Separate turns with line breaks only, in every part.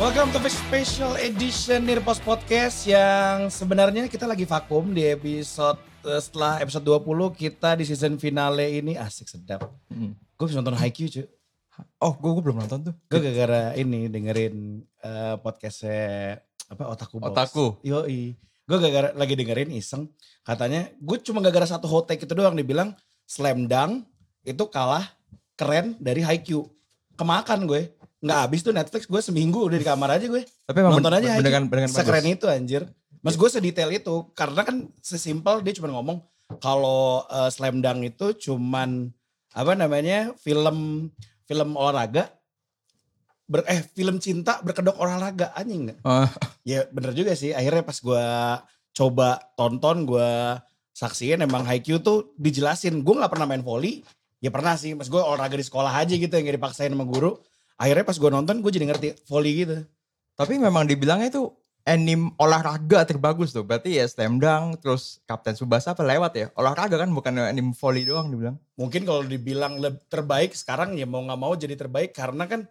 Welcome to the special edition Nirpos Podcast yang sebenarnya kita lagi vakum di episode eh, setelah episode 20 kita di season finale ini asik sedap.
Mm.
Gue bisa nonton Haikyuu cuy.
Oh, gue belum nonton tuh.
Gue gara-gara ini dengerin eh, podcastnya apa Otaku Box.
Otaku.
Yoi. Gue gara-gara lagi dengerin iseng. Katanya gue cuma gara-gara satu hot take itu doang dibilang slam dunk itu kalah keren dari Haikyuu. Kemakan gue. Nggak habis tuh Netflix gue seminggu udah di kamar aja gue.
Tapi emang
Nonton aja Haikyuu.
dengan dengan
Sekeren itu anjir. Mas gue sedetail itu karena kan sesimpel dia cuma ngomong kalau eh, slam dunk itu cuman apa namanya film film olahraga ber, eh film cinta berkedok olahraga anjing nggak?
Ah.
Ya bener juga sih. Akhirnya pas gue coba tonton gue saksiin emang Haikyuu tuh dijelasin. Gue nggak pernah main volley. Ya pernah sih. Mas gue olahraga di sekolah aja gitu yang gak dipaksain sama guru. Akhirnya pas gue nonton gue jadi ngerti volley gitu.
Tapi memang dibilangnya itu anime olahraga terbagus tuh. Berarti ya slam dunk, terus Kapten Subasa apa lewat ya. Olahraga kan bukan anime volley doang dibilang.
mungkin kalau dibilang leb- terbaik sekarang ya mau nggak mau jadi terbaik karena kan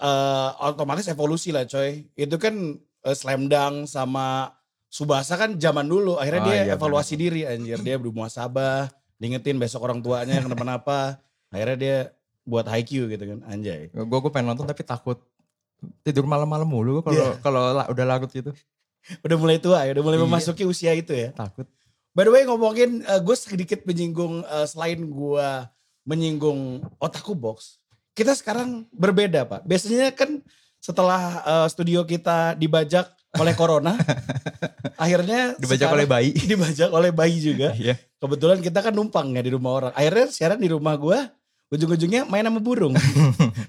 eh, otomatis evolusi lah coy itu kan eh, slam dunk sama subasa kan zaman dulu akhirnya
Ah,
dia
iya,
evaluasi diri anjir dia bermuasabah diingetin besok orang tuanya kenapa-napa akhirnya dia buat haiku gitu kan anjay
Gue gue pengen nonton tapi takut tidur malam-malam mulu gue kalau
Iya.
kalau la- udah larut gitu
udah mulai tua ya udah mulai
Iya.
memasuki usia itu ya
takut.
By the way ngomongin gue sedikit menyinggung eh, selain gue menyinggung otaku box. Kita sekarang berbeda pak. Biasanya kan setelah eh, studio kita dibajak oleh corona. akhirnya
Dibajak
sekarang-
oleh bayi.
dibajak oleh bayi juga.
Iya.
Kebetulan kita kan numpang ya di rumah orang. Akhirnya siaran di rumah gue ujung-ujungnya main sama burung.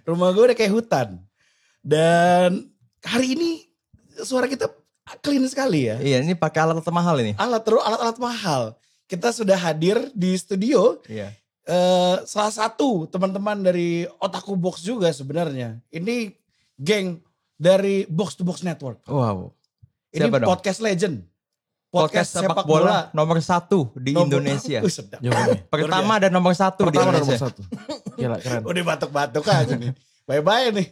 rumah gue udah kayak hutan. Dan hari ini suara kita clean sekali ya
Iya, ini pakai alat mahal ini.
alat terus alat-alat mahal. Kita sudah hadir di studio
Iya.
eh, salah satu teman-teman dari Otaku Box juga sebenarnya. Ini geng dari Box to Box Network.
Wow.
Ini
Siapa dong?
podcast legend.
Podcast, sepak bola, nomor satu di
nomor-
Indonesia.
Uh, sedap.
Jawabannya.
Pertama dan nomor satu di
Pertama nomor
Indonesia.
satu. Gila keren.
Udah batuk-batuk aja nih. Bye-bye nih.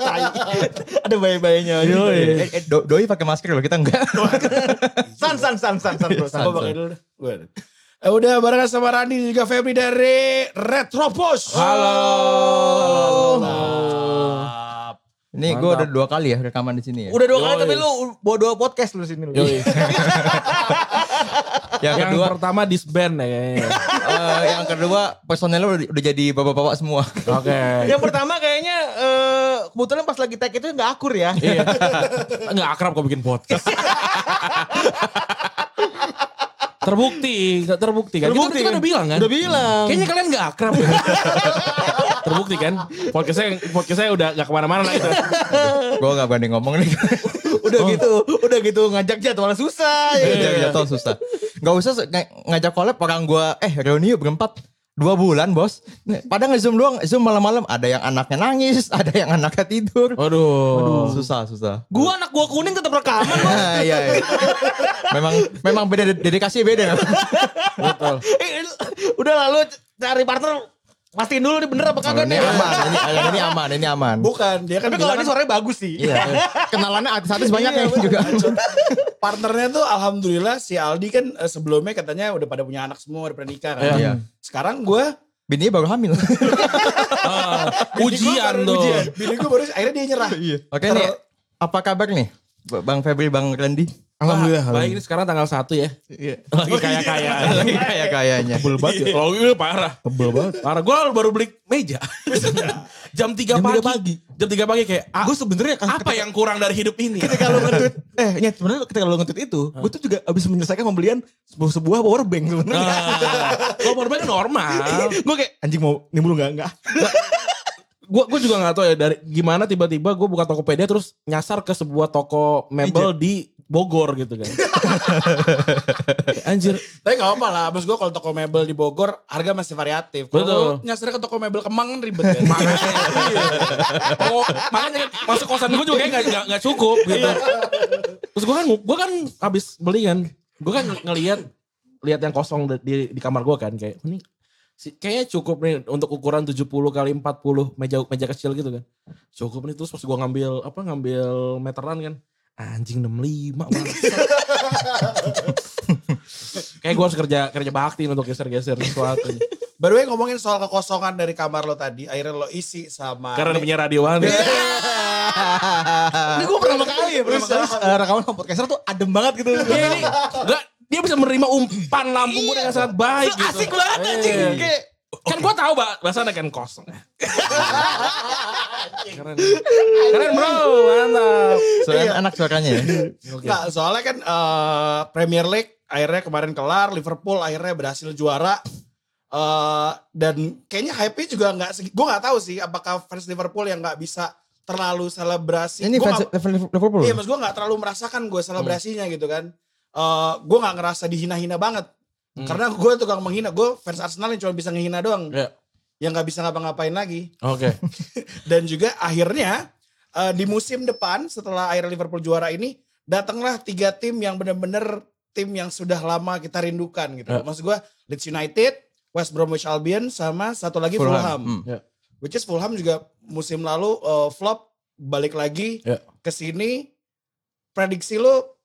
Tai. Ada bye-bye-nya. aja.
Eh, eh, do- doi pakai masker loh kita enggak.
San san san san san bro. San,
Gue pakai dulu dah. Gua ada. Eh, udah barengan sama Rani dan juga Febri dari Retropos.
Halo.
Mantap.
Ini gue udah dua kali ya rekaman di sini ya.
Udah dua kali
Yoi.
tapi lu bawa dua podcast lu sini lu.
yang
Yang
kedua,
pertama disband ya kayaknya.
eh, yang kedua personelnya udah, udah jadi bapak-bapak semua.
Oke.
Yang pertama kayaknya eh, kebetulan pas lagi tag itu nggak akur ya.
Iya. Enggak akrab kok bikin podcast. terbukti, terbukti kan?
Terbukti
kita, kita
kan?
udah bilang kan?
Udah bilang.
Kayaknya kalian gak akrab. ya. terbukti kan? Podcast saya, podcast saya udah gak kemana-mana lah gitu.
gue gak berani ngomong nih. Oh.
Udah gitu, udah gitu ngajak jadwal susah. Ya.
Jatuh- Jatuh iya, susah. Gak usah se- ng- ngajak collab orang gue, eh reuni yuk berempat. Dua bulan bos. Padahal nge-zoom doang, zoom malam-malam. Ada yang anaknya nangis, ada yang anaknya tidur.
Oh.
Aduh.
Susah, susah.
Gua anak gua kuning tetap rekaman.
Nah, iya, iya. Memang memang beda dedikasi beda.
Eh, udah lalu cari partner pastiin dulu nih bener apa
Kalau
kagak
Nah, ini
nih.
aman, ini, yang ini aman, ini aman.
Bukan, dia kan
Tapi kalau
bilang
ini suaranya bagus sih.
Iya. Kenalannya artis-artis banyak
Iya,
ya
bener.
juga.
partnernya tuh alhamdulillah si Aldi kan eh, sebelumnya katanya udah pada punya anak semua, udah pernah nikah kan.
Iya.
Sekarang gue
Bininya baru hamil.
Ah, ujian tuh.
Bini gue baru akhirnya dia nyerah.
Oke nih, apa kabar nih? B- Bang Febri, Bang Randy?
Alhamdulillah. Baik ini sekarang tanggal 1 ya. Lagi kaya-kaya.
Kayak kayaknya.
Tebel banget ya. Kalau gue parah. Tebel banget. Parah. Gue baru beli meja. jam 3
Jam 3
pagi.
pagi.
Jam 3 pagi kayak, ah,
Gue sebenernya kan
apa yang kurang dari hidup ini?
ketika lu nge-tweet eh ya sebenarnya ketika lu nge-tweet itu gue tuh juga abis menyelesaikan pembelian sebuah, sebuah power bank sebenarnya
Nah, Kalau berbank normal.
gue kayak anjing mau nimbul nggak nggak
Gue gue juga nggak tahu ya dari gimana tiba-tiba gue buka Tokopedia terus nyasar ke sebuah toko mebel di Bogor gitu kan. Anjir,
Tapi gak apa lah, maksud gue kalau toko mebel di Bogor harga masih variatif. Kalau
Betul.
nyasar ke toko mebel Kemang kan ribet kan.
Iya. Oh, makanya masuk kosan gue juga kayak gak, gak, gak cukup gitu. Terus gue kan gue kan habis beli kan, gue kan ngelihat lihat yang kosong di, di kamar gue kan kayak ini si- kayaknya cukup nih untuk ukuran 70 kali 40 meja meja kecil gitu kan. Cukup nih terus pas gua ngambil apa ngambil meteran kan. Anjing 65 bangsat. Kayak gua harus kerja kerja bakti nih untuk geser-geser sesuatu. nih.
By the way ngomongin soal kekosongan dari kamar lo tadi, akhirnya lo isi sama
Karena punya radioan.
Ini gue pertama kali ya, pertama kali eh, rekaman sama podcaster tuh adem banget gitu.
Iya ini enggak dia bisa menerima umpan lambungmu dengan sangat baik gitu.
Iya. Asik banget anjing.
Iya.
Kayak
Kan gua tahu ba bahasanya kan kosong. Keren. Keren bro, mantap.
Iya.
Soalnya enak suaranya ya.
Nggak, soalnya kan eh, Premier League akhirnya kemarin kelar, Liverpool akhirnya berhasil juara. Eh, dan kayaknya hype-nya juga nggak segi- Gue nggak tahu sih apakah fans Liverpool yang nggak bisa terlalu selebrasi.
Ini
Gua
fans
nggak-
Liverpool. Hmm.
Iya, mas gue nggak terlalu merasakan gue selebrasinya gitu kan. Eh gue nggak ngerasa dihina-hina banget.
Hmm.
Karena gue tukang menghina. Gue fans Arsenal yang cuma bisa ngehina doang.
Ya.
Iya.
Yang nggak bisa ngapa-ngapain lagi.
Oke.
Dan juga akhirnya eh, di musim depan setelah akhirnya Liverpool juara ini datanglah tiga tim yang benar-benar tim yang sudah lama kita rindukan gitu.
Ya.
Maksud gue Leeds United, West Bromwich Albion sama satu lagi Fulham.
Hmm.
Which is Fulham juga musim lalu eh, flop balik lagi
Ya.
ke sini. Prediksi lo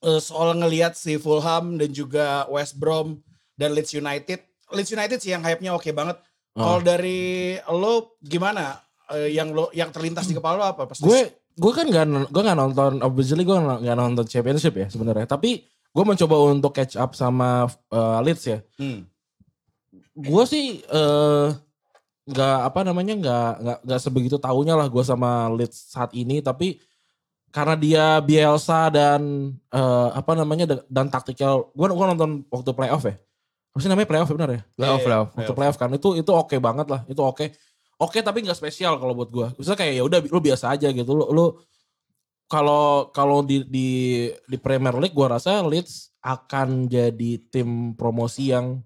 eh, soal ngelihat si Fulham dan juga West Brom dan Leeds United. Leeds United sih yang hype-nya oke banget. Kalau
Oh.
dari lo gimana? Eh, yang lo yang terlintas di kepala lo apa? Pas
Hmm. gue gue kan gak gue gak nonton obviously gue gak, nggak nonton championship ya sebenarnya tapi gue mencoba untuk catch up sama uh, Leeds ya
Hmm.
gue sih eh, nggak apa namanya nggak nggak nggak sebegitu taunya lah gue sama Leeds saat ini tapi karena dia Bielsa dan eh, apa namanya da- dan taktikal gue gue nonton waktu playoff ya apa sih namanya playoff ya benar ya
Playoff, playoff.
waktu playoff kan itu itu oke banget lah itu oke oke tapi nggak spesial kalau buat gua misalnya kayak ya udah lu biasa aja gitu lu lu kalau kalau di di di Premier League gua rasa Leeds akan jadi tim promosi yang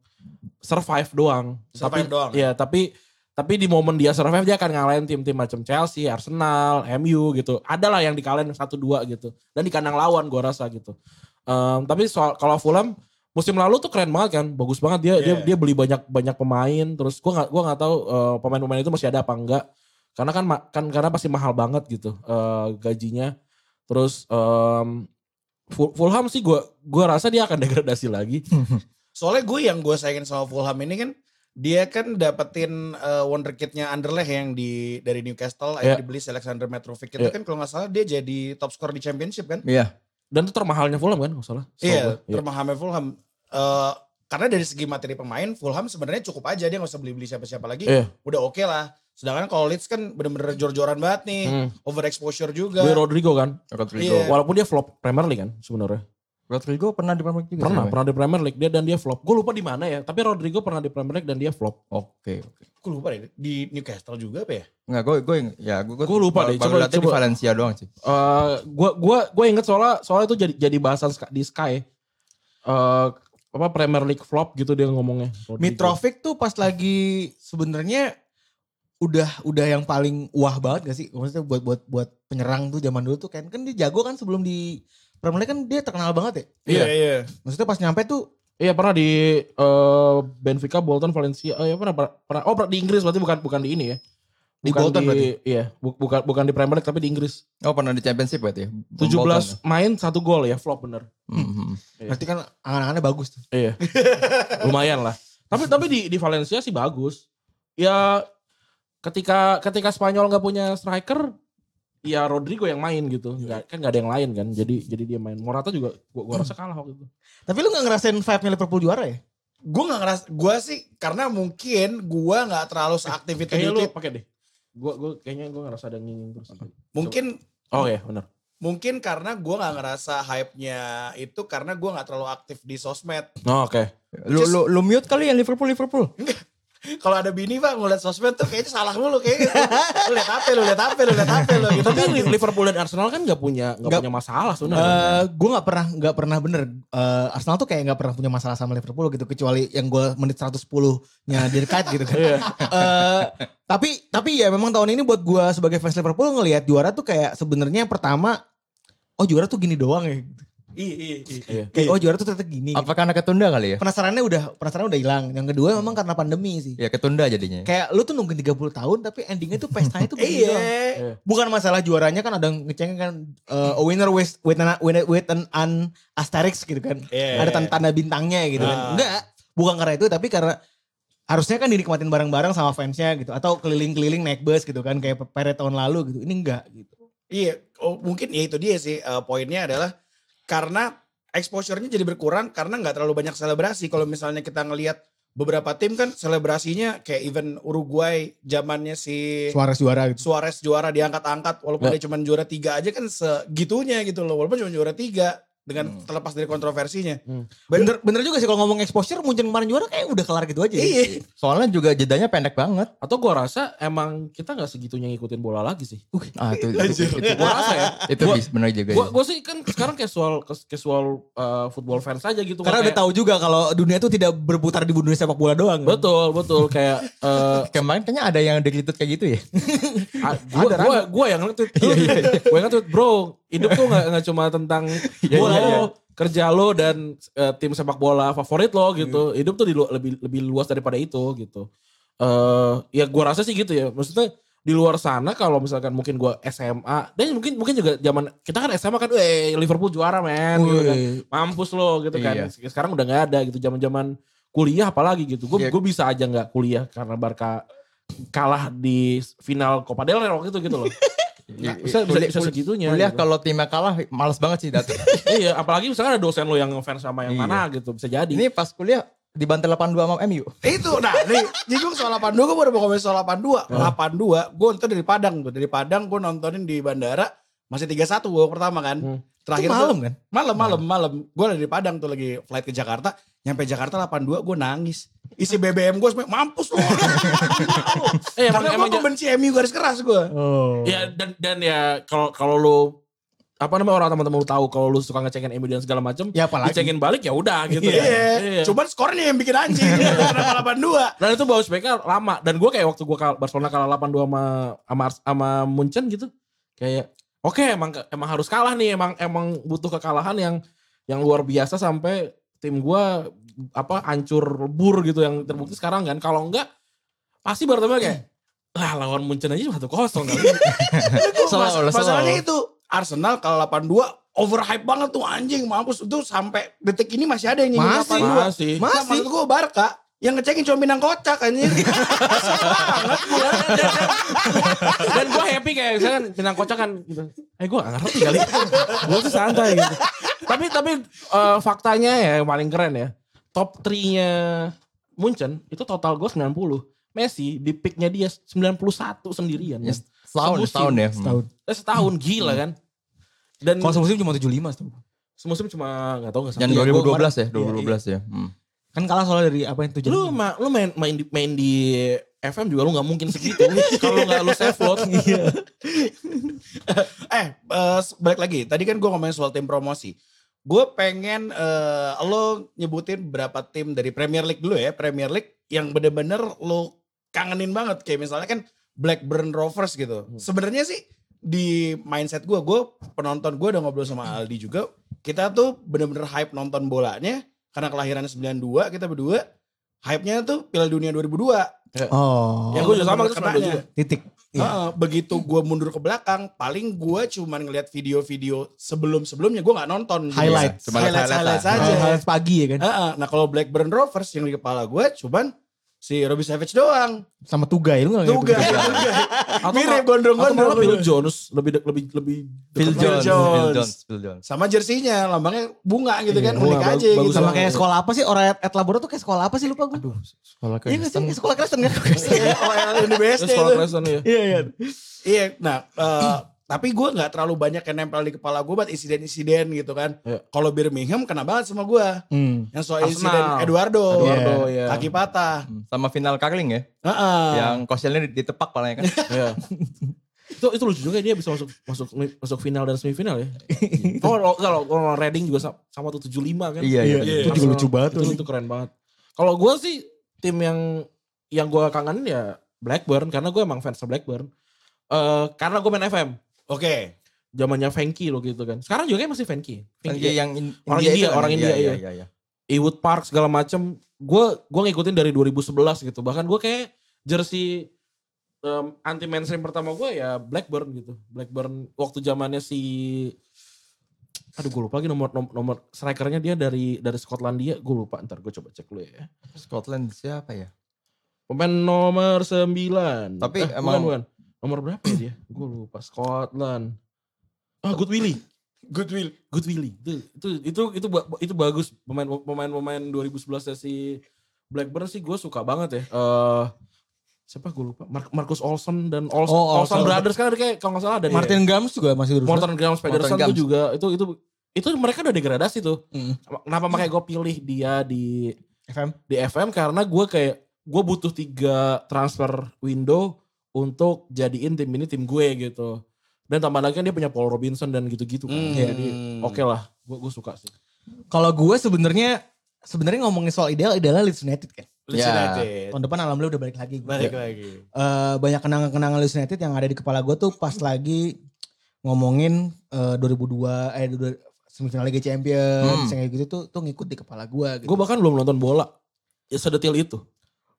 survive doang
Survive
tapi,
doang.
ya tapi tapi di momen dia survive dia akan ngalahin tim-tim macam Chelsea, Arsenal, MU gitu. Adalah yang dikalahin satu dua gitu. Dan di kandang lawan gua rasa gitu. Em, tapi soal kalau Fulham musim lalu tuh keren banget kan, bagus banget dia dia
Yeah.
dia beli banyak banyak pemain. Terus gua nggak gua nggak tahu eh, pemain-pemain itu masih ada apa enggak. Karena kan ma- kan karena pasti mahal banget gitu eh, gajinya. Terus em, Ful- Fulham sih gua gua rasa dia akan degradasi lagi.
Soalnya gue yang gue sayangin sama Fulham ini kan dia kan dapetin eh, wonderkidnya Anderlecht yang di dari Newcastle akhirnya
Iya.
dibeli si Alexander Metrovic itu
Iya.
kan kalau nggak salah dia jadi top skor di championship kan
Iya.
Dan itu termahalnya Fulham kan, nggak salah. Setahu
iya
gua.
termahamnya Fulham Eh, karena dari segi materi pemain Fulham sebenarnya cukup aja dia nggak usah beli beli siapa siapa lagi
Iya.
udah oke lah sedangkan kalau Leeds kan bener-bener jor-joran banget nih
Hmm.
overexposure juga
Beli Rodrigo kan,
Rodrigo.
Iya.
walaupun dia flop Premier League kan sebenarnya.
Rodrigo pernah di Premier League
Iya,
juga.
Pernah,
sebenarnya?
pernah di Premier League dia dan dia flop. Gue lupa di mana ya, tapi Rodrigo pernah di Premier League dan dia flop.
Oke. oke.
gue lupa deh di Newcastle juga apa ya
Enggak, gue gue ya gue
Gua lupa deh,
Baru
coba-
liatnya di
coba.
Valencia doang sih.
Eh, gua gua gua inget soalnya soalnya itu jadi jadi bahasan Sk- di Sky. Eh apa Premier League flop gitu dia ngomongnya. Rodrigo.
Mitrovic tuh pas lagi sebenarnya udah udah yang paling wah banget gak sih? Maksudnya buat buat buat penyerang tuh zaman dulu tuh kan kan dia jago kan sebelum di Premier League kan dia terkenal banget ya.
Iya.
iya
Maksudnya pas nyampe tuh
Iya pernah di eh, Benfica, Bolton, Valencia. Eh, ya pernah, pernah oh pernah di Inggris berarti bukan bukan di ini ya.
Di
Bukan
Bolton berarti?
Iya, bu- bukan bukan di Premier League tapi di Inggris.
Oh, pernah di Championship berarti ya.
17 main satu gol ya, flop bener.
Heeh.
berarti kan angan-angannya bagus tuh.
Iya. Lumayan lah. Tapi tapi di di Valencia sih bagus. Ya ketika ketika Spanyol nggak punya striker, ya Rodrigo yang main gitu. Nggak- kan nggak ada yang lain kan. Jadi jadi dia main. Morata juga gua, gua rasa kalah waktu itu.
Tapi lu gak ngerasain vibe-nya Liverpool juara ya?
gue nggak ngeras gue sih karena mungkin gue nggak terlalu seaktif itu
Kayaknya lu
dikit.
pakai deh. Gua gua kayaknya gua ngerasa ada ngingin terus.
mungkin
Oh ya, benar.
mungkin karena gue nggak ngerasa hype nya itu karena gue nggak terlalu aktif di sosmed
Oh, Oke.
Lu lu lu mute kali ya Liverpool Liverpool.
kalau ada bini pak ngeliat sosmed tuh kayaknya salah mulu kayaknya lu lihat apa lu lihat apa lu lihat apa lu gitu
Tapi Liverpool dan Arsenal kan nggak punya nggak
Nggak-
punya masalah sebenarnya.
Eh, gue nggak pernah nggak pernah bener Eh, Arsenal tuh kayak nggak pernah punya masalah sama Liverpool gitu kecuali yang gue menit 110-nya dirkat gitu kan. Eh, tapi tapi ya memang tahun ini buat gue sebagai fans Liverpool ngelihat juara tuh kayak sebenarnya pertama oh juara tuh gini doang ya. gitu. Iya, iya,
Iya.
Kayak, oh juara tuh ternyata gini.
Apa karena ketunda kali ya?
Penasarannya udah penasaran udah hilang. Yang kedua memang karena pandemi sih.
Ya ketunda jadinya.
Kayak lu tuh nungguin 30 tahun tapi endingnya tuh pestanya tuh begini doang.
Iya.
Bukan masalah juaranya kan ada yang ngecengin kan eh, a winner with, with, an, with- with an- an asterisk gitu kan.
Iya.
Ada tan- tanda bintangnya gitu kan.
Ah.
Enggak, bukan karena itu tapi karena harusnya kan dinikmatin bareng-bareng sama fansnya gitu atau keliling-keliling naik bus gitu kan kayak peret tahun lalu gitu. Ini enggak gitu.
Iya, oh, mungkin ya itu dia sih eh, poinnya adalah karena exposure-nya jadi berkurang karena nggak terlalu banyak selebrasi. Kalau misalnya kita ngelihat beberapa tim kan selebrasinya kayak event Uruguay zamannya si
Suara-suara gitu.
Suarez juara diangkat-angkat walaupun
Ya.
dia cuma juara tiga aja kan segitunya gitu loh. Walaupun cuma juara tiga dengan terlepas dari kontroversinya.
Bener, bener juga sih kalau ngomong exposure Munchen kemarin juara kayak udah kelar gitu aja. ya.
Iya.
Soalnya juga jedanya pendek banget.
Atau gua rasa emang kita nggak segitunya ngikutin bola lagi sih.
Ah itu itu,
Anjir.
itu,
Gua rasa ya.
itu
Gua-
bis- benar juga.
Gua,
ya.
gua sih kan sekarang casual casual eh, football fans aja gitu.
Karena udah
Kayak-
tahu juga kalau dunia tuh tidak berputar di dunia sepak bola doang. kan.
Betul, betul kayak eh
Kemarin kayaknya ada yang deglitut kayak gitu ya.
A- gua,
Ada,
gua, gua yang nge-tweet Lu- gua yang nge-tweet bro hidup tuh gak, nggak cuma tentang
Iya,
bola
iya,
lo kerja lo dan eh, tim sepak bola favorit lo
Iya.
gitu hidup tuh di lu- lebih lebih luas daripada itu gitu eh ya gua rasa sih gitu ya maksudnya di luar sana kalau misalkan mungkin gua SMA dan mungkin mungkin juga zaman kita kan SMA kan eh Liverpool juara men gitu kan. mampus lo gitu kan
Iya.
sekarang udah nggak ada gitu zaman zaman kuliah apalagi gitu
Iya.
gue gue bisa aja nggak kuliah karena Barca kalah di final Copa del Rey waktu itu gitu loh Nah, bisa, bisa,
Iya, Kuliah-
bisa segitunya
Kuliah
gitu.
kalau timnya kalah males banget sih datang.
iya apalagi misalkan ada dosen lo yang ngefans sama yang
Iya.
mana gitu bisa jadi
Ini pas kuliah dibantai 82 sama MU.
Itu, nah nih, nyinggung soal 82, gue baru mau komen soal 82. 82, gue nonton dari Padang tuh. Dari Padang gue nontonin di bandara, masih 3-1 gue pertama kan.
Hmm.
Terakhir
itu
tuh-
malam kan?
Malam, malam, malam. Gue dari Padang tuh lagi flight ke Jakarta. Nyampe Jakarta 82 gue nangis. Isi BBM gue semuanya, mampus lu.
eh, emang,
Karena
emang
gue pembenci MU garis keras gue.
Oh.
ya dan dan ya kalau kalau lo apa namanya orang teman-teman lo tahu kalau lo suka ngecengin MU dan segala macam
Ya apalagi.
dicengin balik ya udah gitu
Iya,
kan. Iya.
cuman skornya yang bikin anjing. Kenapa 82?
Dan itu bounce back-nya lama. Dan gue kayak waktu gue Barcelona kalah 8-2 sama, sama, Ars- sama Munchen gitu. Kayak oke emang emang harus kalah nih. Emang emang butuh kekalahan yang yang luar biasa sampai tim gue apa hancur lebur gitu yang terbukti sekarang kan. Kalau enggak pasti Barcelona kayak lah lawan Munchen aja satu kosong kan. kali.
Selalu,
Mas-
selalu.
masalahnya itu Arsenal kalau 82 overhype banget tuh anjing mampus itu sampai detik ini masih ada yang nyinggung
Masih.
82.
Masih.
Nah, maksud gue Barca yang ngecekin cuma Minang kocak anjing.
Dan gue happy kayak misalkan benang kocakan gitu. Eh gue gak ngerti kali. gue tuh santai gitu. Tapi tapi eh, faktanya ya yang paling keren ya. Top 3-nya Munchen itu total gue 90. Messi di peak-nya dia 91 sendirian.
Ya,
Ya.
setahun,
Semusim.
setahun ya.
Setahun.
Eh, setahun gila kan. Dan
Kalau semusim cuma 75 setahun.
semusim cuma gak tau gak
Dan
satu.
Iya, gua
2012
kemarin-
ya, 2012 ya. Hmm.
Kan kalah soalnya dari apa yang tujuh.
Iya, Lu, ma- lu main, main, di, main di FM juga lu gak mungkin segitu. Kalau gak lu save load.
eh eh, balik lagi. Tadi kan gue ngomongin soal tim promosi. Gue pengen eh, lo nyebutin berapa tim dari Premier League dulu ya. Premier League yang bener-bener lo kangenin banget. Kayak misalnya kan Blackburn Rovers gitu. Sebenarnya sih di mindset gue, gue penonton gue udah ngobrol sama Aldi juga. Kita tuh bener-bener hype nonton bolanya. Karena kelahirannya 92 kita berdua. Hype-nya tuh Piala Dunia 2002.
Oh.
Ya,
Yang
gua
bener-bener
juga sama, gua sama
kenanya.
juga.
Titik. Iya.
Heeh, begitu gue mundur ke belakang, paling gue cuman ngeliat video-video sebelum-sebelumnya gue nggak nonton.
Iya,
Highlight.
Cuma highlight, highlight,
lah.
saja.
Highlight pagi ya kan.
Heeh, Nah kalau Blackburn Rovers yang di kepala gue cuman si Robbie Savage doang.
Sama Tugai
Oh,
lu enggak
Tuga, tuga. mirip
Atau
gondrong-gondrong.
iya,
Iya.
malah Phil Jones lebih de- lebih lebih
Phil
Phil
Jones, Phil
Jones.
Jones, Phil Jones.
Sama jersinya, lambangnya bunga gitu kan,
Iya,
unik
bunga,
aja
bagus
gitu.
Sama kayak sekolah apa sih? Orang at, at Labora tuh kayak sekolah apa sih lupa gue. Aduh.
Sekolah
Iya nggak sih? Kayak sekolah Kristen kan?
Iya, OL in the best
Terus
day
kalau
itu.
Preston ya.
Iya iya.
Iya, nah eh, tapi gue nggak terlalu banyak yang nempel di kepala gue buat insiden-insiden gitu kan.
Iya.
Kalau Birmingham kena banget sama gue.
Hmm.
Yang soal
Arsenal.
insiden Eduardo,
Eduardo,
Iya.
ya.
kaki patah.
Hmm, Sama final curling ya,
Heeh.
yang kosilnya ditepak palanya kan.
Iya. itu itu lucu juga ya dia bisa masuk masuk masuk final dan semifinal ya. Oh, kalau kalau Reading juga sa- sama tuh 75 kan.
iya, iya.
Iya.
Itu juga lucu banget tuh.
Itu, itu keren banget. Kalau gue sih tim yang yang gue kangenin ya Blackburn karena gue emang fans Blackburn. Eh karena gue main FM.
Oke.
zamannya Fenki loh gitu kan. Sekarang juga kayak masih Fenki.
Iya, yang in-
Orang India,
itu kan?
orang India, iya.
iya, iya.
Ewood Park segala macem. Gue gua ngikutin dari 2011 gitu. Bahkan gue kayak jersey em, anti mainstream pertama gue ya Blackburn gitu. Blackburn waktu zamannya si aduh gue lupa lagi nomor nomor, nomor strikernya dia dari dari Skotlandia gue lupa ntar gue coba cek dulu ya
Scotland siapa ya?
pemain nomor 9
Tapi
bukan,
emang-
bukan. nomor berapa ya dia gue lupa Scotland ah Good Willy
Good will.
Good Willy. Itu itu itu itu, ba- itu bagus pemain pemain pemain 2011 nya si Blackburn sih gue suka banget ya. Eh siapa gue lupa Mar- Marcus Olsen dan Olsen,
Oh,
Olsen
Olsen.
Brothers kan ada kayak kalau nggak salah ada
Iya. Martin Gams juga masih
Iya.
dulu.
Morton Graham Pedersen
Morton
tuh juga itu itu itu mereka udah degradasi tuh.
Mm.
Kenapa makanya gue pilih dia di
FM.
di FM karena gue kayak gue butuh tiga transfer window untuk jadiin tim ini tim gue gitu. Dan tambah lagi kan dia punya Paul Robinson dan gitu-gitu
Mm.
kan.
Hmm.
Jadi oke lah, gue gue suka sih.
Kalau gue sebenarnya sebenarnya ngomongin soal ideal idealnya Leeds United kan.
Leeds
Ya.
United.
Tahun depan alhamdulillah udah balik
eh.
lagi.
Balik lagi.
Eh, banyak kenangan-kenangan Leeds United yang ada di kepala gue tuh pas lagi ngomongin eh, 2002 eh du- semifinal Liga Champions
Hmm.
yang kayak gitu tuh tuh ngikut di kepala gue gitu.
Gue bahkan belum nonton bola. Ya sedetil itu.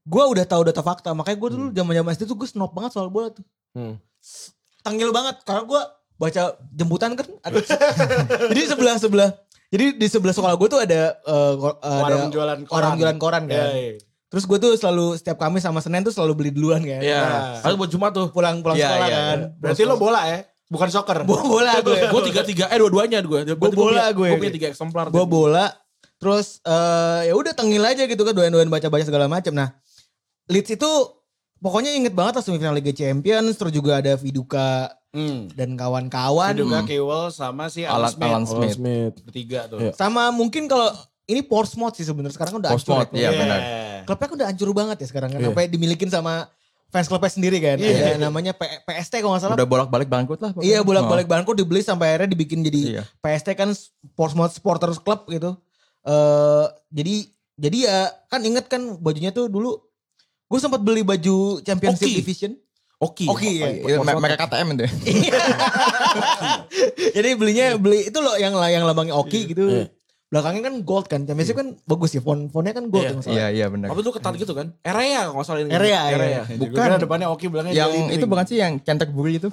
Gue udah tahu data fakta, makanya gue dulu zaman-zaman SD tuh gue snob banget soal bola tuh.
Hmm.
Tanggil banget karena gue baca jemputan kan ada jadi sebelah sebelah jadi di sebelah sekolah gue tuh ada eh, ko- ada
Warung jualan koran.
orang jualan koran kan.
Iya, iya.
Terus gue tuh selalu setiap Kamis sama Senin tuh selalu beli duluan kan.
Iya.
Nah.
Tapi buat Jumat tuh.
Pulang pulang
Iya,
sekolah
iya,
kan.
Berarti lo bola ya? Bukan soccer.
Gua bola ya. gue.
Gue tiga tiga, eh dua duanya gue.
Gua bola gue.
Gue punya tiga eksemplar.
Gue bola. Terus eh ya udah tengil aja gitu kan doain-doain baca-baca segala macam. Nah, Leeds itu pokoknya inget banget lah semifinal Liga Champions terus juga ada Viduka
Hmm.
dan kawan-kawan
Juga Kewell sama si Alan
Alan,
Smith. Oh,
Alan
Alan
Smith.
Smith.
Bertiga tuh.
Iya.
sama mungkin kalau ini Portsmouth sih sebenarnya sekarang kan udah hancur.
Portsmouth,
ya.
iya. benar.
Klubnya kan udah hancur banget ya sekarang kan.
Iya.
Sampai dimilikin sama fans klubnya sendiri kan.
Iya.
Ada namanya P- PST kalau nggak salah.
Udah bolak-balik bangkrut lah. pokoknya. Oh.
Iya bolak-balik bangku dibeli sampai akhirnya dibikin jadi
Iya.
PST kan Portsmouth Supporters Club gitu. eh jadi jadi ya kan inget kan bajunya tuh dulu gue sempat beli baju Championship
Oki.
Division.
Oki.
Oki, iya.
Iya, me- mereka KTM itu ya.
jadi belinya beli itu loh yang yang lambangnya Oki gitu.
Iya.
Belakangnya kan gold kan. Championship kan bagus ya. Font fontnya kan gold
Iya.
yang salah.
Iya, iya benar.
Tapi itu ketat
Hmm.
gitu kan. Area kalau nggak salah ini.
Area,
Area.
area.
Bukan.
Bukan.
depannya Oki bilangnya
yang
Jelly
itu
Drink.
bukan sih yang Canterbury itu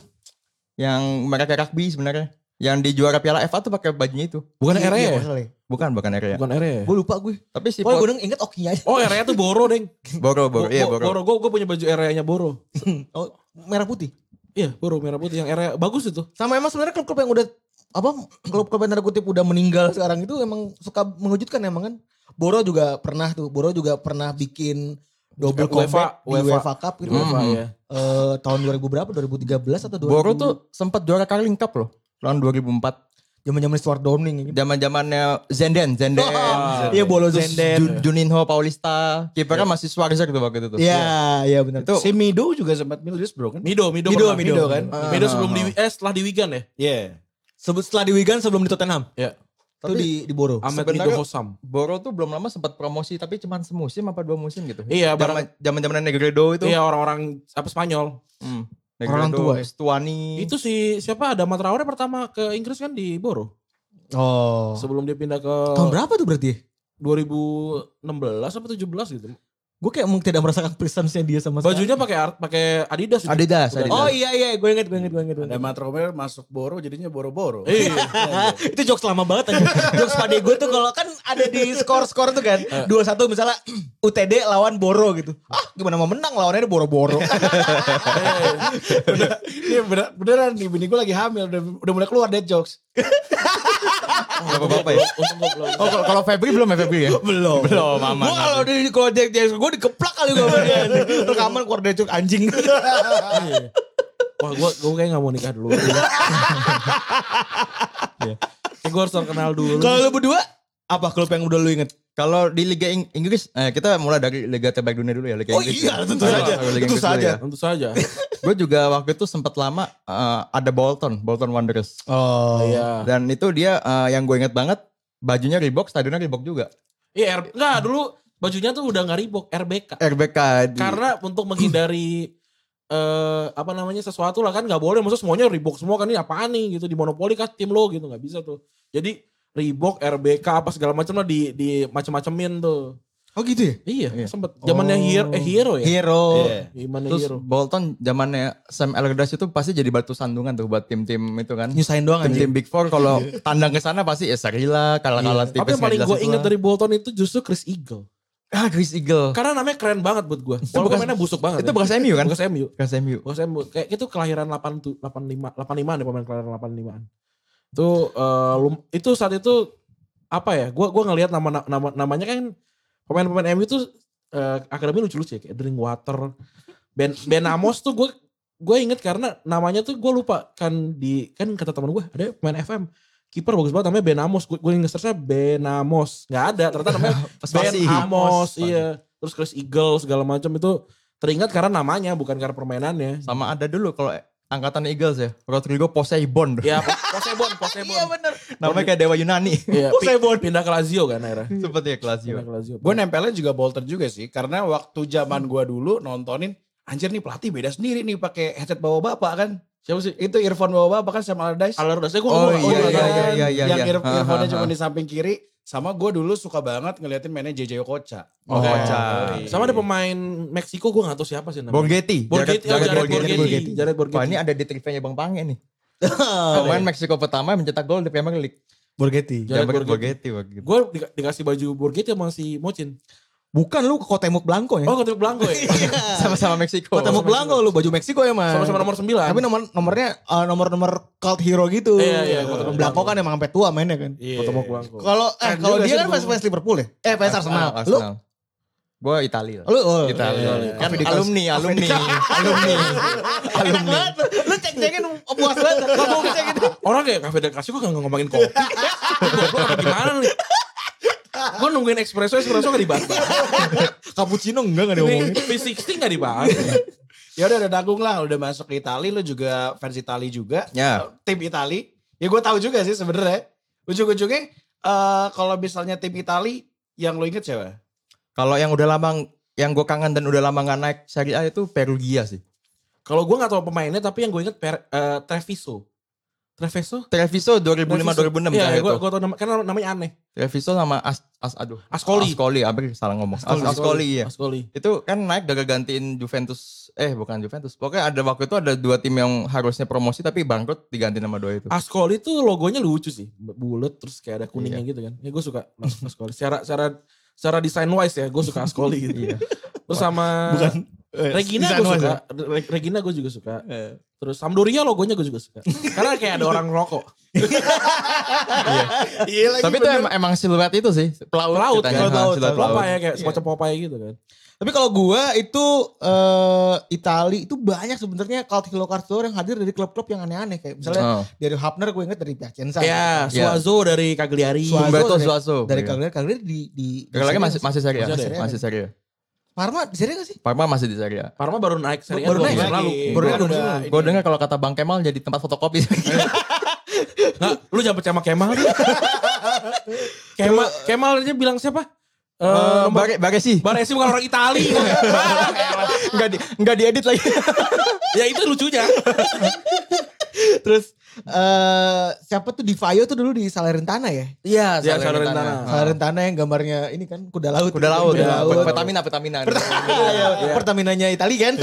yang mereka rugby sebenarnya yang di juara Piala FA tuh pakai bajunya itu
Bukan
Iya,
area.
iya,
ya?
masalah ya.
bukan bukan area
Bukan area. ya?
Gue lupa gue.
tapi si
Pokoknya
Port-
gue deng- inget Okinya aja.
Oh area tuh Boro deng.
Boro Boro iya
Bo-
Boro
Boro. Gue punya baju areanya Boro.
Oh, merah putih.
Iya Boro merah putih yang area. Bagus itu.
Sama emang sebenarnya klub-klub yang udah apa klub-klub yang tanda kutip udah meninggal sekarang itu emang suka mengejutkan emang kan. Boro juga pernah tuh, Boro juga pernah bikin double
UEFA,
combat di UEFA,
UEFA.
Cup gitu.
Eh, Hmm.
Apa ya.
Eh, tahun 2000 berapa? 2013 atau 2000?
Boro tuh sempat juara Carling Cup loh tahun 2004
zaman-zaman Stuart Downing gitu.
zaman zamannya Zenden Zenden
Ah,
Iya, Bolo
terus
Zenden.
Ju- Oh. Juninho Paulista kipernya masih Schwarzer tuh waktu itu tuh
Iya, iya benar.
itu
Si Mido juga sempat Middlesbrough kan?
Mido, Mido,
Mido,
pernah.
Mido kan?
Mido sebelum di eh setelah di Wigan ya.
Iya.
Sebut setelah di Wigan Ah, sebelum di Tottenham.
Iya.
Itu di di Boro.
Ahmed
Sebenarnya-
Mido Hosam.
Boro tuh belum lama sempat promosi tapi cuman semusim apa dua musim gitu
Iya,
zaman zaman zaman Negredo itu
Iya orang-orang apa Spanyol.
Hmm.
Orang
Negredo,
tua ya?
Stuani
Hmm. Itu si siapa ada Traore pertama ke Inggris kan di Boro.
Oh.
Sebelum dia pindah ke
Tahun berapa tuh berarti? ya?
2016 apa 17 gitu.
Gue kayak emang tidak merasakan presence-nya dia sama sekali.
Bajunya pakai art- pakai Adidas itu.
Adidas,
Udah-
Adidas.
Oh iya iya, gue inget, gue inget, gue inget. gue
Ada
inget.
Matt Romero masuk Boro jadinya Boro-Boro.
Iya.
itu jokes lama banget aja. jokes pada gue tuh kalau kan ada di skor-skor tuh kan. 2-1 misalnya UTD lawan Boro gitu. Ah gimana mau menang lawannya ada Boro-Boro.
Bener- Iya bener- beneran nih bini gue lagi hamil udah, udah mulai keluar dead jokes.
Bapak-bapak ya?
Untung gua belum.
Oh kalau- kalau Febri belum ya Febri ya?
Belum.
Belum aman.
Gue kalau di kalau Jack Jackson gue dikeplak kali gue sama dia. Rekaman keluar dari cuk anjing.
Wah, gua gua kayak gak mau nikah dulu. Iya. Kayak gua harus terkenal dulu.
kalau lu berdua apa klub yang udah lu inget?
Kalau di Liga Ing- Inggris, eh, kita mulai dari Liga terbaik dunia dulu ya Liga
Oh
Inggris.
iya,
ya.
tentu
Ayo,
saja,
ayo, Liga
tentu
Inggris dulu
saja.
ya.
Iya, Tentu saja.
Gue juga waktu itu sempat lama eh, ada Bolton, Bolton Wanderers.
Oh
Ah.
Iya.
Dan itu dia eh, yang gue inget banget, bajunya Reebok, stadionnya Reebok juga.
Iya, R- enggak dulu bajunya tuh udah gak Reebok, RBK.
RBK. Di,
Karena untuk menghindari eh apa namanya sesuatu lah kan nggak boleh maksud semuanya Reebok semua kan ini apaan nih gitu di monopoli kah tim lo gitu nggak bisa tuh jadi Reebok RBK apa segala macam lah di di macam-macamin tuh
Oh gitu ya?
iya,
Iya.
sempet zamannya
Oh.
hero eh hero ya
Hero.
Iya.
Zamannya
Terus
hero
Bolton zamannya Sam Allardyce itu pasti jadi batu sandungan tuh buat tim-tim itu kan.
Nyusahin doang aja.
Tim-tim Big Four kalau tandang ke sana pasti ya Sarila kalah-kalah tipis.
Iya. tapi yang
nggak
paling
jelas itu
gue
kan-
inget
lah.
dari Bolton itu justru Chris Eagle
ah Chris Eagle.
karena namanya keren banget buat gue walaupun
bekas-
mainnya busuk banget
itu
ya.
bekas MU kan?
Bekas MU
Bekas MU.
Bos Em, kayak itu kelahiran 85 85 85 deh pemain kelahiran 85-an. Itu eh, lum- itu saat itu apa ya? Gua gua ngelihat nama, nama namanya kan pemain-pemain MU itu eh, akademi lucu-lucu ya kayak Drinkwater. Ben Ben Amos tuh gue gue inget karena namanya tuh gue lupa kan di kan kata teman gue ada pemain FM kiper bagus banget namanya Ben Amos gue gue ngesearchnya Ben Amos nggak ada ternyata namanya Ben
Pasti.
Amos iya terus Chris Eagle segala macam itu teringat karena namanya bukan karena permainannya
Sama ada dulu kalau angkatan Eagles ya. Rodrigo Poseidon.
Ya, Posebon, Posebon.
Iya bener. Namanya kayak Dewa Yunani.
Iya, pi-
Poseidon.
pindah ke Lazio kan akhirnya.
Seperti ya Lazio.
Pindah ke Lazio.
Gue nempelnya juga Bolton juga sih, karena waktu zaman gua dulu nontonin, anjir nih pelatih beda sendiri nih pakai headset bawa bapak kan.
siapa sih?
Itu earphone bawa bapak kan sama Allardyce.
Allardyce gue
Oh,
Oh, iya,
iya,
iya,
kan?
iya, iya,
Yang
iya.
ear-
Ha, ha,
earphone-nya
ha.
cuma di samping kiri. Sama gue dulu suka banget ngeliatin mainnya JJ Okocha.
Oh, Okocha.
iya.
Sama ada pemain Meksiko gue gak tahu siapa sih namanya.
Borghetti.
Borghetti, oh,
Jared-
Jared
Jared
Borghetti.
Borghetti.
Jared Borghetti.
Wah ini ada di trivia Bang Pange nih.
Oh,
Pemain Meksiko pertama yang mencetak gol di Premier League.
Borghetti.
Jared
Jared
Borghetti.
ya? Borghetti. Borghetti.
Gue dikasih baju Borghetti sama si Mocin.
Bukan lu ke Kotemuk
Eh.
Blanco ya?
Oh, ketemu Blanco ya?
Iya. Sama-sama Meksiko.
Kotemuk Blanco lu baju Meksiko ya mas.
Sama-sama nomor 9.
Tapi nomor nomornya eh, nomor-nomor cult hero gitu.
Iya, iya, Kotemuk
Blanco
Blanco.
kan emang sampai tua mainnya kan.
Ketemu Blanco.
Kalau eh
Keren
kalau
juga
dia
sih
kan
gua.
fans fans Liverpool ya? Eh fans Arsenal. Lu
Ah, Arsenal. Gue Italia.
lu oh,
Italia. Kan
Afrika-
alumni, alumni, alumni,
Enak
alumni.
banget. tuh. Lu cek-cekin puas banget. Kamu cek gitu.
Orang kayak Cafe Del Casio gue gak ngomongin kopi. Gue apa gimana nih? Gue nungguin espresso, espresso gak dibahas.
Cappuccino enggak enggak
Ini V60 gak dibahas.
Ya udah udah nanggung lah, udah masuk ke Itali, lu juga fans Itali juga.
Ya.
Tim Itali. Ya gue tahu juga sih sebenarnya. Ujung-ujungnya eh kalau misalnya tim Itali yang lo inget siapa?
Kalau yang udah lama, yang gue kangen dan udah lama gak naik Serie A itu Perugia sih.
Kalau gue gak tau pemainnya, tapi yang gue inget Per- eh, Treviso. Treviso?
Treviso 2005-2006 kan
Iya,
itu.
gue gue tau nama, karena namanya aneh.
Treviso sama As, As aduh.
Ascoli.
Ascoli, hampir salah ngomong. As, Ascoli ya.
Ascoli.
Itu kan naik gara gantiin Juventus, eh bukan Juventus. Pokoknya ada waktu itu ada dua tim yang harusnya promosi tapi bangkrut diganti nama dua itu.
Ascoli tuh logonya lucu sih, bulat terus kayak ada kuningnya
Iya.
gitu kan. Ya gue suka As- Ascoli. Secara secara secara desain wise ya, gue suka Ascoli gitu.
Iya. ya?
Terus sama
Bukan.
Eh,
Regina gue suka, Re- Regina gue juga suka.
Iya.
Terus Sampdoria logonya gue juga suka. Karena kayak ada orang rokok.
Iya
Tapi itu emang, emang siluet itu sih. Pelaut.
Pelaut
ceritanya.
kan?
Ha,
Pelaut,
siluet
pelaut.
pelaut.
Popeye kayak semacam Popeye gitu kan.
Tapi kalau gua itu eh Itali itu banyak sebenarnya cult hero cult hero yang hadir dari klub-klub yang aneh-aneh kayak misalnya
Oh.
dari Hapner gue inget dari Piacenza.
Ya,
Iya.
Suazo dari Cagliari.
Suazo
Humberto
dari-
Suazo.
Dari
Iya.
Cagliari Cagliari di di di
Gagal lagi
Serie A
masih masih Serie A.
Masih
Serie A.
Masih Serie A.
Parma di seri gak sih?
Parma masih di Serie A.
Parma baru naik seri A
Baru
dua
naik
lagi.
musim lalu.
Baru
Baru
naik
naik.
udah.
Gue dengar kalau kata Bang Kemal jadi tempat
Eh,
fotokopi.
Nah, lu jangan percaya sama Kemal. Kemal, Kemal aja bilang siapa? Eh,
Eh,
nomor-
Bare bare sih.
Baresi bukan orang Itali.
Enggak di enggak diedit lagi.
ya itu lucunya.
Terus eh siapa tuh Di Fayo tuh dulu di Salernitana ya?
Iya,
Iya,
Salernitana.
Salernitana.
Ah.
Salernitana yang gambarnya ini kan kuda laut.
Kuda laut.
Kuda
ya.
laut.
Pertamina, Pertamina.
Iya, Pertaminanya Itali kan?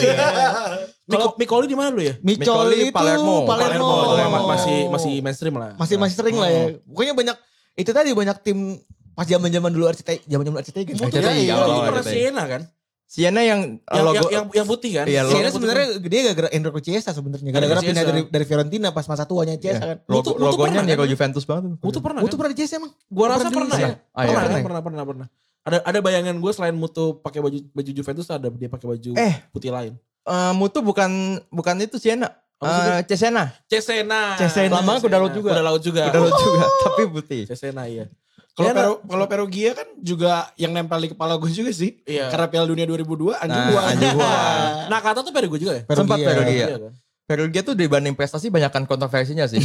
Miko, Mikoli di mana lu ya?
Micoli
Micoli,
itu
Palermo.
Palermo. Iya.
Palermo,
Oh, ma- masih masih mainstream lah.
masih masih sering lah ya. Pokoknya banyak itu tadi banyak tim pas zaman-zaman dulu RCTI, zaman-zaman RCTI gitu.
RCTI,
Iya, iya.
awal-awal
Itu pernah
RCTI.
Siena kan?
Sienna yang ya,
Yang, yang,
logo
yang, yang putih kan?
Iya, logo
Sienna
Putih.
sebenarnya gede gara-gara Enrico Chiesa sebenarnya. Gara-gara
Enrico
pindah
Chiesa.
dari dari Fiorentina pas masa tuanya
Iya.
Chiesa kan.
Logo-
Mutu- Mutu
logonya
pernah
nih
kan?
kalau Juventus banget.
Mutu pernah
Mutu
kan?
pernah di Chiesa emang?
Gua rasa
di
pernah
Indonesia.
ya.
Ah, iya,
Pernah,
pernah.
kan? pernah, pernah, pernah. Ada ada bayangan gue selain Mutu pakai baju baju Juventus ada dia pakai baju
Eh.
putih lain.
Eh, Mutu bukan bukan itu Sienna.
Apa
Eh, Cesena.
Cesena.
Cesena. Lama kuda laut juga.
Kuda laut juga.
Kuda laut juga, tapi putih.
Cesena iya.
Kalau
Siena.
Peru, kalau Perugia kan juga yang nempel di kepala gue juga sih.
Iya.
Karena Piala Dunia 2002 anjing
Nah,
gua.
anjing gua.
Nah kata tuh Peru gue juga ya.
Perugia.
Sempat Perugia.
kan?
Perugia tuh dibanding prestasi banyakkan kontroversinya sih.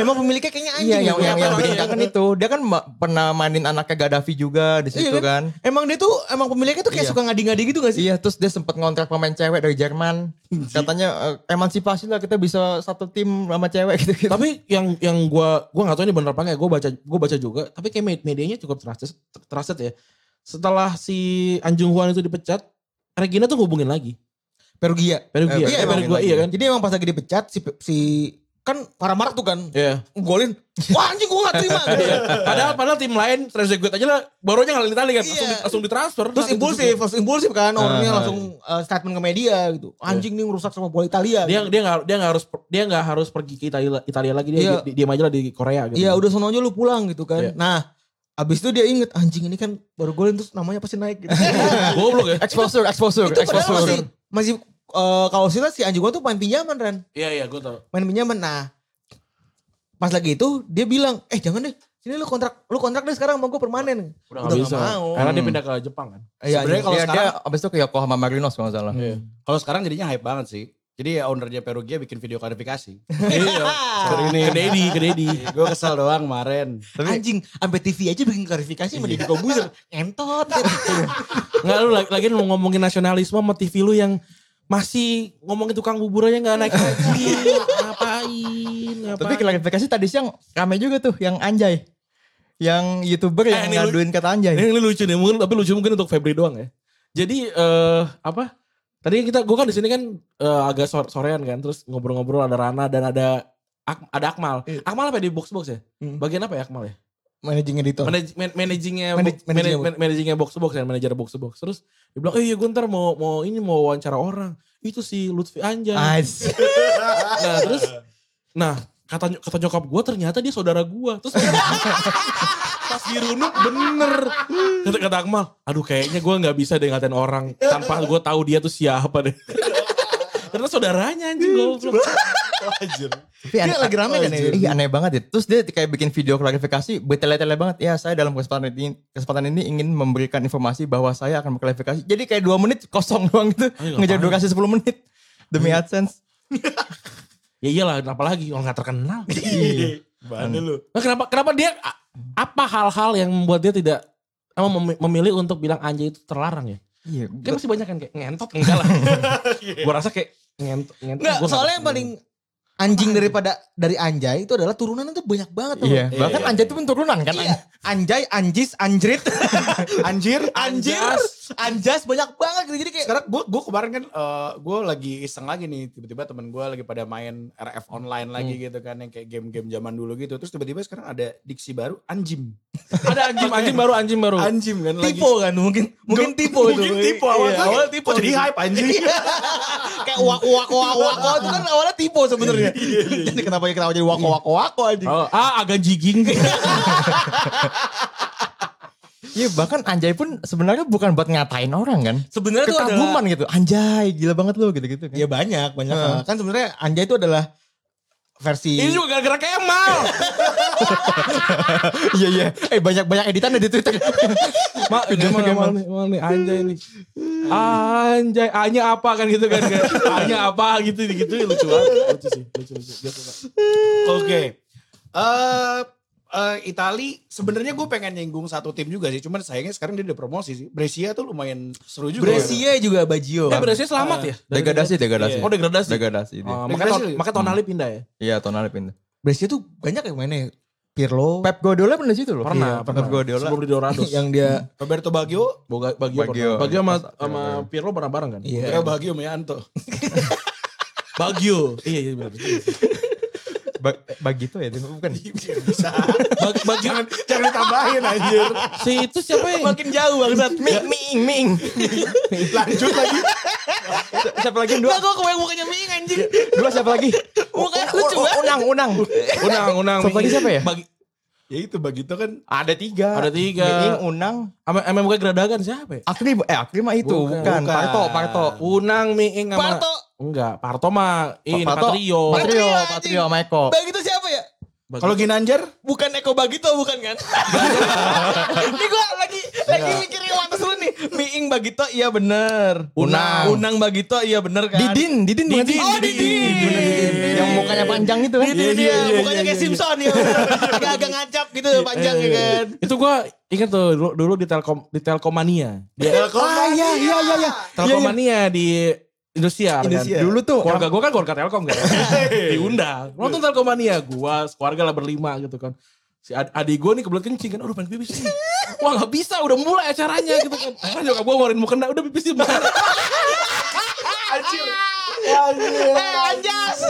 Emang pemiliknya kayaknya anjing.
Iya yang yang
ya, gua
yang
nggak tahu
bikin
ya.
kan itu. Dia kan ma- pernah mainin anaknya Gaddafi juga di situ
Iya
kan.
Emang dia tuh emang pemiliknya tuh kayak
Iya.
suka ngadi-ngadi gitu gak sih?
Iya, terus dia sempat ngontrak pemain cewek dari Jerman. Katanya eh, emansipasi lah kita bisa satu tim sama cewek gitu, gitu-gitu.
Tapi yang yang gua gua nggak tahu ini bener apa enggak, gua baca gua baca juga, tapi kayak med- medianya cukup trusted trusted ya. Setelah si Anjung Huan itu dipecat, Regina tuh hubungin lagi.
Perugia.
Perugia,
Iya,
iya,
emang
Perugia,
lagi.
iya kan?
Jadi emang pas lagi dipecat si si kan para marah tuh kan
Iya.
golin. Wah anjing gue gak terima. gitu.
Padahal padahal tim lain Trezeguet aja lah barunya ngalin tali kan langsung,
Iya.
di- langsung ditransfer.
Terus
Nah,
impulsif,
itu-
langsung impulsif kan orangnya
Ah,
langsung uh, statement ke media gitu. Anjing nih ngerusak sama bola
Iya.
Italia.
Dia
gitu.
dia nggak dia nggak harus dia nggak harus pergi ke Italia, Italia lagi dia
Iya.
di, diam aja lah di Korea gitu.
Iya udah sono aja lu pulang gitu kan.
Iya.
Nah abis itu dia inget anjing ini kan baru golin terus namanya pasti naik gitu.
Goblok ya.
Exposure, exposure,
itu padahal masih,
exposure.
masih uh, kalau sila si anjing gua tuh main pinjaman Ren.
Iya iya gue tau.
Main pinjaman. Nah pas lagi itu dia bilang eh jangan deh sini lu kontrak lu kontrak deh sekarang sama gue permanen.
Udah, ah. nggak
Udah nggak
bisa.
mau.
Karena dia pindah ke Jepang kan.
Iya,
Sebenarnya
anjing.
kalau
Iya, dia
sekarang
abis itu ke Yokohama Marinos kalau nggak
Iya.
salah.
kalau sekarang jadinya hype banget sih. Jadi ya ownernya Perugia bikin video klarifikasi.
iya.
Ah.
Sorry
Ke
nih,
Dedi, ke Dedi.
gue kesel doang kemarin.
anjing sampai TV aja bikin klarifikasi sama
Iya.
Deddy Corbuzier. Entot.
Enggak lu lagi, lagi mau ngomongin nasionalisme sama TV lu yang masih ngomongin tukang bubur aja nggak naik haji. ngapain? Ngapain?
Tapi klarifikasi tadi siang rame juga tuh yang anjay. Yang YouTuber yang
ini lu-
ngaduin kata anjay.
Ini, ini lucu nih, mungkin tapi lucu mungkin untuk Febri doang ya. Jadi eh apa? Tadi kita gue kan di sini kan eh, agak sor- sorean kan, terus ngobrol-ngobrol ada Rana dan ada Ak- ada Akmal. Akmal apa ya di box box ya?
Hmm.
Bagian apa ya Akmal ya?
Managing editor.
Manaj- man- managingnya bo-
Manaj-
manaj-
manajingnya
man- managingnya box to box dan manajer box to box. Terus dia bilang, "Eh, iya gue ntar mau mau ini mau wawancara orang." Itu si Lutfi Anjay.
Ais.
Nah, terus nah, kata ny- kata nyokap gue ternyata dia saudara gue. Terus pas dirunut bener. Kata, kata Akmal, aduh kayaknya gue nggak bisa deh ngatain orang tanpa gue tahu dia tuh siapa deh. ternyata saudaranya anjing goblok.
Tapi aneh,
lagi rame kan ya?
Iya aneh banget ya. Terus dia kayak bikin video klarifikasi bertele-tele banget. Ya saya dalam kesempatan ini, kesempatan ini ingin memberikan informasi bahwa saya akan berklarifikasi. Jadi kayak dua menit kosong doang itu.
Ayo,
Ngejar
ngapain?
durasi 10 menit. Demi
Iya.
AdSense.
Ya iyalah, apalagi orang nggak terkenal.
Bahan lu.
Nah, kenapa kenapa dia a- apa hal-hal yang membuat dia tidak emang mem- memilih untuk bilang anjay itu terlarang ya?
Iya.
Kayak masih banyak kan kayak ngentot enggak lah. gua rasa kayak ngentot ngentot.
Enggak,
gua
soalnya yang paling anjing daripada dari anjay itu adalah turunan itu banyak banget tuh.
Iya.
Iya,
Bahkan
iya.
anjay itu pun turunan kan.
Iya. Anjay, anjis, anjrit,
Anjir,
anjir, anjas banyak banget gitu. Jadi kayak
sekarang gue gue kemarin kan gue lagi iseng lagi nih tiba-tiba temen gue lagi pada main RF online
Hmm.
lagi gitu kan yang kayak game-game zaman dulu gitu terus tiba-tiba sekarang ada diksi baru anjim
ada anjing anjing baru anjing baru.
anjim kan lagi
tipe kan mungkin mungkin tipe itu.
mungkin tipe awal
Iya,
awal
awalnya
tipe jadi hype anjing
kayak wak wak wak wak wak itu kan awalnya tipe sebenarnya. Jadi kenapa kenapa jadi wak wak wak wak anjing.
Oh, ah agak jiging.
Iya bahkan anjay pun sebenarnya bukan buat ngatain orang kan.
Sebenarnya tuh adalah
Kekaguman gitu. Anjay gila banget lo gitu-gitu
Iya.
kan.
Ya banyak, banyak. Kan sebenarnya anjay itu adalah versi
Ini Iya juga gara-gara Kemal.
Iya iya. Eh banyak-banyak editannya di Twitter.
Ma, Kemal, Kemal nih, Kemal nih, anjay nih. Anjay, A-nya apa kan gitu kan. kayak, A-nya apa gitu, gitu. Lucu banget. Lucu sih, lucu, lucu. Dia suka.
oke eh eh, Itali sebenarnya gue pengen nyinggung satu tim juga sih cuman sayangnya sekarang dia udah promosi sih Brescia tuh lumayan seru juga
Brescia juga Bajio.
Eh, berarti selamat ya?
Degradasi, degradasi.
Oh, degradasi.
Degradasi dia.
Oh, makanya,
Degradasi.
ton- makanya Tonali pindah ya?
Iya tonalnya pindah.
Brescia tuh banyak yang mainnya. Pirlo.
Pep Guardiola pernah di situ loh.
Pernah,
Iya,
pernah.
Pep Guardiola.
Sebelum di Dorados.
yang dia
Roberto Baggio
Boga, Bagio,
Bagio.
pernah. Bagio sama, sama Pirlo pernah bareng kan?
ya
Iya.
Baggio Meanto
Bagio. iya, iya benar.
Ba- Bagito ya, bukan.
Iya.
bisa
Bag- Bagio.
jangan jangan ditambahin anjir
Si itu siapa ya?
makin jauh bangsat.
Ming, ming, ming.
lanjut lagi
Siapa lagi yang dua?
Enggak gua kebayang mukanya Ming anjing.
Dua siapa lagi?
Mukanya lucu
Oh,
banget.
Unang, unang.
Unang, unang.
Satu lagi siapa ya?
Bagi,
ya itu Baggio kan
Ada tiga.
Ada tiga.
Ming, unang.
sama sama yang bukan geradagan siapa ya?
Akri, eh Akri mah itu.
Bukan.
Bukan.
Bukan.
Parto, Parto.
Unang Miing sama
Parto.
Enggak, Parto mah ini Patrio.
Patrio,
Patrio,
Patrio,
anjing.
Maiko.
Bagito siapa ya?
Bagi-
kalau Ginanjar
Bukan Iya. Eko Bagito bukan kan? Ini gua lagi lagi mikirin Wantas lu nih. Ming Iing Bagito iya bener.
Unang.
Unang Bagito iya bener kan.
Didin, Didin, bukan sih?
Oh Didin.
Yang mukanya panjang itu kan?
Itu
iya,
dia,
iya, iya,
mukanya kayak
iya.
Simpson ya. Agak-agak ngancap gitu panjang ya kan.
Itu gua inget tuh dulu, dulu di Telkom di Telkomania. Di
Ah iya iya iya iya.
Telkomania di Indonesia. kan?
Indonesia.
Dulu tuh
Keluarga gua kan keluarga Telkom kan. Diundang. Nonton Telkomania gua, keluarga lah berlima gitu kan. Si ad- adik gua nih kebelet kencing kan, aduh pengen pipis nih. Wah gak bisa, udah mulai acaranya gitu kan. Akhirnya nyokap gua warin mau kena, udah pipis di mana.
Eh Anjas.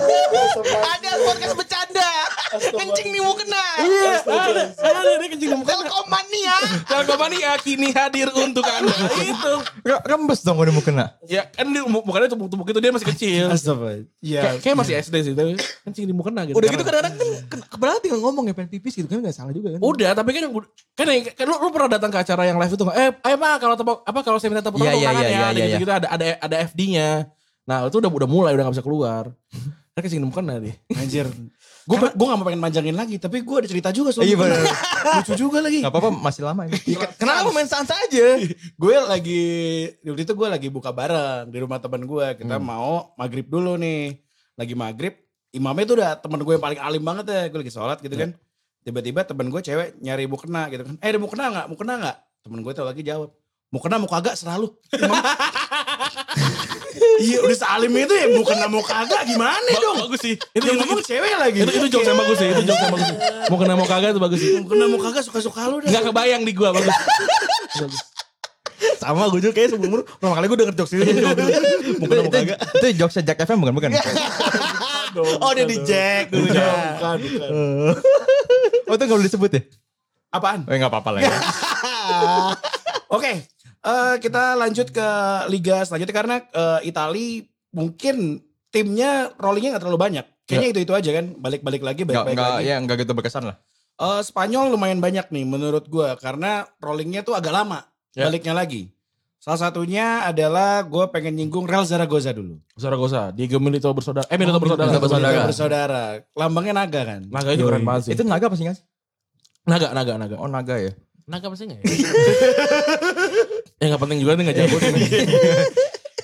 Anjas podcast bercanda. Kencing nih mau kena.
Iya, ada, ada, dia kencing di muka.
Telkomania.
Telkomania kini hadir untuk anda. Itu.
re- rembes dong udah mau kena.
Ya kan dia mukanya tumpuk-tumpuk itu dia masih kecil.
Astaga.
Kayak
Iya.
kayak masih SD sih, tapi kencing di mukena gitu.
Udah gitu
Karena-
kadang-kadang kan ken- kebelet tinggal ngomong ya pengen pipis gitu kan gak salah juga kan.
Udah, tapi kan yang- kan, yang- kan lu, lu pernah datang ke acara yang live itu nggak? Eh, ayo Pak, kalau tepuk apa kalau saya minta tepuk
Iya,
tangan
iya,
tepuk tangan
iya,
ya,
iya,
ada
iya.
gitu-gitu ada ada ada FD-nya. Nah, itu udah udah mulai udah gak bisa keluar. Kan kesini bukan tadi.
Anjir. Gue gue gak mau pengen manjangin lagi, tapi gue ada cerita juga soal
Iya,
mukena.
bener.
Lucu juga lagi.
Gak apa-apa masih lama ini.
Kenapa main sans aja?
gue lagi waktu itu gue lagi buka bareng di rumah teman gue kita mau maghrib dulu nih lagi maghrib imamnya tuh udah teman gue yang paling alim banget ya gue lagi sholat gitu kan tiba-tiba teman gue cewek nyari mau kena gitu kan eh ada mau kena nggak mau kena nggak teman gue tuh lagi jawab mau kena mau kagak selalu Imam- iya udah salim itu ya mau kena mau kagak gimana
Ba-
dong
bagus sih. Itu
itu
itu
ngomong
itu,
cewek lagi
itu, itu jokes yang bagus sih, itu jokes yang bagus. sih. Mau kena mau kagak itu bagus sih.
mau kena mau kagak suka-suka lu dah
Enggak kebayang di gua bagus. Bagus.
Sama gue juga kayaknya seumur pertama kali gue denger jokes ini.
Itu, itu, itu jokes Jack FM bukan bukan?
Oh dia di Jack dulu ya.
bukan, bukan.
Oh itu gak boleh disebut ya?
apaan
Eh gak apa-apa lah ya.
Oke, eh, kita lanjut ke liga selanjutnya karena eh, Itali mungkin timnya rollingnya nggak terlalu banyak. Kayaknya itu itu aja kan, balik-balik lagi,
Gak,
balik-balik
gak,
lagi.
ya, gak gitu berkesan lah.
Eh, Spanyol lumayan banyak nih menurut gua karena rollingnya tuh agak lama
Ya.
baliknya lagi. Salah satunya adalah gue pengen nyinggung Real Zaragoza dulu.
Zaragoza, Diego Milito bersaudara. Eh Milito
Oh,
bersaudara.
Milito bersaudara.
Kita bersaudara. Lambangnya naga kan.
Naga itu keren banget sih.
Itu naga apa sih nggak sih?
Naga, naga, naga.
Oh naga ya.
Naga pasti enggak ya? ya enggak penting juga nih enggak jago sih.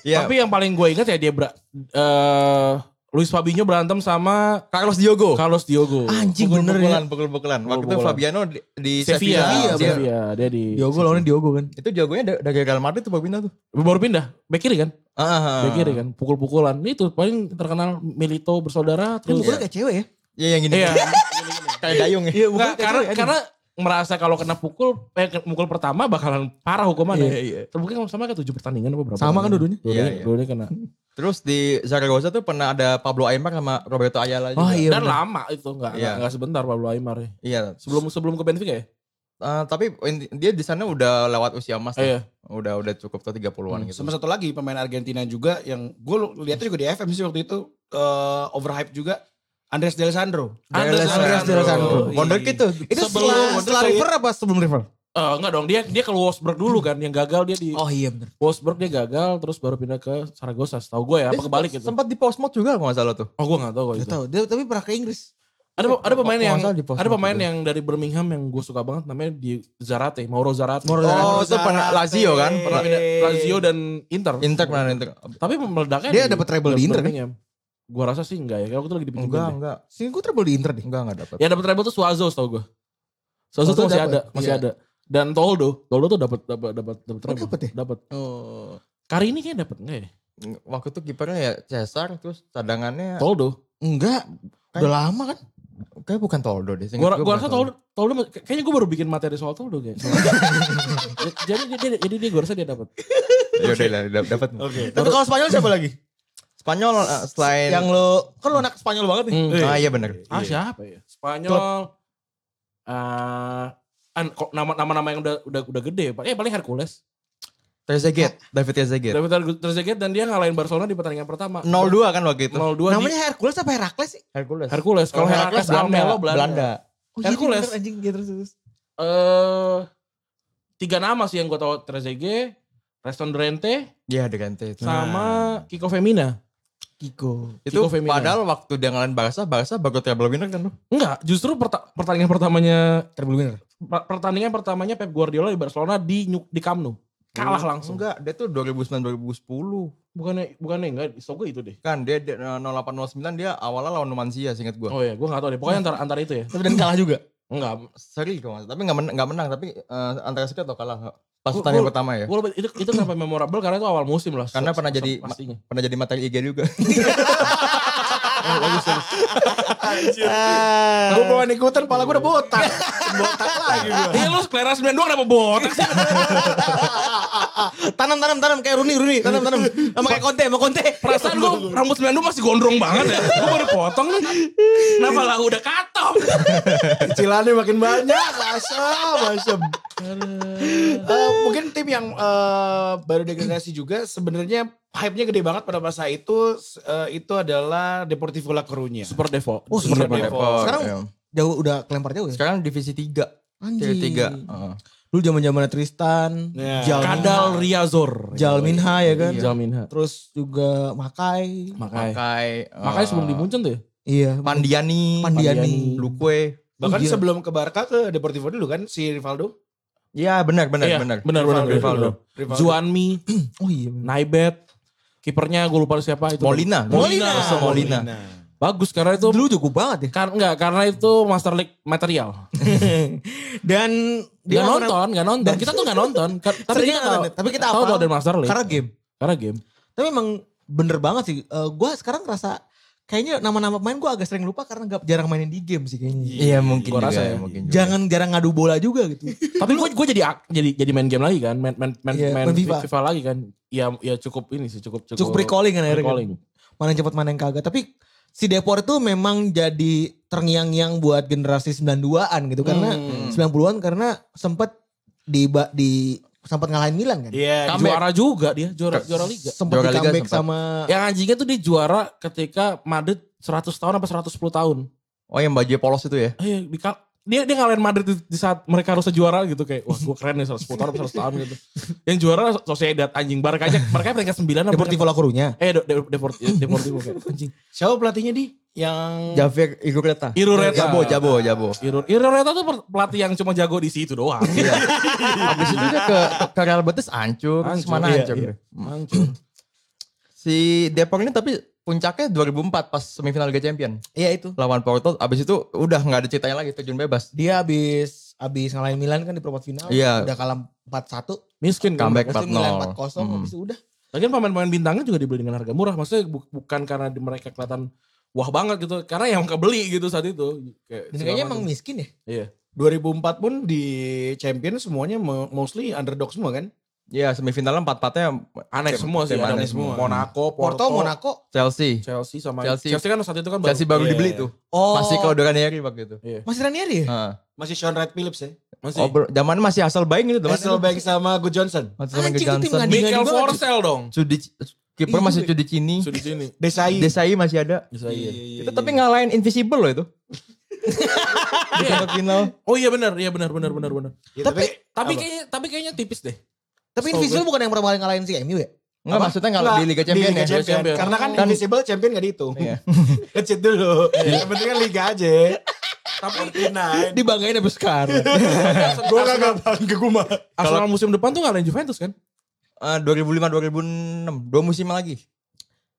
Iya.
Tapi yang paling gue ingat ya dia ber, eh, Luis Fabinho berantem sama
Carlos Diogo.
Carlos Diogo.
Anjing bener
Pukul-pukulan,
ya.
pukul-pukulan. Waktu itu
Pukul-pukulan.
Fabiano di, di
Sevilla, Iya,
Sevilla.
Sevilla,
Sevilla.
dia di
Diogo lawannya Diogo kan.
Itu Diogonya da- dari Real Madrid tuh pindah tuh.
baru pindah back kiri kan?
Ah.
Back kiri kan, pukul-pukulan. Ini tuh paling terkenal Milito bersaudara
Dia
terus.
mukulnya kayak cewek ya.
Iya yang gini.
Iya.
Kayak dayung ya.
Iya
Nggak,
kayak
karena
cewek,
karena merasa kalau kena pukul eh, ke- mukul pertama bakalan parah hukumannya.
Iya, iya.
Terbukti kalau sama kayak tujuh pertandingan apa berapa?
Sama kan dua-duanya?
Dua-duanya,
Iya, iya.
dua-duanya kena.
Terus di Zaragoza tuh pernah ada Pablo Aimar sama Roberto Ayala juga.
Oh, iya.
Dan
bener.
lama itu enggak
Iya.
enggak sebentar Pablo Aimar. ya.
Iya.
Sebelum sebelum ke Benfica ya?
Eh, tapi inti- dia di sana udah lewat usia emas. tuh.
Eh, iya.
Udah udah cukup tuh
Hmm,
30-an gitu.
Sama satu lagi pemain Argentina juga yang gue lihatnya juga di FM sih waktu itu eh, overhype juga. Andres D'Alessandro.
Andres
Andres D'Alessandro.
Wonderkid tuh.
Itu
Sebelum-
setelah, setelah
sebelum-
River apa sebelum River?
Eh, enggak dong, dia dia ke Wolfsburg dulu kan, yang gagal dia di
Oh iya bener.
Wolfsburg dia gagal, terus baru pindah ke Saragossa. Tahu gue ya, apa kebalik itu?
Sempat di Portsmouth juga kalau nggak salah tuh.
Oh gue gak tahu
Gak
itu.
tau. Dia tapi pernah ke Inggris.
Ada ada pemain
Kalau
yang
nggak salah di Portsmouth
ada pemain
gitu.
juga.
yang dari Birmingham yang gue suka banget namanya di Zarate, Mauro Zarate.
Mauro Zarate.
Oh, itu pernah Lazio kan?
Pernah
Pernah
pindah Lazio dan Inter.
Inter pernah Inter.
Tapi meledaknya
Dia dapet treble di Inter kan?
Gue rasa sih enggak ya, kalau itu lagi dipinjemin.
Enggak,
deh.
enggak.
Sini gue treble di Inter deh.
Enggak, enggak dapat.
Ya dapat treble tuh Suazo tau gue. Suazo
Suazo
tuh masih
dapet,
ada, masih
iya.
ada. Dan Toldo, Toldo tuh dapat dapat dapat dapat treble.
dapet ya?
Dapat.
Oh.
Kali ini kayaknya dapat enggak ya?
Waktu itu kipernya ya Cesar terus cadangannya
Toldo.
Enggak. Udah lama kan?
kayak bukan Toldo deh. seingat
Gua,
gua
gua
bukan
rasa Toldo, Toldo kayaknya gue baru bikin materi soal Toldo kayak. jadi dia, dia, jadi dia gue rasa dia dapat.
Ya udah lah, dap- dapat.
Oke.
Tapi kalau Spanyol siapa lagi?
Spanyol eh, selain
Yang lo, kan lo anak Spanyol banget nih.
Hmm.
Ah iya benar.
Ah siapa ya? Spanyol. Eh, an kok nama nama-nama yang udah udah udah gede ya, Pak. Eh paling Hercules.
Trezeguet, David Trezeguet.
David Trezeguet dan dia ngalahin Barcelona di pertandingan pertama.
0-2 kan waktu itu.
0-2 di
Namanya Hercules apa Herakles sih?
Hercules.
Hercules. Kalau Hercules Almelo Belanda.
Oh, iya, dia
Hercules.
bener, anjing dia terus terus.
Eh tiga nama sih yang gue tahu Trezeguet, Reston Drente
Iya, Degante itu. Nah,
sama Kiko Femina.
Kiko. Ya,
Itu
Chico Femina.
padahal waktu dia ngalahin Barca, Barca baru treble winner kan lu.
Enggak, justru perta- pertandingan pertamanya
Treble winner.
pertandingan pertamanya Pep Guardiola di Barcelona di Nyu- di Camp Nou. Kalah langsung.
Enggak, dia tuh 2009 2010.
Bukannya bukannya enggak, so gue itu deh.
Kan dia, dia 0809 dia awalnya lawan Numansia seingat gua.
Oh ya, gue gak tau deh. Pokoknya antara antara itu ya.
Tapi dan kalah juga.
Enggak,
Seri kalau nggak salah. tapi nggak menang, menang tapi eh, antara sekian atau kalah pas
Gua-
pertandingan
gua-
pertama ya.
Gue lupa itu itu kenapa memorable karena itu awal musim lah.
Karena pernah jadi-
pastinya.
Pernah jadi materi IG juga.
Gue bawa ikutan, pala gue udah botak. botak lagi gue.
Iya lu selera 92 kenapa botak sih?
Tanam tanam tanam kayak Rooney Rooney tanam tanam. Sama kayak Conte sama Conte.
Perasaan gue rambut 92 masih gondrong banget ya. Gue baru potong nih. Kenapa lah udah katong?
Cicilannya makin banyak, asem, asem. Eh, mungkin tim yang eh, baru degradasi juga sebenarnya hype-nya gede banget pada masa itu eh, itu adalah Deportivo La Coruña.
Super Devo.
Oh, Super
Devo.
Sekarang-
Iya.
Jauh udah kelempar jauh ya.
sekarang divisi 3. Divisi 3. Heeh.
Dulu zaman-zaman Tristan,
Ya.
Jal
Kadal
Iya.
Riazor.
Jalminha ya kan.
Iya, Jalminha.
Terus juga Makai.
Makanya.
Pakai eh,
Makanya sebelum di Munchen tuh ya.
Iya.
Pandiani,
Pandiani.
Lukwe.
Bahkan
Oh, gila.
sebelum ke Barca ke Deportivo dulu kan si Rivaldo.
Iya benar benar
Iya,
benar.
Benar benar
Rivaldo,
benar.
Rivaldo.
benar. Juanmi,
Oh iya. bener.
Naibet, kipernya gue lupa siapa itu.
Molina.
Molina.
Nah,
Molina. Molina.
Bagus karena itu
Dulu jago banget ya.
kan enggak karena itu Master League material.
Dan
Gak
nggak pernah-
nonton, gak nonton. Kita tuh gak nonton. Ka- Tapi
Seringnya
kita
nggak
tahu.
nonton, tapi kita
tahu
hafal.
bahwa dari Master League.
Karena game.
Karena game.
Tapi emang bener banget sih. gue sekarang ngerasa kayaknya nama-nama pemain gue agak sering lupa karena gak jarang mainin di game sih kayaknya.
Iya mungkin
Gua
juga,
rasa ya.
mungkin juga.
Jangan jarang ngadu bola juga gitu.
Tapi gue gue jadi ak- jadi jadi main game lagi kan, main main main,
Iya,
main
main FIFA.
FIFA. lagi kan. Ya ya cukup ini sih cukup cukup.
Cukup recalling kan akhirnya.
recalling.
Mana yang cepat mana yang kagak. Tapi si Depor itu memang jadi terngiang-ngiang buat generasi 92-an gitu. Karena
Hmm.
90-an karena sempat di, ba- di sempat ngalahin Milan kan.
Iya,
Comeback.
juga.
Juara juga dia, juara juara liga.
Sempat
Juara
di
Liga
comeback
sempat.
sama
Yang anjingnya tuh dia juara ketika Madrid 100 tahun apa 110 tahun.
Oh yang baju polos itu ya.
Eh, di kal- dia dia ngalahin Madrid di, di saat mereka harus juara gitu kayak wah gue keren nih 110 tahun apa 100 tahun gitu. Yang juara Sociedad anjing Barca aja, Barca peringkat 9 apa
Deportivo La Coruña.
Eh de, de, Deport- ya, Deportivo kayak anjing.
Siapa pelatihnya di? Yang
Javier Igureta.
Irureta.
Jabo, Jabo, Jabo.
Irur, Irureta tuh per- pelatih yang cuma jago di situ doang.
Iya. Habis itu dia ke, ke Real Betis hancur, terus
Hancur,
mana
iya,
hancur.
iya. Hancur.
Si Depok ini tapi puncaknya 2004 pas semifinal Liga Champion
Iya itu.
lawan Porto. Abis itu udah nggak ada ceritanya lagi terjun bebas.
Dia abis abis ngalahin Milan kan di perempat final.
Iya.
Udah kalah 4-1.
Miskin kan.
Comeback
Terus Milan
4-0.
4-0.
Hmm.
Habis itu udah.
Lagian pemain-pemain bintangnya juga dibeli dengan harga murah. Maksudnya bu- bukan karena di- mereka kelihatan wah banget gitu. Karena yang kebeli gitu saat itu. Kayak
Dan
segala
kayaknya emang
macam.
miskin ya.
Iya.
2004 pun di champion semuanya mo- mostly underdog semua kan?
Iya semifinalnya empat empatnya
Aneh
Tim-
semua sih.
tim
Ada
aneh semua.
Monaco, Porto,
Porto, Monaco.
Chelsea.
Chelsea sama
Chelsea.
Chelsea. kan waktu itu kan baru.
Chelsea baru
Iya,
dibeli
iya.
tuh.
Oh.
Masih kalau Doranieri waktu itu.
Masih Ranieri ya?
Heeh.
Masih Sean Red Phillips ya?
Eh, Masih.
Oh, ber- zaman masih asal baik gitu. zaman itu.
Hasselbank sama Good Johnson.
Masih sama
Anjing,
Johnson.
itu tim nggak di-
Mikel
Dingin banget.
Forsell dong.
Cudi kiper
Iya,
masih
iya.
Cudi Cini.
Sudah di sini.
Desai.
Desai masih ada.
Bisa iya.
Itu tapi ngalahin Invisible loh itu. Di
Iya.
perempat final.
Oh iya benar, iya benar benar benar benar.
Ya,
Tapi-
Tapi
Apa?
kayaknya tapi kayaknya tipis deh.
Tapi
Setahu
Invisible bukan yang pertama kali ngalahin si MU ya?
Enggak
Apa?
maksudnya enggak di Liga Champions
Liga
ya.
Champion.
Champion.
Karena kan
Kan-
Invisible Champion gak dihitung.
Iya.
Kecil dulu. Yang penting kan Liga aja.
Tapi
Nah,
Dibanggain abis sekarang.
gue gak bangga gue mah.
Arsenal musim depan tuh ngalahin Juventus kan?
Eh, 2005 2006 dua musim lagi.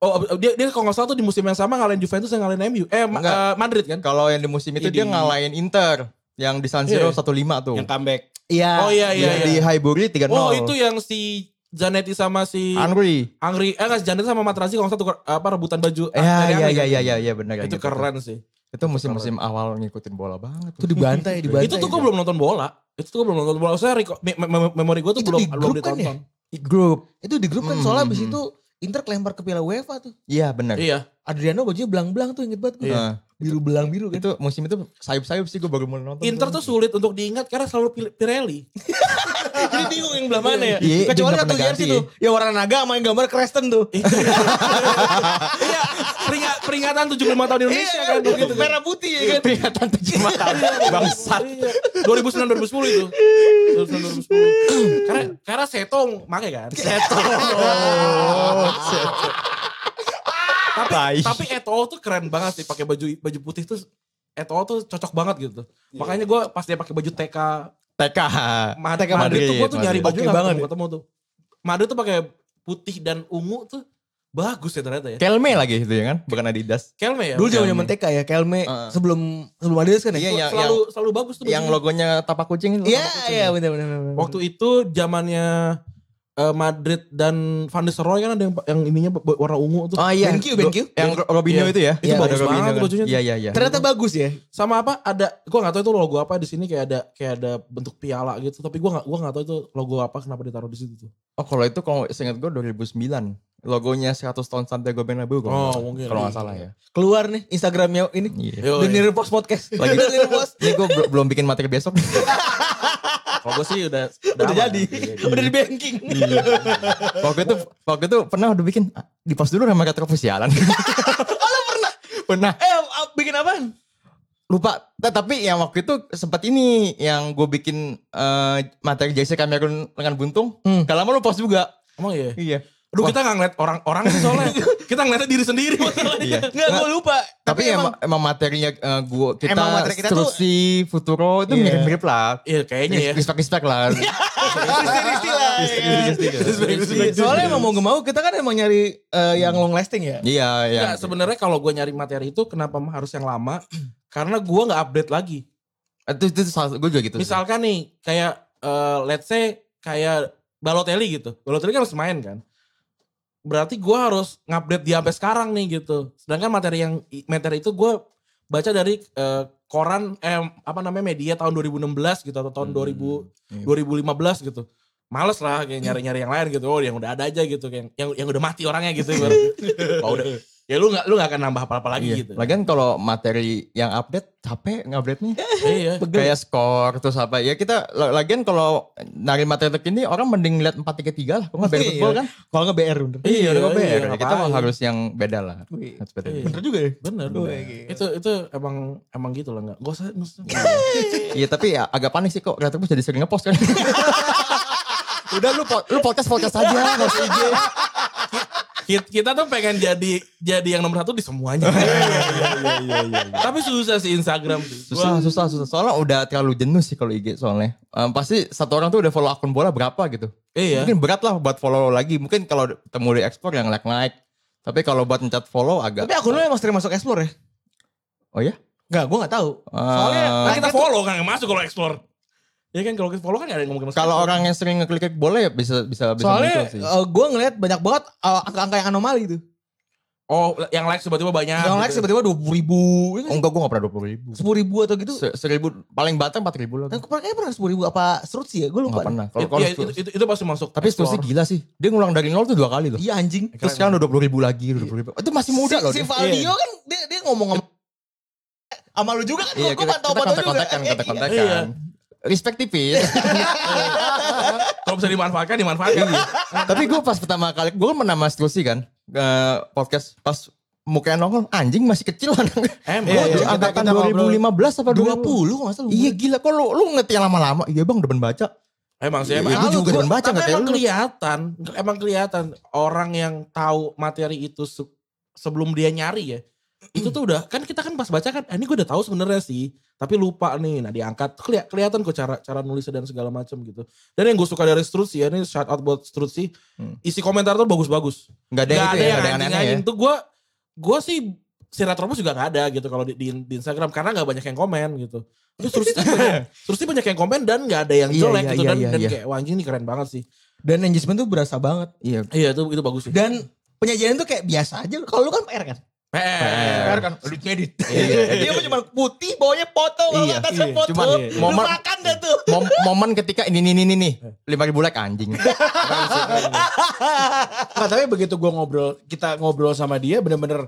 Oh ab- dia dia kalau nggak salah tuh di musim yang sama ngalahin Juventus dan ngalahin MU. Eh ma-
Enggak.
eh, Madrid kan?
Kalau yang di musim itu
Iya,
dia
di-
ngalahin Inter yang di San Siro
Iya.
1-5 tuh.
Yang comeback.
Iya.
Oh iya iya.
Yang di
iya.
Highbury 3-0.
Oh itu iya. yang si Zanetti sama si
Henry.
Angri, eh nggak, Zanetti sama Materazzi kalau nggak satu apa rebutan baju.
Ya
Eh, iya,
dari
ya
Angri
ya
kan?
ya ya ya benar
Itu
gitu.
keren sih.
Itu musim-musim awal ngikutin bola banget.
Itu dibantai, dibantai.
Itu tuh gue belum nonton bola. Itu tuh gue belum nonton bola. Saya reko- me- me- memori gue tuh
Itu
belum
di
belum
grup kan
ditonton.
Grup.
Itu di grup kan
Hmm.
soalnya abis itu Inter kelempar ke Piala UEFA tuh.
Iya benar.
Iya.
Adriano bajunya belang-belang tuh inget banget gue.
Iya.
Biru belang biru kan.
itu musim itu sayup-sayup sih gue baru mulai nonton.
Inter tuh sulit untuk diingat karena selalu Pil- Pirelli.
Jadi bingung yang belah mana
Iya,
ya.
dia
Kecuali
nggak
satu
pernah
jersey
ganti
tuh. Ya warna naga sama yang gambar Creston tuh.
Iya, peringat, peringatan 75 tahun Indonesia kan begitu kan.
Iya, Merah putih ya kan.
peringatan tujuh mata bangsat.
Iya. 2009 2010 itu. 2009 2010. karena karena setong make kan. Setong.
Tapi,
Tapi Eto'o tuh keren banget sih pakai baju baju putih tuh Eto'o tuh cocok banget gitu. Makanya gue pas dia pakai baju TK
TK.
Mad-
TK
Madrid, tuh gue tuh
Madrid.
nyari baju
Oke
nggak
banget
ketemu, ketemu tuh. madu tuh pakai putih dan ungu tuh bagus ya ternyata ya.
Kelme lagi itu ya kan, bukan Adidas.
Kelme ya.
Dulu
Kelme.
zaman TK ya, Kelme
Heeh.
sebelum sebelum Adidas kan ya?
Iya,
Sel-
yang,
selalu selalu bagus tuh.
yang, yang
bajunya.
logonya tapak kucing itu.
Iya,
tapak kucing.
iya benar benar. benar.
waktu itu zamannya eh, Madrid dan Van Nistelrooy kan ada yang, yang ininya be- warna ungu tuh.
Oh iya.
BenQ, BenQ.
Yang Ro- Robinho
Iya.
itu ya.
Itu
Iya,
bagus
ada Robinho
banget
kan.
bajunya tuh.
Iya, iya, iya.
Ternyata bagus ya.
Sama apa ada gua nggak tahu itu logo apa di sini kayak ada kayak ada bentuk piala gitu tapi gua nggak gua nggak tahu itu logo apa kenapa ditaruh di situ tuh.
Oh kalau itu kalau seingat gue 2009. Logonya 100 tahun Santiago Bernabeu kalau nggak salah.
Oh, mungkin.
kalau nggak salah ya.
Keluar nih Instagramnya ini.
Iya.
Yo,
The Nir Post Podcast.
Lagi-
The Nir Post.
Ini gue belum bikin materi besok.
Kalau gue sih udah
Udah
aman.
jadi. Udah di banking.
Iya.
Oh
waktu itu waktu itu pernah udah bikin ah, di pos dulu sama kata sialan.
lo pernah?
pernah
Eh a- bikin apaan?
lupa Nah, tapi yang waktu itu sempat ini yang gue bikin eh, materi JC Cameron dengan buntung
Hmm.
gak lama lu post juga
Emang iya.
iya
Aduh kita gak ngeliat orang-orang sih soalnya. kita ngeliatnya diri sendiri masalahnya.
iya
Enggak gue lupa.
tapi, emang, emang materinya eh, gua kita
Emang materi kita tuh-
Strusi, futuro itu
Iya.
mirip-mirip lah
Iya kayaknya ya.
respect respect lah
Isti-isti lah. ya. Soalnya emang mau gak mau kita kan emang nyari eh, yang long lasting ya.
iya iya
Enggak, sebenarnya kalau gue nyari materi itu kenapa harus yang lama? Karena gue nggak update lagi.
Eh, itu itu gue juga gitu sih.
Misalkan nih kayak eh, let's say kayak Balotelli gitu. Balotelli kan harus main kan. Berarti gue harus ngupdate dia sampai sekarang nih gitu. Sedangkan materi yang materi itu gue baca dari eh, koran eh apa namanya media tahun 2016 gitu atau tahun
Hmm.
2000
Iya.
2015 gitu. Males lah kayak nyari-nyari yang lain gitu. Oh, yang udah ada aja gitu kayak yang yang udah mati orangnya gitu ibaratnya. Wah, udah. Ya lu nggak lu nggak akan nambah apa-apa lagi
Iya.
gitu.
Lagian kalau materi yang update capek ngupdate-nya.
Iya.
Kayak skor terus apa. Ya kita la- lagian kalau nari materi terkini orang mending lihat 4-3-3 lah. Kok nggak
Iya.
bareng football kan?
Kalau nggak BR bener.
Iya,
Udah nggak
iya,
bareng.
ngapain.
kita mah harus yang beda lah.
Wih,
Harus beda.
Iya.
Bener juga ya.
Bener.
Gue gitu.
Itu itu emang emang gitu lah nggak. Gak usah. nggak usah.
Iya tapi ya agak panik sih kok. Kreatif jadi sering ngepost kan. Udah lu, po- lu podcast-podcast aja. Gak usah IG.
Kit- Kita tuh pengen jadi jadi yang nomor satu di semuanya.
Iya,
Tapi susah sih Instagram. sih.
Susah,
Gua-
susah, susah. Soalnya udah terlalu jenuh sih kalau IG soalnya. Em, pasti satu orang tuh udah follow akun bola berapa gitu.
Iya.
Mungkin berat lah buat follow lagi. Mungkin kalau temu di explore yang like naik. Tapi kalau buat ngecat follow agak.
Tapi akun lu emang sering masuk explore ya?
Oh ya?
Enggak, gue gak tahu. Soalnya
Eh,
Kan
like-nya
kita
tuh-
follow kan yang masuk kalau explore. Iya kan kalau kita follow kan nggak ada yang ngomongin masuk.
Kalau orang yang sering ngeklik klik bola ya bisa bisa bisa muncul
Soalnya
sih.
gue ngeliat banyak banget eh, angka-angka yang anomali tuh.
oh yang like tiba-tiba banyak.
yang like
gitu.
tiba-tiba 20 ribu,
Oh, enggak gue gak pernah 20 ribu. Kan
10 ribu atau gitu.
seribu paling batang 4 ribu lah.
Dan kemarin kayaknya pernah 10 ribu apa serut sih ya, gue
Enggak
lupa.
pernah. Kalau
Iya,
kalau
itu,
Stu-
itu, itu pasti masuk.
tapi Stu sih
explore.
gila sih. Dia ngulang dari nol tuh dua kali loh.
Iya anjing.
Terus sekarang udah 20 ribu lagi, udah 20 ribu. Itu masih muda
si,
loh.
si
dia. Iya,
Valdio kan dia, dia ngomong sama, sama lu juga kan,
Iya, kita,
gua gue
kita
pantau-pantau juga.
kontak-kontakan,
Eh,
kontak-kontakan.
Iya.
Respect tipis.
Kalau bisa dimanfaatkan, dimanfaatkan.
Iya. Tapi gue pas pertama kali, gue kan pernah mas Lucy kan, eh, podcast pas mukanya nongol, anjing masih kecil anak.
Emang.
Iya,
iya, kita-
angkatan
kita ngobrol.
2015 apa 20?
20 gak salah.
Iya gila, kok lu, lu ngerti yang lama-lama? Iya bang, demen baca.
Emang sih,
Iya,
emang.
gua juga
Gua-
demen baca,
tapi
nggak kayak
emang
lu.
kelihatan, emang kelihatan orang yang tahu materi itu se- sebelum dia nyari ya. Itu tuh udah kan kita kan pas baca kan, "Ah, ini gue udah tahu sebenarnya sih, tapi lupa nih. Nah diangkat tuh keli- kelihatan kok cara cara nulis dan segala macam gitu. Dan yang gue suka dari Struts ya, ini shout out buat Struts sih,
Hmm.
isi komentar tuh bagus-bagus.
Gak ada,
Gak
yang itu ya,
ada yang
nggak ada yang aneh-aneh ya.
anjing-anjing tuh gue gue sih si Retropus juga gak ada gitu kalau di, di, di Instagram karena gak banyak yang komen gitu. Terus terus itu banyak, terus itu banyak yang komen dan gak ada yang
Iya,
jelek
iya,
gitu
iya,
dan,
iya,
dan
iya.
kayak wah anjing ini keren banget sih.
Dan engagement tuh berasa banget.
Iya,
Iya itu itu bagus sih.
Dan penyajian tuh kayak biasa aja. Kalau lu kan PR kan?
PR.
kan edit edit. Dia mah cuma putih, bawahnya foto, kalau
Iya,
atasnya
iya.
foto.
Cuman
lu
momen-
makan dah tuh.
Mom- momen ketika ini ini ini nih lima ribu like anjing
Nggak, tapi begitu gue ngobrol, kita ngobrol sama dia bener-bener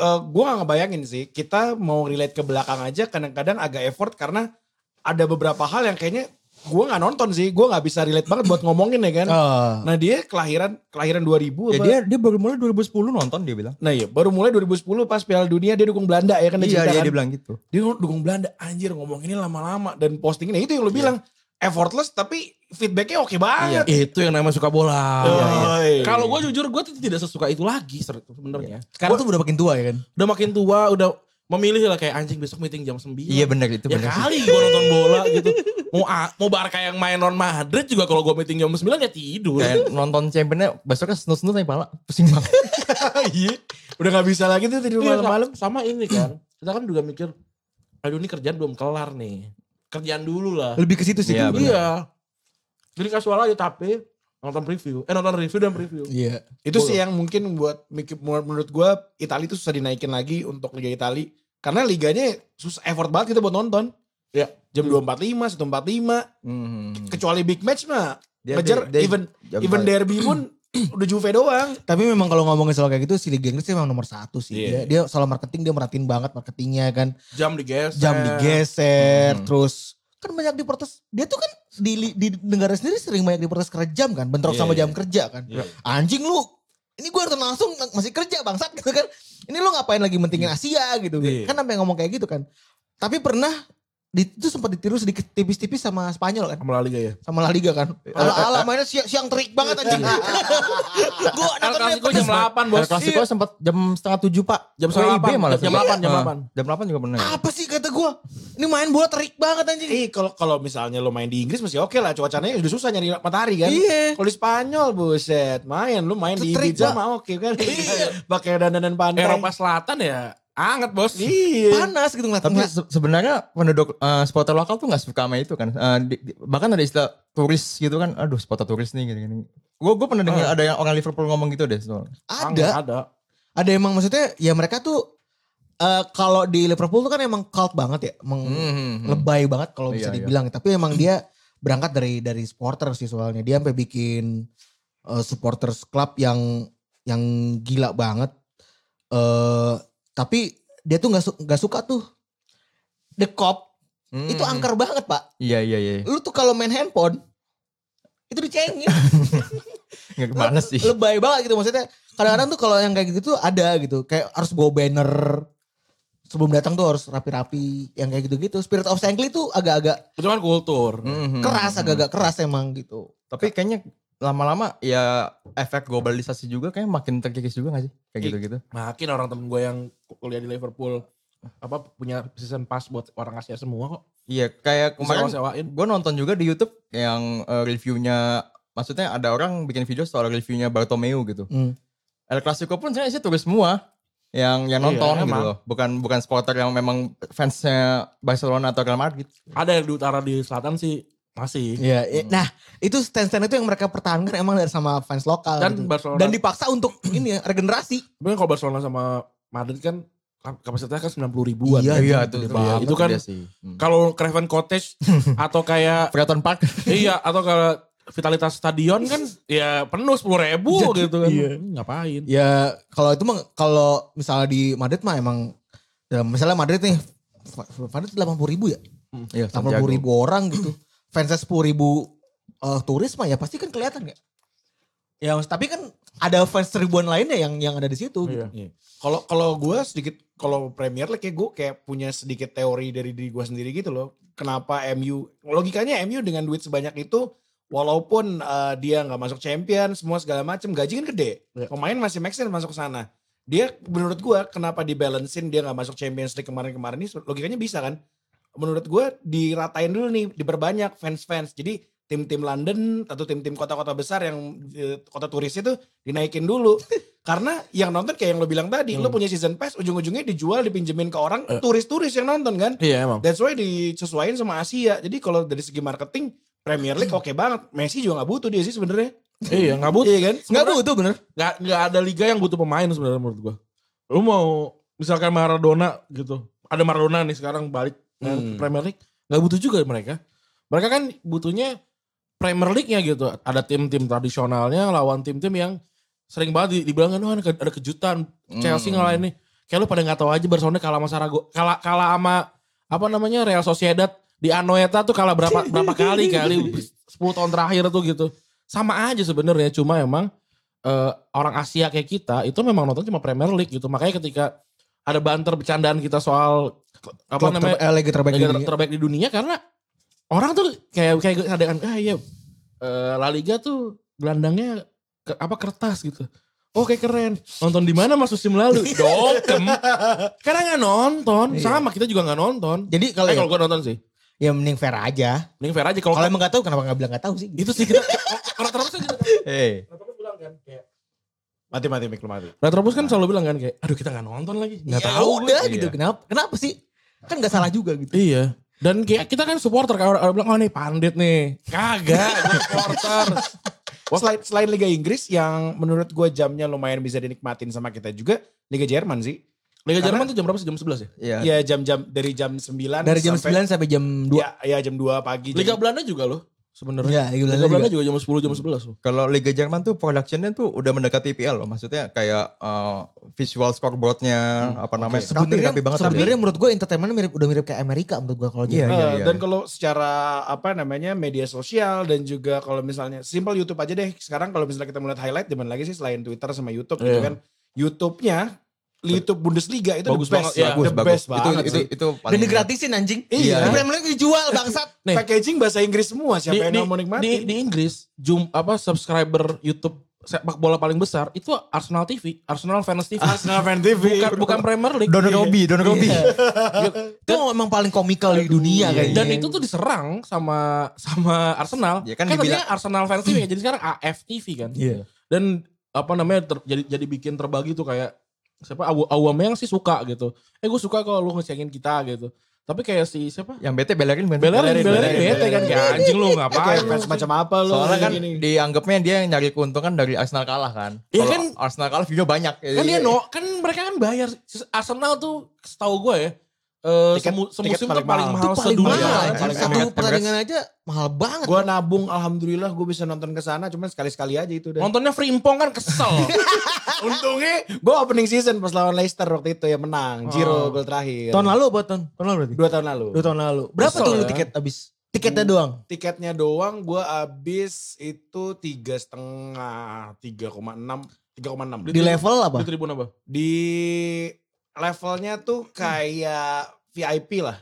eh, gue gak ngebayangin sih. Kita mau relate ke belakang aja kadang-kadang agak effort karena ada beberapa hal yang kayaknya gue gak nonton sih. Gue gak bisa relate banget buat ngomongin ya kan.
Ah.
Oh.
Nah dia kelahiran kelahiran 2000
ya
apa?
dia dia baru mulai 2010 nonton dia bilang
Nah iya baru mulai 2010 pas Piala Dunia dia dukung Belanda ya kan dia
iya
cerita
iya
kan.
dia bilang gitu
Dia dukung Belanda anjir ngomong ini lama-lama dan postingnya itu
Iya,
yang lu bilang effortless tapi feedbacknya oke banget.
Itu yang namanya suka
Iya. Ah,
bola.
Oi.
Ah, Kalau gue jujur gue tuh tidak sesuka itu lagi ser- sebenarnya.
Iya.
Sekarang tuh udah makin tua ya kan?
Udah makin tua, udah memilih lah kayak anjing besok meeting jam 9.
Iya benar itu
ya
benar.
kali gue nonton bola gitu. Mau A- mau Barca yang main non Madrid juga kalau gue meeting jam 9 ya tidur.
Kayak nonton championnya besoknya senut-senut nih pala. Pusing banget.
Iya. Udah gak bisa lagi tuh tidur
Iya, sa-
malam-malam.
Sama ini kan. Kita kan juga mikir, aduh ini kerjaan belum kelar nih. Kerjaan dulu lah.
Lebih ke situ sih.
Iya, benar.
Iya. Jadi kasual aja tapi nonton preview. Eh nonton review dan preview.
Iya.
Itu sih yang mungkin buat mikir- menurut gue Itali itu susah dinaikin lagi untuk Liga Itali. Karena liganya susah effort banget kita buat nonton.
Iya.
Ya.
Jam 245, 145.
Hmm.
Kecuali big match mah.
Mhm. Dia-
Ya,
ngejar
dia-
even
jam
even
balik.
derby pun udah Juve doang.
Tapi memang kalau ngomongin soal kayak gitu si Liga Inggris memang nomor satu sih.
Iya.
Dia, dia soal marketing dia merhatiin banget marketingnya kan.
Jam digeser.
Jam digeser
Hmm.
terus kan banyak diprotes. Dia tuh kan di, di negara sendiri sering banyak diprotes karena jam kan. Bentrok
Iya,
sama
iya.
jam kerja kan.
Iya.
Anjing lu. Ini gue nonton langsung masih kerja bangsat gitu kan. Ini lu ngapain lagi mentingin Asia gitu.
Iya.
Kan sampai ngomong kayak gitu kan. Tapi pernah di- itu sempat ditiru sedikit tipis-tipis sama Spanyol kan.
Sama La Liga ya.
sama La Liga kan.
Iya.
Ala-ala mainnya siang, siang terik banget anjing. Gue
El Clasico jam 8
El
bos. Iya.
Clasico sempat jam setengah tujuh pak.
Jam setengah
WIB
delapan,
malah.
jam
sempat.
delapan, jam
Ah,
delapan.
Jam delapan juga pernah.
Apa sih kata gue? Ini main bola terik banget anjing.
Eh
Iya.
kalau kalau misalnya lo main di Inggris masih oke lah cuacanya udah susah nyari matahari kan.
Iya.
Kalau di Spanyol buset main lu main di
Setrik,
Ibiza
Pak. Iya.
mah oke kan. Pakai dandanan pantai.
Eropa Selatan ya anget bos.
Iya.
Panas gitu ngeliat.
Tapi
ngeliat.
se- sebenarnya penduduk eh, supporter lokal tuh nggak suka sama itu kan. Eh, di- di- bahkan ada istilah turis gitu kan. Aduh supporter turis nih gini-gini. Gue gue pernah dengar ada yang orang Liverpool ngomong gitu deh soal.
ada,
Anget, Ada.
ada emang maksudnya ya mereka tuh eh kalau di Liverpool tuh kan emang cult banget ya,
Mhm,
emang lebay banget kalau bisa
Hmm, Iya, iya.
dibilang. Tapi emang dia berangkat dari dari supporter sih soalnya. Dia sampai bikin eh, supporters club yang yang gila banget. eh tapi dia tuh nggak su- nggak suka tuh the cop
Hmm.
Itu angker banget pak.
Iya iya iya.
Lu tuh kalau main handphone itu dicengin.
Nggak males sih.
Lebay banget gitu maksudnya. Kadang-kadang tuh kalau yang kayak gitu tuh ada gitu. Kayak harus bawa banner. Sebelum datang tuh harus rapi-rapi. Yang kayak gitu-gitu. Spirit of Sengkli tuh agak-agak
Itu kan kultur.
Mhm.
keras. Agak-agak keras emang gitu.
Tapi kayaknya lama-lama ya efek globalisasi juga kayak makin terkikis juga gak sih? Kayak
Iya.
gitu-gitu.
Makin orang temen gue yang kuliah di Liverpool apa punya season pass buat orang Asia semua kok.
Iya kayak
Kemarin
kemarin
sewain.
gue nonton juga di Youtube yang eh, reviewnya maksudnya ada orang bikin video soal reviewnya Bartomeu gitu.
Hmm.
El Clasico pun sebenarnya sih turis semua yang yang
Iya,
nonton gitu
emang.
loh. Bukan bukan supporter yang memang fansnya Barcelona atau Real Madrid.
Ada yang di utara di selatan sih masih.
Iya. i- Nah itu stand-stand itu yang mereka pertahankan emang dari sama fans lokal.
Dan
gitu.
Barcelona.
Dan dipaksa untuk ini ya, regenerasi.
Tapi kan kalau Barcelona sama Madrid kan kap- kapasitasnya kan 90 ribuan.
Iya,
Iya,
itu,
gede banget. Itu kan
dia sih. Hmm.
kalau Craven Cottage atau kayak
Everton Park.
iya atau kalau vitalitas stadion kan ya penuh 10 ribu gitu kan. Hmm, Ngapain?
Ya kalau itu mah kalau misalnya di Madrid mah emang ya misalnya Madrid nih Madrid delapan puluh ribu ya
Iya,
delapan
Santiago.
puluh ribu orang gitu fansnya sepuluh ribu eh, turis mah ya pasti kan kelihatan ya ya maksud- tapi kan ada fans ribuan lainnya yang yang ada di situ gitu.
Iya.
Kalau kalau gue sedikit kalau Premier League ya gue kayak punya sedikit teori dari diri gue sendiri gitu loh. Kenapa MU logikanya MU dengan duit sebanyak itu walaupun eh, dia nggak masuk champion semua segala macam gaji kan gede. Pemain masih make sense masuk ke sana. Dia menurut gue kenapa dibalancein dia nggak masuk Champions League kemarin-kemarin ini logikanya bisa kan? Menurut gue diratain dulu nih diperbanyak fans-fans. Jadi tim-tim London atau tim-tim kota-kota besar yang eh, kota turis itu dinaikin dulu. Karena yang nonton kayak yang lo bilang tadi, lo punya season pass, ujung-ujungnya dijual, dipinjemin ke orang, turis-turis yang nonton kan.
Iya emang.
That's why disesuaikan sama Asia. Jadi kalau dari segi marketing, Premier League oke banget. Messi juga nggak butuh dia sih sebenarnya.
iya nggak butuh.
Iya kan?
nggak bu itu bener
nggak nggak ada liga yang butuh pemain sebenarnya menurut gua. Lu mau misalkan Maradona gitu, ada Maradona nih sekarang balik ke
Hmm.
Premier League, nggak butuh juga mereka. Mereka kan butuhnya Premier League-nya gitu. Ada tim-tim tradisionalnya lawan tim-tim yang sering banget di- dibilang kan "Wah, ada ke- ada kejutan Chelsea
Hmm.
ngalahin nih. Kayak lu pada nggak tahu aja Barcelona kalah sama Sarago, kalah kalah sama apa namanya Real Sociedad di Anoeta tuh kalah berapa berapa kali kali 10 tahun terakhir tuh gitu. Sama aja sebenarnya cuma emang eh, orang Asia kayak kita itu memang nonton cuma Premier League gitu. Makanya ketika ada banter bercandaan kita soal apa
Klub
namanya
ter- eh, liga terbaik
liga
di
ter-
dunia.
terbaik di dunia karena orang tuh kayak kayak ada ah iya eh, La Liga tuh gelandangnya ke- apa kertas gitu. Oke keren. Nonton di mana Mas musim lalu? Dokem. Karena nggak nonton. Sama kita juga nggak nonton.
Jadi kalau
eh
ya,
kalau gue nonton sih.
ya mending fair aja.
Mending fair aja kalau
Kalau emang gak tahu kenapa gak bilang gak tahu sih?
itu
gitu.
sih kita Retropus kan gitu.
Eh,
Retropus bilang kan kayak
Mati mati mik lu mati.
Retropus kan selalu bilang kan kayak aduh kita nggak nonton lagi. Nggak
Ya
tahu. gue.
udah
iya.
gitu. Kenapa? Kenapa sih? Kan gak salah juga gitu.
Iya. Dan kayak kita kan supporter kan orang, orang bilang oh nih pandit nih. Kagak, gue supporter.
Selain, selain Liga Inggris yang menurut gue jamnya lumayan bisa dinikmatin sama kita juga Liga Jerman sih.
Liga
Karena-
Jerman tuh jam berapa sih? Jam 11 ya?
iya.
Ya jam-jam dari jam 9
Dari
Iya.
jam
sampai,
9 sampai jam 2.
Ya, ya jam 2 pagi.
Liga
Jam-
Belanda juga loh sebenarnya.
Iya, Liga
Liga
Belanda
Belanda juga jam 10 jam 11 loh.
Kalau Liga Jerman tuh productionnya tuh udah mendekati IPL loh. Maksudnya kayak eh, visual scoreboardnya,
Hmm,
apa namanya, rapi,
kan
Sebenarnya
rapi banget. tapi-
sebenarnya menurut gue entertainment mirip udah mirip kayak Amerika menurut gue kalau
Iya,
Jerman.
iya,
Eh,
iya.
Dan kalau secara apa namanya media sosial dan juga kalau misalnya simple YouTube aja deh. Sekarang kalau misalnya kita melihat highlight di mana lagi sih selain Twitter sama YouTube gitu
Iya.
kan. YouTube-nya YouTube Bundesliga itu
Bagus
the best,
banget, iya.
the best
ya, itu,
banget
itu,
sih.
itu,
Dan
paling-
digratisin anjing.
Iya.
Di Premier League dijual bangsat.
Nih.
Packaging bahasa Inggris semua siapa
di,
yang
di,
mau nikmatin?
di, di Inggris, jum, apa subscriber YouTube sepak bola paling besar itu Arsenal TV, Arsenal Fans TV.
Arsenal Fan TV.
bukan bukan Premier League.
Don Robbie, Don Robbie.
Iya. Itu emang paling komikal di dunia
Iya.
kayaknya.
Dan itu tuh diserang sama sama Arsenal.
Ya
kan
kan
tadinya Arsenal Fans TV jadi sekarang AFTV kan.
Iya.
Dan apa namanya ter- jadi jadi bikin terbagi tuh kayak siapa Awu Aubameyang sih suka gitu. Eh gue suka kalau lu ngecengin kita gitu. Tapi kayak si siapa?
Yang bete belakin main
Bellerin,
Belerin, belerin,
Bellerin,
bete kan kayak anjing lu ngapain?
Kayak
lu?
fans macam apa lu?
Soalnya kan
gini.
dianggapnya dia yang nyari keuntungan dari Arsenal kalah kan.
Iya
Kalau
kan?
Arsenal kalah video banyak.
kan dia no, kan mereka kan bayar Arsenal tuh setahu gue ya eh
Tiket-
semu-
tiket
semusim tuh
paling
paling
mahal.
mahal,
paling
sedunia
mahal.
Iya,
anjing.
paling
Satu
mahal.
pertandingan aja mahal banget.
Gue nabung alhamdulillah gue bisa nonton ke sana cuman sekali-sekali aja itu udah.
nontonnya Frimpong kan kesel
Untungnya gue opening season pas lawan Leicester waktu itu ya menang. Zero
Oh.
gol terakhir.
Tahun lalu apa tahun? Tahun lalu berarti?
Dua tahun lalu.
Dua tahun lalu. Berapa
Kesel
tuh lu
ya.
tiket abis? Tiketnya doang.
Tiketnya doang gue abis itu tiga setengah, tiga koma enam, tiga koma enam.
Di level apa?
di tribun apa
Di levelnya tuh kayak VIP lah.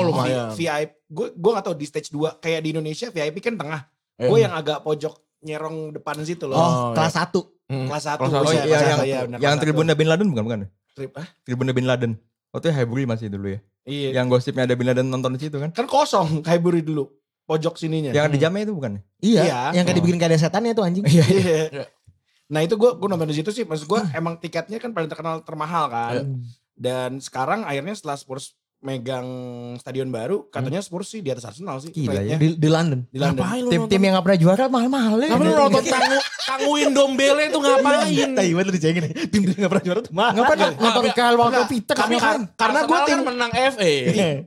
Oh, lumayan.
VIP. Gue gue gak tau di stage 2 kayak di Indonesia VIP kan tengah. Gue yang agak pojok nyerong depan situ
Oh,
loh.
Oh,
kelas satu.
Mm.
Kelas satu.
Kelas
gua
satu,
Oh,
sih,
iya,
kelas
yang,
satu, iya, benar,
yang
kelas satu.
Tribunnya Bin Laden bukan bukan?
Trip- ah,
Tribunnya Bin Laden. Waktu itu Highbury masih dulu ya.
Iya.
Yang gosipnya ada Bin Laden nonton di situ kan.
Kan kosong Highbury dulu. Pojok sininya.
Yang
Hmm.
di jamnya itu bukan?
Iya.
Iya.
Yang kayak dibikin kayak ada setannya tuh anjing.
Iya. Nah itu gue gue nonton di situ sih, maksud gue emang tiketnya kan paling terkenal termahal kan. Dan sekarang akhirnya setelah Spurs megang stadion baru, katanya Spurs sih di atas Arsenal sih.
Gila
rate-nya.
ya.
Di, di London.
Di London.
ngapain lu
Tim-tim yang gak pernah juara mahal-mahal ya.
nonton ngapain lu nonton tangu tanguin dombele tuh ngapain
Tai banget lu dicengin. Tim tim gak pernah juara tuh mahal.
Ngapain lu nonton
Nggak,
Kyle Walker
nggak.
Peter
Tapi
ngapain?
kar- karena gue
Arsenal
tim
kan menang FA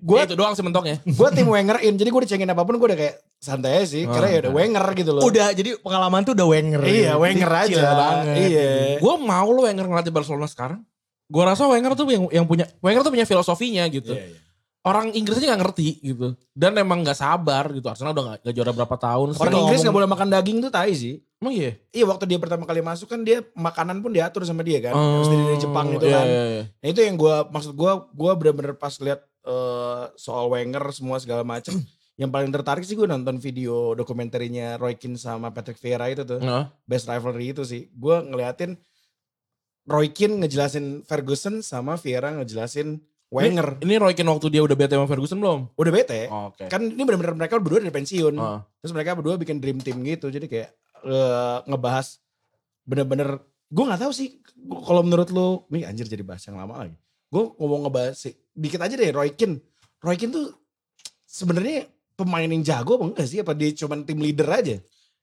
Gua-
itu doang sih mentoknya
gue tim Wenger in, jadi gue dicengin apapun gue udah kayak santai aja sih, karena ya udah Wenger gitu loh.
Udah jadi pengalaman tuh udah Wenger.
Iya Wenger
Kecil
aja.
banget.
Iya.
gue mau lu Wenger ngelatih Barcelona sekarang gue rasa Wenger tuh yang yang punya Wenger tuh punya filosofinya gitu
Iya, iya.
orang Inggris aja gak ngerti gitu dan emang gak sabar gitu Arsenal udah gak, nggak juara berapa
Orang
tahun Sekarang
Inggris nggak
ngomong-
boleh makan daging tuh tai sih.
emang iya
Iya waktu dia pertama kali masuk kan dia makanan pun diatur sama dia kan. Mesti dari Jepang itu
iya,
kan.
iya, iya.
Nah, itu yang gua maksud gua gua bener-bener pas lihat eh, soal Wenger semua segala macem. yang paling tertarik sih gua nonton video dokumenterinya Roy Keane sama Patrick Vieira itu tuh.
Heeh.
Best rivalry itu sih. Gua ngeliatin Roy Keane ngejelasin Ferguson sama Vieira ngejelasin Wenger.
Ini Roy Keane waktu dia udah bete sama Ferguson belum?
Udah bete.
Oke.
Kan ini bener-bener mereka berdua dari pensiun.
Ah.
Terus mereka berdua bikin dream team gitu. Jadi kayak eh, ngebahas bener-bener. Gue nggak tahu sih gua- kalau menurut lu. Nih anjir jadi bahas yang lama lagi. Gue ngomong ngebahas sih. Dikit aja deh Roy Keane. Roy Keane tuh sebenarnya pemain yang jago apa enggak sih? Apa dia cuman tim leader aja?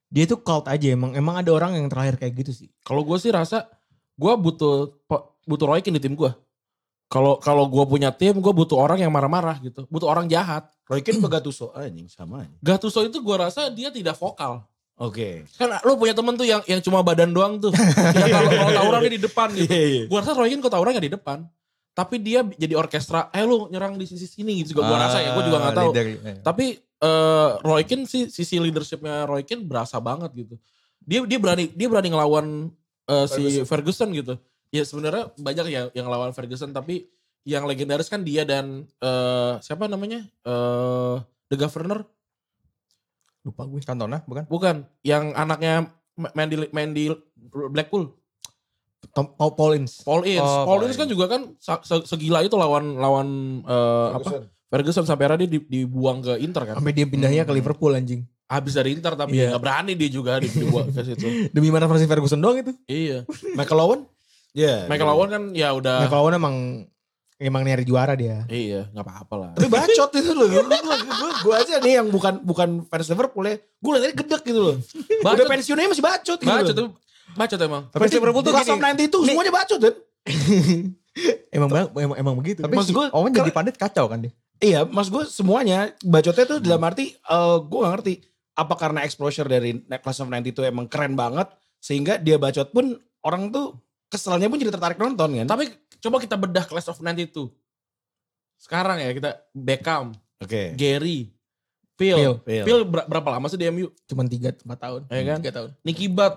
Dia tuh cult aja emang. Emang ada orang yang terakhir kayak gitu sih.
Kalau gue sih rasa gue butuh po- butuh Roy Keane di tim gue. Kalau kalau gue punya tim, gue butuh orang yang marah-marah gitu. Butuh orang jahat.
Roy Keane apa Gattuso? Anjing sama aja.
Gattuso itu gue rasa dia tidak vokal.
Oke.
Kan lu punya temen tuh yang yang cuma badan doang tuh. Yang kalau kalau tawuran dia di depan gitu.
Iya, iya.
Gue rasa Roy Keane kalau tawuran gak di depan. Tapi dia jadi orkestra, eh lu nyerang di sisi sini gitu. Gue rasa ya, gue juga
Ah,
Ah,
gak tahu. Ya. Tapi eh Roy Keane sih sisi leadershipnya Roy Keane berasa banget gitu. Dia dia berani dia berani ngelawan eh, si Ferguson gitu. Ya sebenarnya banyak ya yang lawan Ferguson tapi yang legendaris kan dia dan eh siapa namanya? eh The Governor
Lupa gue. Cantona bukan?
bukan yang anaknya main di main di Blackpool.
Tom, Paul Paulins.
Paul Ince.
Oh,
Paul
Paul
Ince kan juga kan sa- se- segila itu lawan lawan eh, apa Ferguson sampai akhirnya dia di- dibuang ke Inter kan.
Sampai dia pindahnya ke Liverpool anjing.
Habis dari Inter tapi
Iya.
ya nggak berani dia juga di- dibuang ke situ.
Demi mana Francis Ferguson doang itu.
iya.
Michael Owen? Iya.
Michael Owen kan ya
Nah,
udah
kalau Owen emang emang nyari juara dia.
iya nggak apa-apa lah.
Tapi bacot itu loh. Gue aja nih yang bukan bukan fans Liverpool ya. Gue liatnya gedek gitu loh. Udah
Bacot.
pensiunnya masih bacot gitu.
Bacot
Bacot.
tuh bacot emang.
Fans Liverpool tuh kelas
gini,
of 90 itu semuanya bacot kan.
Emang bang, emang, emang begitu.
Tapi
Maksud
si
gua,
Owen
ker-
jadi pandit kacau kan dia.
Iya mas gue semuanya bacotnya tuh dalam arti gue gak ngerti. Apa karena exposure dari Class of 90 itu emang keren banget. Sehingga dia bacot pun orang tuh keselnya pun jadi tertarik nonton kan.
Tapi coba kita bedah Class of 92. Sekarang ya kita Beckham,
Oke.
Gary, Phil. Phil,
Phil.
Iya.
ber- berapa lama sih di MU?
Cuman 3 4 tahun.
Iya kan?
Tiga tahun.
Nicky Butt.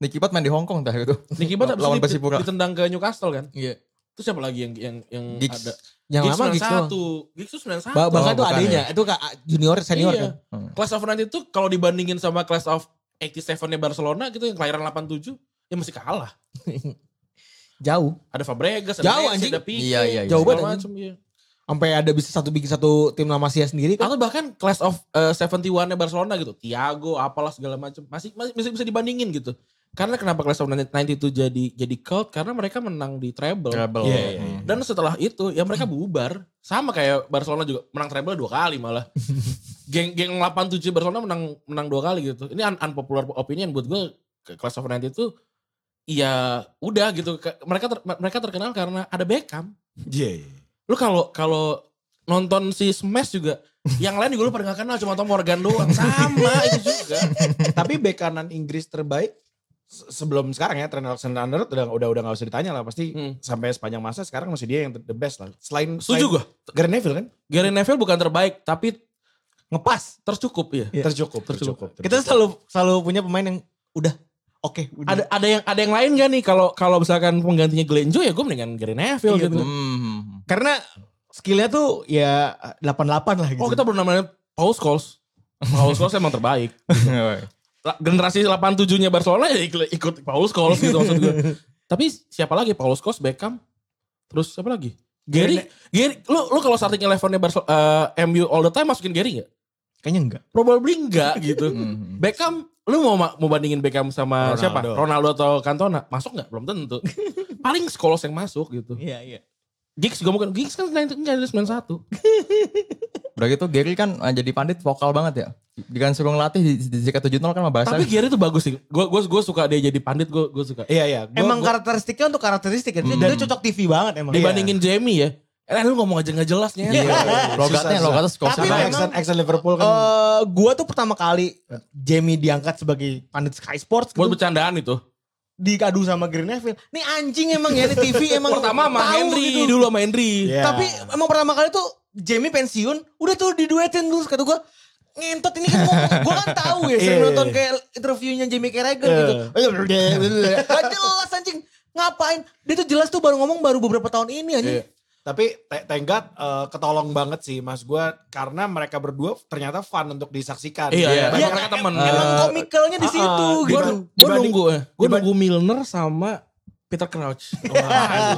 Nicky Butt main di Hong Kong dah itu.
Nicky Butt
Lawan
habis itu
Persipura.
di- ditendang ke Newcastle kan.
Iya.
Terus siapa lagi yang yang yang
Giggs.
ada?
Yang lama Giggs doang.
91. Giggs tuh 91.
Bah, bahkan
Oh,
tuh
bukan
adanya, itu kak junior senior
iya.
kan.
Hmm.
Class of 92 itu kalau dibandingin sama Class of 87-nya Barcelona gitu yang kelahiran 87 ya masih kalah.
Jauh.
Ada Fabregas, ada
Jauh,
Messi,
anjing.
ada Pique.
Iya, iya, iya.
Jauh
Jauh
banget
banget,
macam iya.
Sampai ada bisa satu bikin satu tim nama Sia sendiri kan.
Atau bahkan Class of eh, 71-nya Barcelona gitu. Thiago apalah segala macam. Masih, masih masih bisa dibandingin gitu. Karena kenapa Class of 92 jadi jadi cult? Karena mereka menang di treble.
Trouble.
Iya, iya,
Hmm.
Dan setelah itu ya mereka bubar. Sama kayak Barcelona juga menang treble dua kali malah. geng geng 87 Barcelona menang menang dua kali gitu. Ini un unpopular opinion buat gue ke Class of 90 itu ya udah gitu. Ke- Mereka ter- mereka terkenal karena ada Beckham.
Iya. iya.
Lu kalau kalau nonton si Smash juga yang lain juga lu pada gak kenal cuma Tom Morgan doang. Sama itu juga.
Eh, Tapi bek kanan Inggris terbaik se- sebelum sekarang ya Trent Alexander-Arnold udah udah udah nggak usah ditanya lah pasti
Hmm.
sampai sepanjang masa sekarang masih dia yang the best lah. Selain
Setuju
selain
gue.
Gary Neville kan
Gary Neville bukan terbaik tapi
Ngepas.
tercukup ya.
tercukup, tercukup.
Iya. Kita
tercukup.
selalu selalu punya pemain yang udah oke, udah.
Ada ada yang ada yang lain gak nih kalau kalau misalkan penggantinya Glenn Joe ya gue mendingan Gary Neville
Iya,
gitu.
bener.
Hmm.
Karena skillnya tuh ya 88 lah gitu.
Oh kita belum namanya Paul Scholes. Paul Scholes emang terbaik. La- Generasi 87-nya Barcelona ya ikut, ikut Paul Scholes gitu maksud gue. Tapi siapa lagi? Paul Scholes, Beckham. Terus siapa lagi? Gary, Gary, lu lu kalau starting elevennya Barcelona MU all the time masukin Gary nggak?
Kayaknya enggak.
Probably enggak gitu.
Hmm.
Beckham, lu mau ma- mau bandingin Beckham sama
Ronaldo.
siapa? Ronaldo atau Cantona? Masuk nggak? Belum tentu. Paling Scholes yang masuk gitu.
Iya, iya.
Giggs juga mungkin. Giggs kan 90 enggak ada 91.
Udah gitu Gary kan eh, jadi pandit vokal banget ya. Dengan suruh ngelatih di, di JK70 kan sama bahasa.
Tapi Gary tuh bagus sih. Gue gua, gua suka dia jadi pandit, gue gua suka. Eh,
Iya iya. Gua-
emang
gua-
karakteristiknya untuk karakteristik ya. Dia-
Hmm.
Dia cocok TV banget emang.
Dibandingin Jamie ya. Eh lu ngomong aja gak jelasnya.
iya,
logatnya
Susah,
logatnya Scorsese.
Tapi
sama
memang-
Exxon, Exxon Liverpool kan Ya.
Eh, gua tuh pertama kali Jamie diangkat sebagai pandit Sky Sports
Buat
gitu,
bercandaan itu.
dikadu sama Green Neville. Nih anjing emang ya, ini TV emang
Pertama sama
tahu
Henry
gitu.
dulu sama Henry.
Iya.
Tapi emang pertama kali tuh Jamie pensiun, udah tuh diduetin dulu kata gua ngentot ini kan ngomong, gua kan tahu ya sering
Iya.
nonton kayak interviewnya Jamie Carragher
Iya.
gitu. Gak jelas anjing, ngapain? Dia tuh jelas tuh baru ngomong baru beberapa tahun ini anjing.
Iya.
Tapi te- thank God eh, ketolong banget sih mas gue karena mereka berdua ternyata fun untuk disaksikan.
Iya, iya.
Banyak-
Banyak mereka temen.
Emang
Eh,
komikalnya di
ah,
situ
ah,
gitu.
dibanding-
Gue
dibanding-
nunggu ya. Gue
dibanding-
nunggu Milner sama Peter Crouch.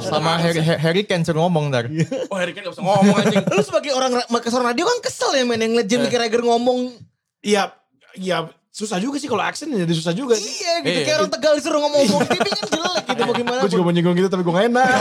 Sama Harry, Harry Kane suruh ngomong ntar.
Iya.
Oh Harry Kane gak bisa ngomong anjing.
Lu sebagai orang ra- Makassar Radio kan kesel ya men yang ngeliat
Eh.
Jamie Carragher ngomong
Iya iya susah juga sih kalau aksen jadi susah juga sih.
iya gitu
Iya.
kayak orang Tegal disuruh ngomong-ngomong di TV kan jelek gitu mau gimana
Gue juga
pun.
mau nyinggung gitu tapi gue gak enak.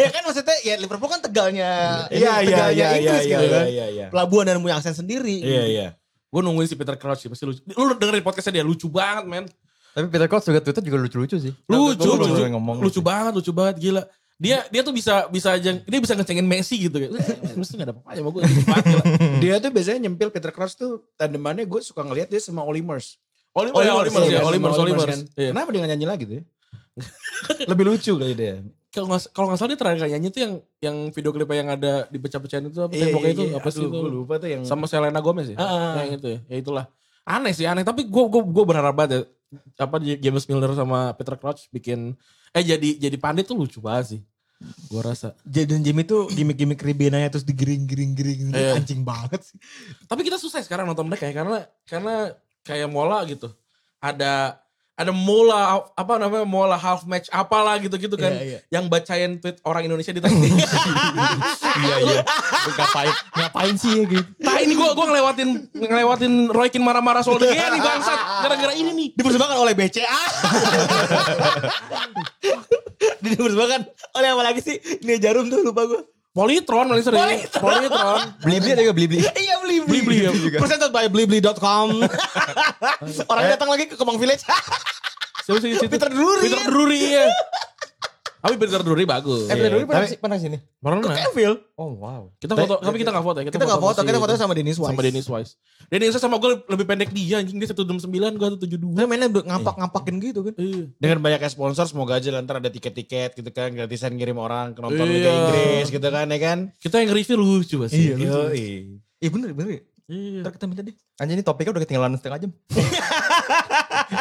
Ya kan maksudnya ya Liverpool kan Tegalnya
Iya
ini
iya
Tegalnya
iya iya
Inggris
iya
gitu kan.
iya iya.
Pelabuhan dan punya aksen sendiri.
Iya iya.
Gue nungguin si Peter Crouch sih. Pasti lucu. Lu dengerin podcastnya dia. Lucu banget men.
Tapi Peter Crouch juga Twitter juga lucu-lucu sih.
Lucu.
Gua belum
Lucu,
boleh ngomong.
lucu banget. Lucu banget. Gila. Dia dia tuh bisa bisa aja dia bisa ngecengin Messi gitu kayak. "Eh, Messi gak ada apa-apa sama gue.
Dia tuh biasanya nyempil Peter Crouch tuh tandemannya gue suka ngeliat dia sama Olimers.
Olimers, ya, Olimers, ya,
Iya, sama
Olimers,
Olimers
Olimers.
kan.
Iya.
Kenapa dia gak nyanyi lagi tuh? ya? Lebih lucu kali dia.
kalau nggak kalau nggak salah dia terakhir kali nyanyi tuh yang yang video klipnya yang ada dipecah-pecahin itu apa
Iya,
temboknya
iya,
itu
iya.
apa sih
Aduh,
itu
Gue lupa tuh
Hmm.
yang
sama Selena Gomez ya
Ah.
yang itu ya Ya itulah aneh sih aneh tapi gue gue gue berharap banget ya apa James Milner sama Peter Crouch bikin eh jadi jadi pandit tuh lucu banget sih gue rasa
Jadi dan Jimmy tuh gimmick-gimmick ribenanya terus digiring-giring-giring
Iya.
anjing banget sih.
tapi kita susah sekarang nonton mereka ya karena karena kayak mola gitu ada ada mola apa namanya mola half match apalah gitu-gitu kan
Iya, iya.
yang bacain tweet orang Indonesia di Thailand.
iya iya ngapain ngapain sih ya gitu
nah ini gua gua ngelewatin ngelewatin Roykin marah-marah soal De Gea nih bangsat gara-gara ini nih.
Dipersembahkan oleh BCA. Dipersembahkan oleh apa lagi sih? Ini jarum tuh lupa gue.
Politron paling sering. Politron.
beli beli ada nggak beli beli
Iya beli beli.
Blibli ya.
Presented by blibli.com. Orangnya datang lagi ke Kemang Village.
Siapa sih situ?
Peter Drury.
Peter Drury ya. Tapi Peter Drury bagus.
eh
Iya.
dulu pernah
Tapi-
sih pernah sini
Pernah.
Phil.
oh wow
Kita foto, tapi kita gak foto ya.
Kita nggak foto,
masih-
kita foto sama Dennis Wise.
sama Dennis Wise. Dennis Wise sama gue lebih pendek dia anjing dia 169 gue 172.
Dia mainnya ngapak-ngapakin gitu kan.
Eh. Iya.
Dengan banyaknya sponsor semoga aja lah ntar ada tiket-tiket gitu kan. Gratisan ngirim orang ke nonton Liga
Iya.
Inggris gitu kan ya kan.
Kita yang review lucu sih. Gitu.
Yoi.
Iya bener bener. ya.
Iya.
Ntar kita minta deh.
Anjir ini topiknya udah ketinggalan setengah jam.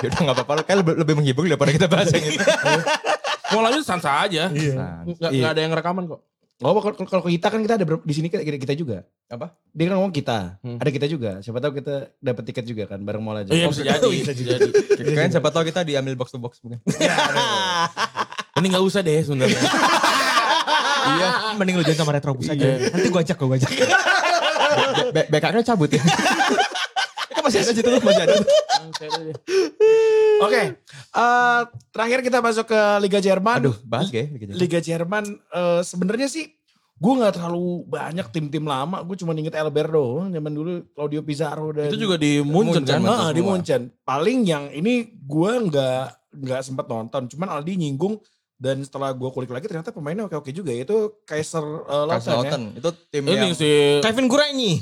ya udah nggak apa-apa, kayak lebih, lebih menghibur daripada kita bahas yang itu.
Mau lanjut santai aja.
Iya.
Nggak, nggak ada yang rekaman kok.
Oh kalau kalau kita kan kita ada ber- di sini kita, kita juga.
Apa?
Dia kan ngomong kita.
Hmm.
Ada kita juga. Siapa tahu kita dapat tiket juga kan bareng Mola aja.
Iya bisa jadi. Bisa jadi.
Iya,
Kalian siapa tahu kita diambil box to box bukan?
Ini nggak usah deh sebenarnya.
iya,
Mending lu join sama Retrobus aja.
Iya.
Nanti gue ajak, gue ajak.
Be- backup-nya cabut ya. Kan masih ada situ tuh, masih ada.
Oke. Eh, terakhir kita masuk ke Liga Jerman.
Aduh, bahas gak ya? Liga Jerman?
Liga Jerman eh, sebenarnya sih gue nggak terlalu banyak tim-tim lama. Gue cuma inget Elber doang. Zaman dulu Claudio Pizarro dan
Iya.
Itu juga di Munchen kan.
Munchen,
Ah, di
semua.
Munchen. Paling yang ini gue nggak nggak sempat nonton. Cuman Aldi nyinggung dan setelah gue kulik lagi ternyata pemainnya oke-oke juga. Itu Kaiser eh, Lautern
Kaiser
ya.
Lautern, itu tim yang
Ini si
Kevin Guranyi.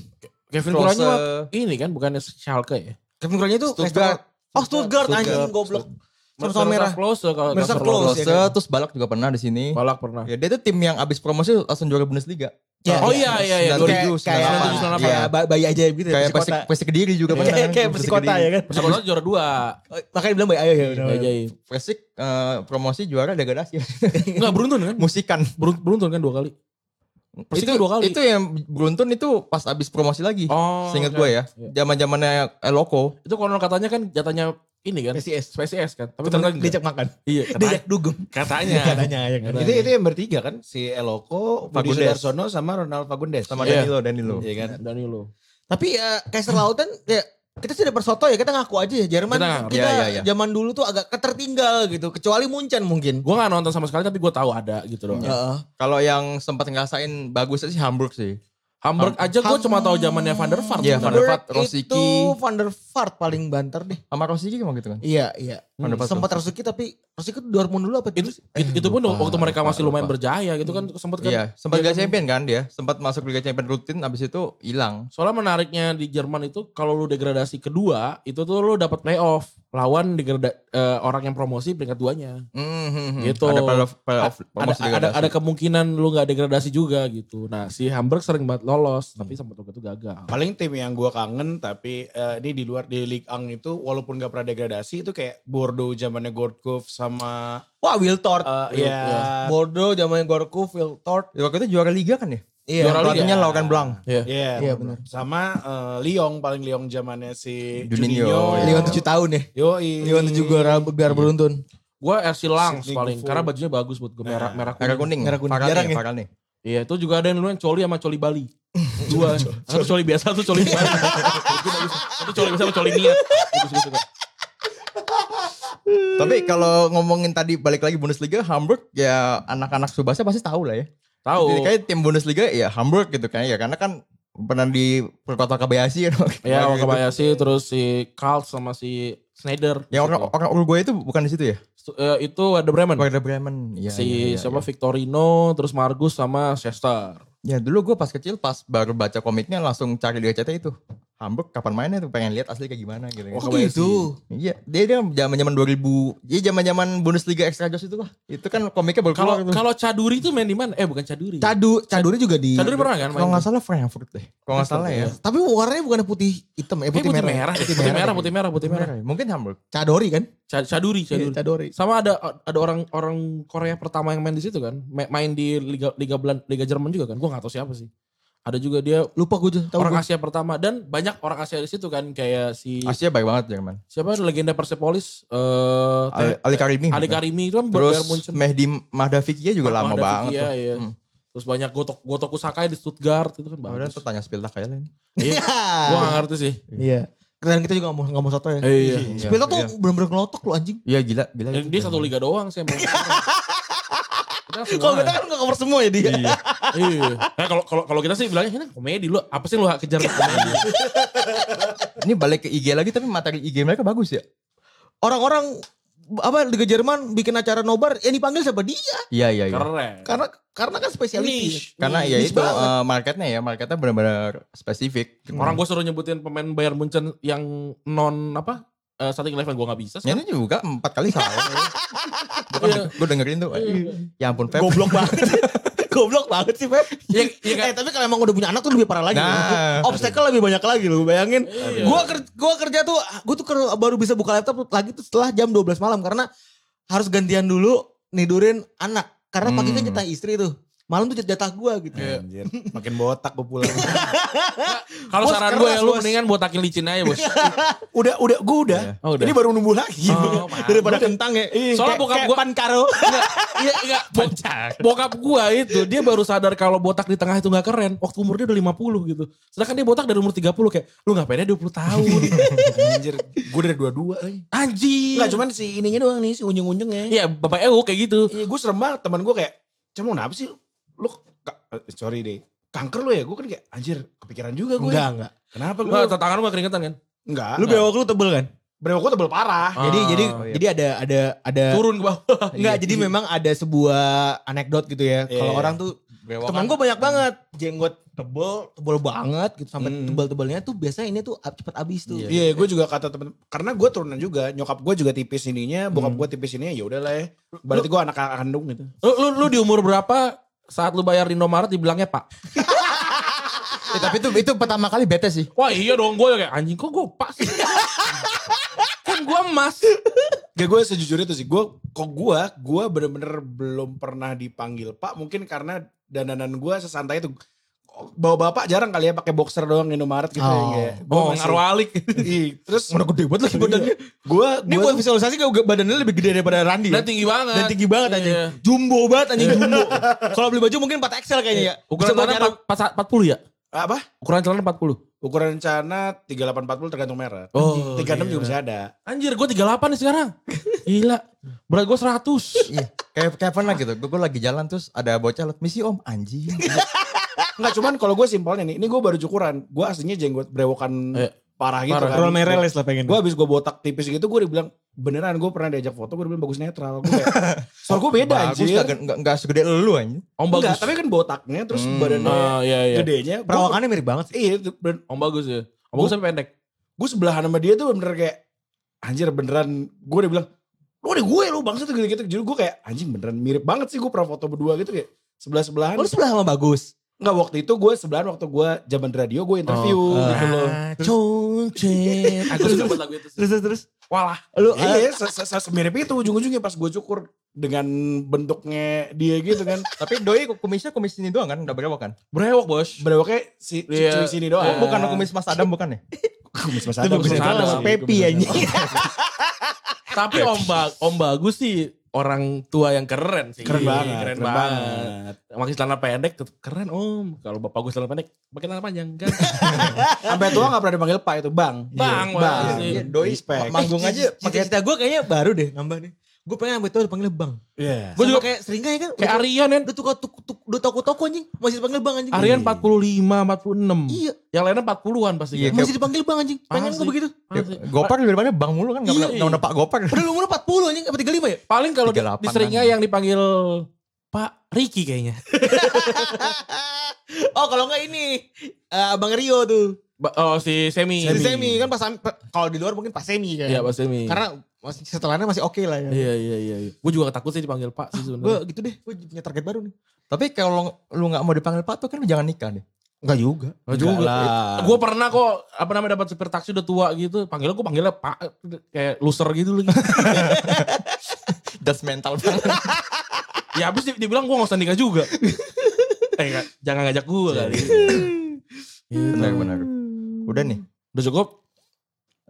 Kevin
close,
Kurangnya
eh,
ini kan bukannya Schalke ya.
Kevin Guranyi itu
Stuttgart.
Oh Stuttgart
Stuttgart.
anjing goblok. Sama-sama merah.
Close kalau
Mercer
Kasper
Klose,
Klose.
Klose,
ya kan?
terus Balak juga pernah di sini.
Balak pernah.
Ya, dia itu tim yang abis promosi langsung juara Bundesliga.
Ya,
Oh iya iya iya.
Dan-
Kayak
97,
kayak
98.
iya, ba- bayi aja gitu ya.
Kayak
Persikota.
Persik, Persik Kediri juga pernah.
Kayak
kan?
kayak persikota ya kan.
Persib Kota juara dua. Iya,
Oh, Makanya bilang bayi ayo ya. udah,
Nggak
udah.
jadi.
Persik eh, promosi juara degradasi.
Enggak beruntun kan?
Musikan.
Berun- Beruntun kan dua kali. Persik
itu,
dua kali.
Itu yang beruntun itu pas abis promosi lagi.
Oh,
Seingat
oke.
gue ya. Zaman zamannya Eloko.
Itu konon katanya kan jatahnya ini kan.
PCS.
PCS kan. Tapi
Temen
ternyata enggak.
diajak makan.
Iya.
Diajak dugem.
Katanya.
Katanya ya kan.
Itu, itu yang bertiga kan si Eloko, Budi
Fagundes.
Sudarsono sama Ronald Fagundes.
Sama
Iya.
Danilo. Danilo.
Iya kan?
Danilo.
Tapi ya Kaiser Lauten ya kita sudah persoto ya kita ngaku aja ya Jerman
Kita
kita,
ngaku.
Ya, ya, ya.
zaman dulu tuh agak ketertinggal gitu kecuali Munchen mungkin.
Gue gak nonton sama sekali tapi gue tahu ada gitu doang.
Heeh.
Kalau yang sempat ngerasain bagusnya sih Hamburg sih.
Hamburg aja gue cuma tahu zamannya Van der Vaart.
Iya, Van der Vaart,
Berg
Rosicky.
Itu Van der Vaart paling banter deh.
Sama Rosiki emang gitu kan.
Iya, iya.
Van der Vaart
Sempat Rosicky tapi Rosicky tuh Dortmund dulu apa
Itu,
dulu sih?
itu, itu pun
lupa,
waktu mereka
lupa,
masih lumayan
lupa.
berjaya gitu kan sempat kan.
Iya, sempat
Iya
Liga Champion kan dia, sempat masuk Liga Champion rutin abis itu hilang.
Soalnya menariknya di Jerman itu kalau lu degradasi kedua itu tuh lu dapat playoff lawan degrada, eh, orang yang promosi peringkat duanya.
Mhm.
Gitu.
Ada playoff, playoff
Ada,
promosi
ada,
degradasi.
ada kemungkinan lu nggak degradasi juga gitu. Nah si Hamburg sering banget lolos
Hmm.
tapi sempat waktu itu gagal.
Paling tim yang gue kangen tapi eh, ini di luar di Ligue Ang itu walaupun gak pernah degradasi itu kayak Bordeaux zamannya Goldkopf sama
Wah, Wiltord.
eh,
Iya,
ya
iya.
Bordeaux zamannya Gorku, Wiltord.
Waktu itu juara Liga kan ya?
Iya.
Juara Liga.
Pelatihnya Laurent Blanc.
Iya.
Iya,
Iya,
bener. Sama eh, Lyon paling Lyon zamannya si
Juninho,
Juninho.
iya.
Lyon 7 tahun ya.
Yoi.
Lyon 7 gelar, gelar beruntun.
Gue RC Langs
Sydney
paling
Goffo.
karena bajunya bagus buat gue merah merah
Nah, Merah kuning.
kuning.
Merah kuning.
Varane
Jarang
ya,
ya.
Varane.
Iya itu juga ada yang dulu yang coli sama coli Bali. Dua. Satu coli biasa, satu coli Bali. Itu bagus. Satu coli biasa, satu coli niat. Gitu, suka, suka.
Tapi kalau ngomongin tadi balik lagi Bundesliga, Hamburg ya anak-anak Subasa pasti tahu lah ya.
Tahu.
Jadi kayak tim Bundesliga ya Hamburg gitu kan ya karena kan pernah di perkota Kobayashi kan.
Iya,
Gitu.
orang Kobayashi terus si Karl sama si Schneider.
Yang Ya, orang
Gitu.
orang Uruguay itu bukan di situ ya?
Stu- eh, itu ada Bremen.
Werder Bremen. Iya,
si
iya, iya,
siapa
iya.
Victorino, terus Margus sama Chester.
Ya dulu gue pas kecil pas baru baca komiknya langsung cari di OCT itu. Hamburg kapan mainnya tuh pengen lihat asli kayak gimana gitu.
Oh,
kan.
Kobayashi.
Gitu.
Iya, dia dia zaman-zaman 2000, dia zaman-zaman Bundesliga Extra Joss itu lah. Itu kan komiknya baru keluar
Kalau
tuh.
kalau Caduri itu main di mana? Eh bukan Caduri.
Cadu, Caduri juga di Gitu.
Caduri pernah kan main?
Kalau nggak salah Frankfurt deh. Kalau nggak salah ya.
Tapi warnanya bukan putih hitam
Eh,
ya,
putih,
putih, merah.
merah. Putih merah, putih merah, putih merah.
Mungkin Hamburg.
Cadori kan?
Ca- Caduri,
Iya,
Caduri.
Cadori.
Sama ada ada orang orang Korea pertama yang main di situ kan, Ma- main di liga liga Belan, liga Jerman juga kan. Gua nggak tahu siapa sih. Ada juga dia
Lupa gue juga, tahu
orang
gue.
Asia pertama dan banyak orang Asia di situ kan kayak si
Asia baik banget Jerman.
siapa legenda Persepolis eh
Ali, Ali Karimi.
Ali Karimi itu kan
Terus
Bayern Munchen.
Mehdi Mahdavikia juga lama
Ahmad Dafiq,
banget.
iya,
tuh.
iya.
Hmm.
Terus banyak Gotok Gotoku Sakai di Stuttgart itu kan
Udah
bagus.
tuh tanya Spiltak aja lain.
Iya. Gua gak ngerti sih.
Iya. Keren kita juga gak mau, gak mau satu
Eh,
ya.
iya.
Iya,
Spilta tuh
iya.
bener-bener ngelotok lu anjing.
Iya gila, gila.
Dan
itu
Eh, dia
Jerman.
satu liga doang sih emang. Kita semua.
Kalau kita kan gak cover semua ya dia.
Iya.
Iya. Nah, kalau kalau kalau kita sih bilangnya ini komedi lu apa sih lu kejar
Iya,
komedi?
Ini balik ke IG lagi tapi materi IG mereka bagus ya.
Orang-orang apa Liga Jerman bikin acara nobar yang dipanggil siapa dia
Iya iya iya.
Keren.
karena karena kan spesialis
Niche.
Karena ya
Niche
itu
banget.
eh, marketnya ya, marketnya benar-benar spesifik.
Hmm.
Orang gue suruh nyebutin pemain Bayern Munchen yang non apa? Eh starting eleven gue gak bisa.
Ya, ini juga empat kali salah.
Iya.
gue dengerin tuh. Ya ampun Feb.
goblok banget goblok banget sih Pep
Iya, iya kan?
eh tapi kalau emang udah punya anak tuh lebih parah lagi
Nah.
loh. obstacle lebih banyak lagi loh bayangin
Iya.
gua kerja, gua kerja tuh gua tuh ker- baru bisa buka laptop lagi tuh setelah jam 12 malam karena harus gantian dulu nidurin anak karena pagi kan
Hmm.
jatah istri tuh malam tuh jatah gua gitu
Anjir, makin botak gue pulang.
Kalau
Bos,
saran gue ya
keras,
lu
bos.
mendingan botakin licin aja bos.
udah, udah, gue udah.
Iya.
Oh, udah.
Ini baru numbuh lagi.
Oh,
daripada kentang ya
Soalnya bokap gua-
pankaro
Iya, enggak. Bo- bokap gua itu dia baru sadar kalau botak di tengah itu nggak keren. Waktu umurnya udah 50 gitu. Sedangkan dia botak dari umur 30 kayak lu ngapainnya 20 tahun.
Anjir, gue dari dua-dua. eh.
Anjing.
Enggak, cuman si ininya doang nih, si unjung-unjungnya.
Iya, Bapak Ewo kayak gitu.
Iya, gue serem banget teman gue kayak, cemon apa sih? Lu, ka- eh, sorry deh, kanker lu ya? Gue kan kayak, anjir, kepikiran juga gue.
enggak enggak
Kenapa
Lu
gue?
nggak tangan lu gak keringetan kan?
Enggak.
lu bewok lu tebel kan
Brewok gue tebel parah.
Ah.
jadi jadi
Oh, iya.
jadi ada ada ada Iya.
Turun ke bawah.
Enggak, jadi memang ada sebuah anekdot gitu ya.
Iya,
Kalau
iya.
orang tuh
kan.
teman gue banyak banget jenggot tebel, tebel banget gitu sampai tebel-tebelnya tuh biasanya ini tuh ab- cepet habis tuh.
Iya, gue juga kata temen karena gue turunan juga, nyokap gue juga tipis ininya, bokap gue tipis ininya, ya udahlah ya. Berarti gue anak kandung gitu.
Lu, lu, lu di umur berapa saat lu bayar di Indomaret dibilangnya pak?
Eh, tapi itu itu pertama kali bete sih.
Wah iya dong gue kayak anjing kok gue pak sih. kan gue emas.
Gak gue sejujurnya itu sih, gue kok gue, gue bener-bener belum pernah dipanggil pak, mungkin karena dandanan gue sesantai itu. Bawa bapak jarang kali ya pakai boxer doang Indomaret gitu ya.
Oh.
kayak. Gua
Oh
masih-
ngarwalik.
Ih, terus
Mana gede banget lagi badannya.
gue,
Ini buat visualisasi kayak gua- badannya lebih gede daripada Randi ya.
Dan tinggi banget.
Dan tinggi banget anjing.
Iya.
Jumbo banget anjing jumbo. Kalau beli baju mungkin 4 XL kayaknya ya.
Ukuran
Bisa buat
celana
nyarap.
empat- empat- 40 ya?
apa?
Ukuran celana 40.
Ukuran rencana 3840 tergantung merek.
Oh,
36 juga
gila.
bisa ada.
Anjir gue 38 nih sekarang. Gila. Berat gue 100.
Iya. Kayak kayak pernah gitu. Gue lagi jalan terus ada bocah lewat, misi om anjing.
Enggak cuman kalau gue simpelnya nih, ini gue baru cukuran. Gue aslinya jenggot brewokan
Eh,
parah gitu
parah.
kan.
Roll Mereles lah pengen.
Gue abis gue botak tipis gitu, gue dibilang beneran gue pernah diajak foto, gue bilang bagus netral. Gue kayak, soal gue beda
Bagus
anjir.
gak, gak, gak segede lu anjing.
Om
Enggak,
bagus.
tapi kan botaknya terus
Hmm.
badannya
Ah, iya, iya.
gedenya. Gua-
Perawakannya mirip banget sih.
Iya, gue
Om bagus ya. Om bagus sampai pendek.
sebelahan sama dia tuh bener kayak, anjir beneran. Gue udah bilang, lu ada gue lu bangsa tuh gitu-gitu. Jadi gue kayak, anjing beneran mirip banget sih gue pernah foto berdua gitu kayak. Sebelah-sebelahan.
Lu sebelah sama bagus.
Enggak waktu itu gue sebelahan waktu gue zaman radio gue interview
Oh.
ah.
gitu loh.
Cuncin. Aku suka buat lagu itu sih.
Terus terus, terus.
Walah.
Lu
Iya, iya, se- se- se- semirip itu ujung-ujungnya pas gue cukur dengan bentuknya dia gitu kan.
Tapi doi kumisnya kumis ini doang kan, udah berewok kan?
Brewok bos.
Berewoknya si si-
Iya.
cuy sini doang.
Oh,
Bukan kumis Mas Adam bukan ya?
Kumis Mas
Itu
Adam.
bagus
Kumis
netral
Adam.
sama
sih,
Pepi
Iya.
anjing.
Tapi om, ba- om bagus sih orang tua yang keren sih.
Keren banget,
Keren,
keren
banget.
banget.
Makin celana pendek tetep keren om. Kalau bapak gue celana pendek pakai celana panjang kan.
Sampai tua gak pernah dipanggil Pak itu Bang.
Bang,
Iya,
Bang.
Bang.
Iya,
doi
Respect.
ma- manggung aja pakai
Cita-cita gue kayaknya baru deh nambah nih. Gue pengen sampai tua dipanggil bang.
Iya.
Gua
Gue juga
juga-
kayak sering kayak kan.
Kayak Aryan Ah, kan.
Udah toko toko udah toko toko anjing masih dipanggil bang anjing.
Aryan 45, 46.
Iya,
Yang lainnya 40-an pasti.
Iya,
kan?
masih dipanggil bang anjing. Pengen
Asik.
gue begitu.
Masih.
Ya, Gopar lebih daripada Bang mulu kan nggak pernah
Iya.
nggak pernah Pak Gopar.
Padahal umur 40 anjing apa 35 ya?
Paling kalau di,
38-an.
di seringnya yang dipanggil Pak Riki kayaknya.
oh, kalau enggak ini eh, Abang Rio tuh.
Ba- Oh si Semi.
Si Semi kan pas pa- kalau di luar mungkin Pak Semi kan.
Iya Pak Semi.
Karena masih setelahnya masih oke lah ya.
Iya iya iya. iya. Gue juga takut sih dipanggil Pak sih
Gue
sebenarnya.
gitu deh, gue punya target baru nih.
Tapi kalau lu nggak mau dipanggil Pak tuh kan lu jangan nikah deh. Iya.
Enggak juga.
Gua Oh, juga. Iya.
lah.
Gue pernah kok apa namanya dapat supir taksi udah tua gitu. Panggilnya gue panggilnya Pak kayak loser gitu lagi.
Das mental banget.
ya habis di- dibilang gue gak usah nikah juga. eh, nggak- jangan ngajak gue kali. Gitu.
Benar-benar. Udah nih.
Udah cukup?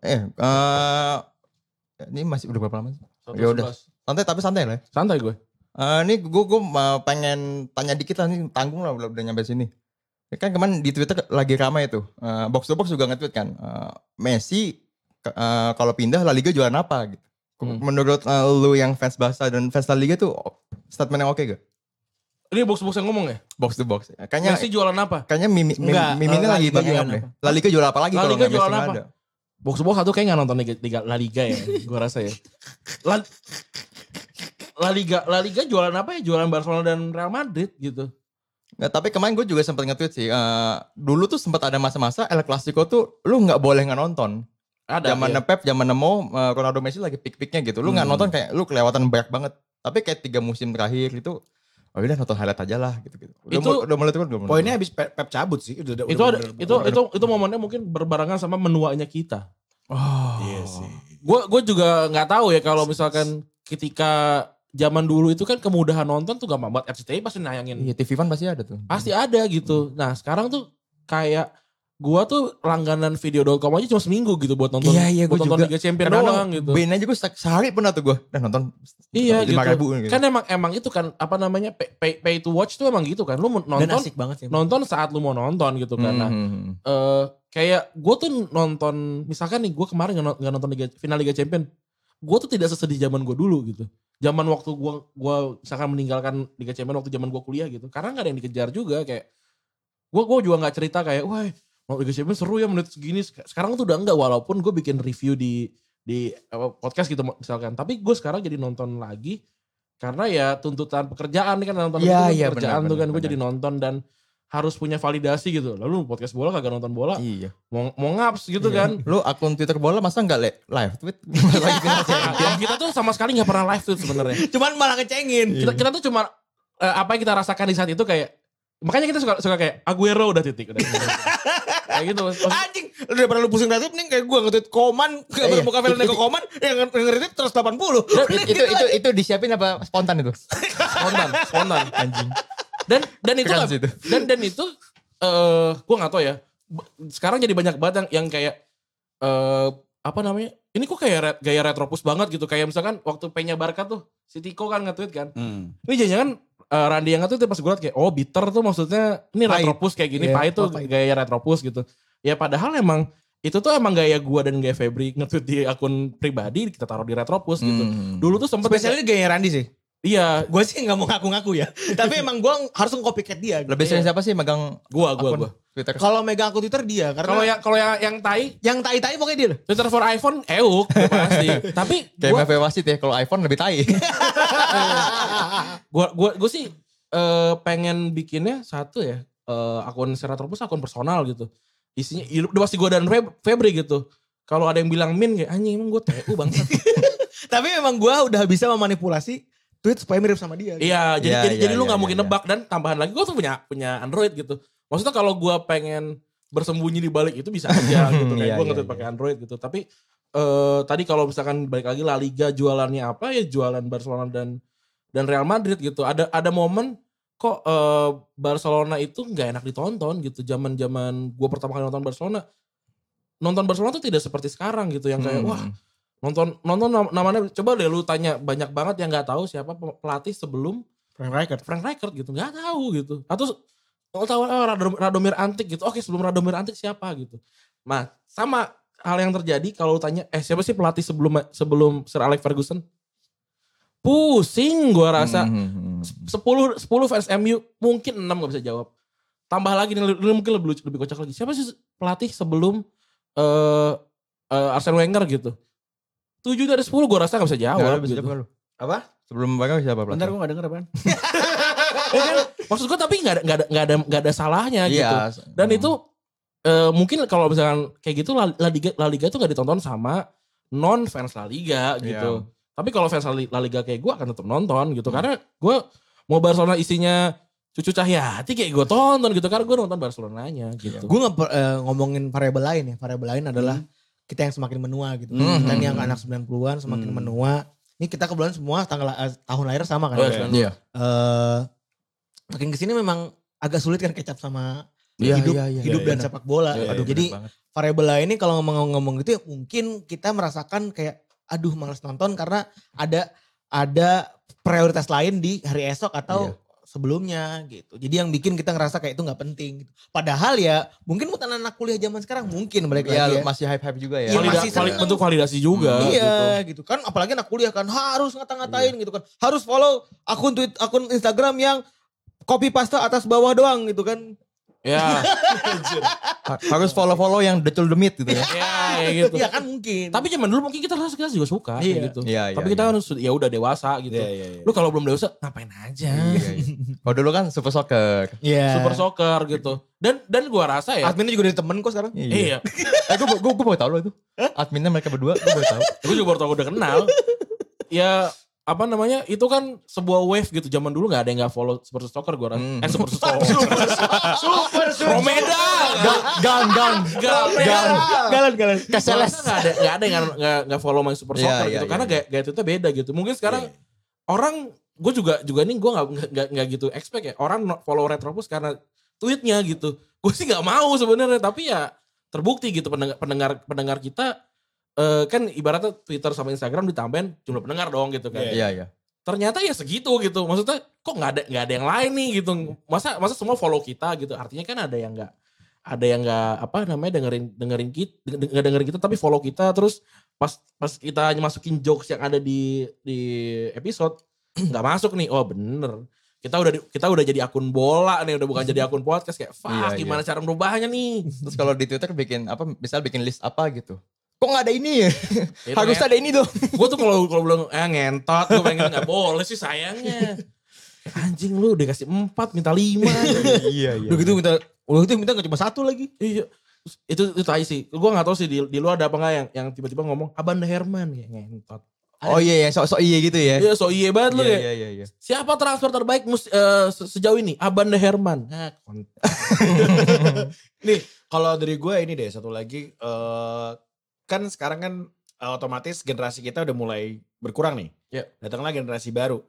Eh, eh, ini masih udah berapa lama? sih? Ya udah.
11.
Santai tapi santai lah. ya.
Santai gue.
Eh, ini gue gue pengen tanya dikit lah nih tanggung lah udah, udah nyampe sini. Ya Kan kemarin di Twitter lagi ramai itu. Eh, box to box juga nge-tweet kan. eh, Messi ke- eh, kalau pindah La Liga jualan apa gitu.
Hmm.
Menurut eh, lu yang fans Barca dan fans La Liga tuh statement yang oke gak?
Ini box-box yang ngomong ya?
Box to box. Ya, Kayaknya
Messi eh, jualan apa?
kayaknya Mimi, Mimi,
Enggak,
Mimi ini
La
lagi
Liga
banging
jualan
up deh.
apa?
La Liga jualan apa lagi
La
kalau
Liga
nggak Messi
jualan
nggak
apa?
ada?
Box-box satu kayak gak nonton Liga, Liga, La Liga ya. gue rasa ya. La, La Liga, La Liga jualan apa ya? Jualan Barcelona dan Real Madrid gitu.
Nggak, tapi kemarin gue juga sempat nge-tweet sih. eh, dulu tuh sempat ada masa-masa El Clasico tuh lu nggak boleh nggak nonton.
Ada.
Zaman
ya.
Pep, zaman Nemo, eh, Ronaldo Messi lagi pik-piknya gitu. Lu nggak
Hmm.
nonton kayak lu kelewatan banyak banget. Tapi kayak tiga musim terakhir itu oh udah nonton highlight aja lah gitu-gitu. Udah,
Itu-
mul- udah mulai turun, udah mulai
Poinnya
turun.
habis Pep, Pep cabut sih. Udah, udah-
itu
udah
ada,
bener-
itu
bener-
itu itu momennya mungkin berbarengan sama menuanya kita.
Oh.
Iya sih.
Gue gue juga nggak tahu ya kalau misalkan ketika zaman dulu itu kan kemudahan nonton tuh gampang banget RCTI pasti nayangin
Iya, TV One pasti ada tuh.
pasti ada gitu. Nah sekarang tuh kayak gua tuh langganan video.com aja cuma seminggu gitu buat nonton.
Iya, iya,
buat
gua
nonton
juga.
Liga Champion
Kadang-kadang
doang gitu.
Bein aja gue se- sehari pernah tuh gue. Udah nonton
Iya gitu.
5.000 gitu.
Kan emang emang itu kan apa namanya pay, pay, pay to watch tuh emang gitu kan. Lu mau
Dan
nonton
asik Hmm. banget sih.
nonton saat lu mau nonton gitu kan. Nah,
Mhm.
eh kayak gue tuh nonton misalkan nih gue kemarin nggak non- nggak nonton Liga, final Liga Champion gue tuh tidak sesedih zaman gue dulu gitu zaman waktu gue gua misalkan meninggalkan Liga Champion waktu zaman gue kuliah gitu karena nggak ada yang dikejar juga kayak gue gue juga nggak cerita kayak wah mau Liga Champion seru ya menit segini Sek- sekarang tuh udah enggak walaupun gue bikin review di di apa, podcast gitu misalkan tapi gue sekarang jadi nonton lagi karena ya tuntutan pekerjaan nih kan nonton
Iya,
itu kan
iya,
pekerjaan
benar,
tuh kan
benar,
gue
benar.
jadi nonton dan harus punya validasi gitu lalu podcast bola kagak nonton bola
Iya.
mau mau ngaps gitu
Iya.
kan.
Lu akun Twitter bola masa nggak le- live tweet? Iya. Lagi ya. final Champions.
Nah, kita tuh sama sekali nggak pernah live tuh sebenarnya.
Cuman malah
Iya.
ngecengin.
Kita kita tuh cuma eh, apa yang kita rasakan di saat itu kayak makanya kita suka suka kayak Aguero udah titik udah. kayak gitu. Maksud-
Anjing, lu daripada lu pusing retweet nih kayak gue nge-tweet koman,
Iya.
gak bermuka film ke koman, yang nge-retweet 180. Mending
itu
gitu
itu itu disiapin apa spontan itu?
spontan, spontan.
Anjing.
Dan dan itu Gitu.
Keren
nggak-
sih itu.
dan dan itu eh gua nggak tahu ya. B- Sekarang jadi banyak banget yang, yang kayak eh apa namanya? Ini kok kayak re- gaya retropus banget gitu. Kayak misalkan waktu Peña Barca tuh si Tiko kan nge-tweet kan.
Hmm.
Ini jangan-jangan eh, Randy yang itu pas gue liat kayak oh bitter tuh maksudnya ini
Pahit.
retropus kayak gini
Iya,
pahit tuh
oh, pahit.
gaya retropus gitu. Ya padahal emang itu tuh emang gaya gua dan gaya Febri nge-tweet di akun pribadi kita taruh di retropus
Hmm,
gitu. Dulu tuh sempet
Spesialnya gaya Randy sih.
iya
Gue sih gak mau ngaku-ngaku ya. Tapi emang gue harus nge-copycat dia. gitu.
Lebih sering siapa sih megang
Iya. gua gua
akun
gua.
Twitter?
Kalau megang akun Twitter dia. Karena
Kalau yang kalau yang yang tai
yang tai-tai pokoknya dia. loh.
Twitter for iPhone euk udah pasti. Tapi
Kayak
gua
MV Wasit ya, kalau iPhone lebih tai.
gua gua, gua sih eh, pengen bikinnya satu ya eh, akun Seratropus akun personal gitu. Isinya ya, udah pasti gua dan Feb- Febri gitu. Kalau ada yang bilang min kayak anjing emang gua TU bang.
Tapi emang gue udah bisa memanipulasi tweet supaya mirip sama dia. gitu.
Iya, jadi
Iya,
jadi,
iya,
jadi lu
iya,
nggak mungkin
iya,
nebak dan tambahan lagi gue tuh punya punya Android gitu. Maksudnya kalau gua pengen bersembunyi di balik itu bisa aja gitu
Iya, iya,
kayak gue ngetweet
iya.
pakai Android gitu. Tapi eh tadi kalau misalkan balik lagi La Liga jualannya apa ya jualan Barcelona dan dan Real Madrid gitu. Ada ada momen kok eh, Barcelona itu nggak enak ditonton gitu. Zaman-zaman gua pertama kali nonton Barcelona nonton Barcelona tuh tidak seperti sekarang gitu yang
Hmm.
kayak wah nonton nonton nam- namanya coba deh lu tanya banyak banget yang nggak tahu siapa pe- pelatih sebelum
Frank Rijkaard.
Frank Rijkaard gitu nggak tahu gitu atau kalau tahu oh, Radom- Radomir Antik gitu oke sebelum Radomir Antik siapa gitu nah sama hal yang terjadi kalau lu tanya eh siapa sih pelatih sebelum sebelum Sir Alex Ferguson pusing gua rasa
Hmm.
10 10 fans MU mungkin 6 gak bisa jawab. Tambah lagi nih, lu- lu mungkin lebih lucu- lebih kocak lagi. Siapa sih pelatih sebelum eh eh, Arsene Wenger gitu? 7 dari 10 gue rasa gak bisa
Nggak,
jawab
lu
gitu.
siapa lu?
Apa?
Sebelum Barca siapa
Bentar
pelatih?
gue gak denger apaan.
Ya kan? Maksud gue tapi gak ada, gak ada, gak ada, gak ada salahnya gitu.
Iya.
Dan
Hmm.
itu eh, mungkin kalau misalkan kayak gitu La, La Liga La Liga tuh gak ditonton sama non fans La Liga gitu. Tapi kalau fans La Li- La Liga kayak gue akan tetap nonton gitu karena gue mau Barcelona isinya cucu Cahyati kayak gue tonton gitu karena gue nonton Barcelonanya gitu.
Gue eh, ngomongin variabel lain ya. Variabel lain adalah kita yang semakin menua gitu.
Hmm.
Dan yang anak 90-an semakin
Hmm.
menua. Ini kita kebetulan semua tanggal eh, tahun lahir sama kan.
Oh,
Eh
iya.
Iya.
makin kesini memang agak sulit kan kecap sama
Iya,
hidup
iya, iya,
hidup
iya,
dan
iya.
sepak bola.
Iya,
Aduh,
bener
jadi
banget.
variabel lainnya kalau ngomong-ngomong gitu ya mungkin kita merasakan kayak aduh males nonton karena ada ada prioritas lain di hari esok atau
Iya.
sebelumnya gitu. Jadi yang bikin kita ngerasa kayak itu nggak penting. Gitu. Padahal ya mungkin buat anak kuliah zaman sekarang mungkin
Iya,
mereka
ya,
lagi ya.
masih hype-hype juga ya.
Iya,
Valida-
masih
vali-
seneng.
bentuk validasi juga
iya
gitu. Iya.
gitu. kan apalagi anak kuliah kan harus ngata-ngatain gitu kan harus follow akun tweet akun Instagram yang copy paste atas bawah doang gitu kan
Ya,
Ha- Harus follow-follow yang decul demit gitu ya.
ya kayak gitu.
ya kan mungkin
Tapi zaman dulu mungkin kita rasa kita juga suka kayak
Iya.
gitu.
Iya, iya.
Tapi kita kan sudah- ya udah dewasa gitu.
Iya, iya, iya.
Lu kalau belum dewasa ngapain aja?
Iya, iya. Kalau dulu kan super soccer.
Iya.
Super soccer gitu. Dan dan gua rasa ya
adminnya juga dari temen kok sekarang
Iya,
eh, gue, gue, gue baru tau loh itu. Adminnya mereka berdua, gue baru tau.
gue juga baru tau udah kenal. ya apa namanya itu kan sebuah wave gitu zaman dulu nggak ada yang nggak follow super stalker gue rasa
Hmm.
eh super stalker super super Romeda
Gan, gan.
Gan.
galan galan
Gua rasa nggak ada nggak ada yang nggak- nggak nggak follow main super
Iya,
soccer
iya,
gitu
iya,
karena
iya.
gaya, gaya tweetnya beda gitu mungkin sekarang orang gue juga juga nih gue nggak nggak nggak gitu expect ya orang no- follow retropus karena tweetnya gitu gue sih nggak mau sebenarnya tapi ya terbukti gitu pendengar pendengar pendengar kita eh, kan ibaratnya Twitter sama Instagram ditambahin jumlah pendengar dong gitu kan.
Iya, iya.
Ternyata ya segitu gitu. Maksudnya kok nggak ada nggak ada yang lain nih gitu. Masa masa semua follow kita gitu. Artinya kan ada yang nggak ada yang nggak apa namanya dengerin dengerin kita nggak dengerin kita tapi follow kita terus pas pas kita masukin jokes yang ada di di episode nggak masuk nih oh bener kita udah di- kita udah jadi akun bola nih udah bukan jadi akun podcast kayak fuck
Iya, iya.
gimana cara merubahnya nih
Terus kalau di Twitter bikin apa, misal bikin list apa gitu. Kok gak ada ini ya?
Itu
Harus ada ini dong.
gue Iya, tuh kalau kalau bilang eh ngentot gue pengen nggak boleh sih sayangnya anjing lu udah kasih empat minta lima
iya, iya.
udah gitu minta udah gitu minta gak cuma satu lagi
iya Terus itu itu tai sih gue nggak tahu sih di, di luar ada apa nggak yang yang tiba-tiba ngomong abanda herman kayak ngentot
Oh iya, iya. Sok-sok iya gitu ya.
iya so iye banget lu
Iya,
ya
iya, iya. iya.
siapa transfer terbaik mus- eh, se- sejauh ini abanda herman nah, kont-
Nih, kalau dari gue ini deh satu lagi eh kan sekarang kan eh, otomatis generasi kita udah mulai berkurang nih.
Ya.
Datanglah generasi baru.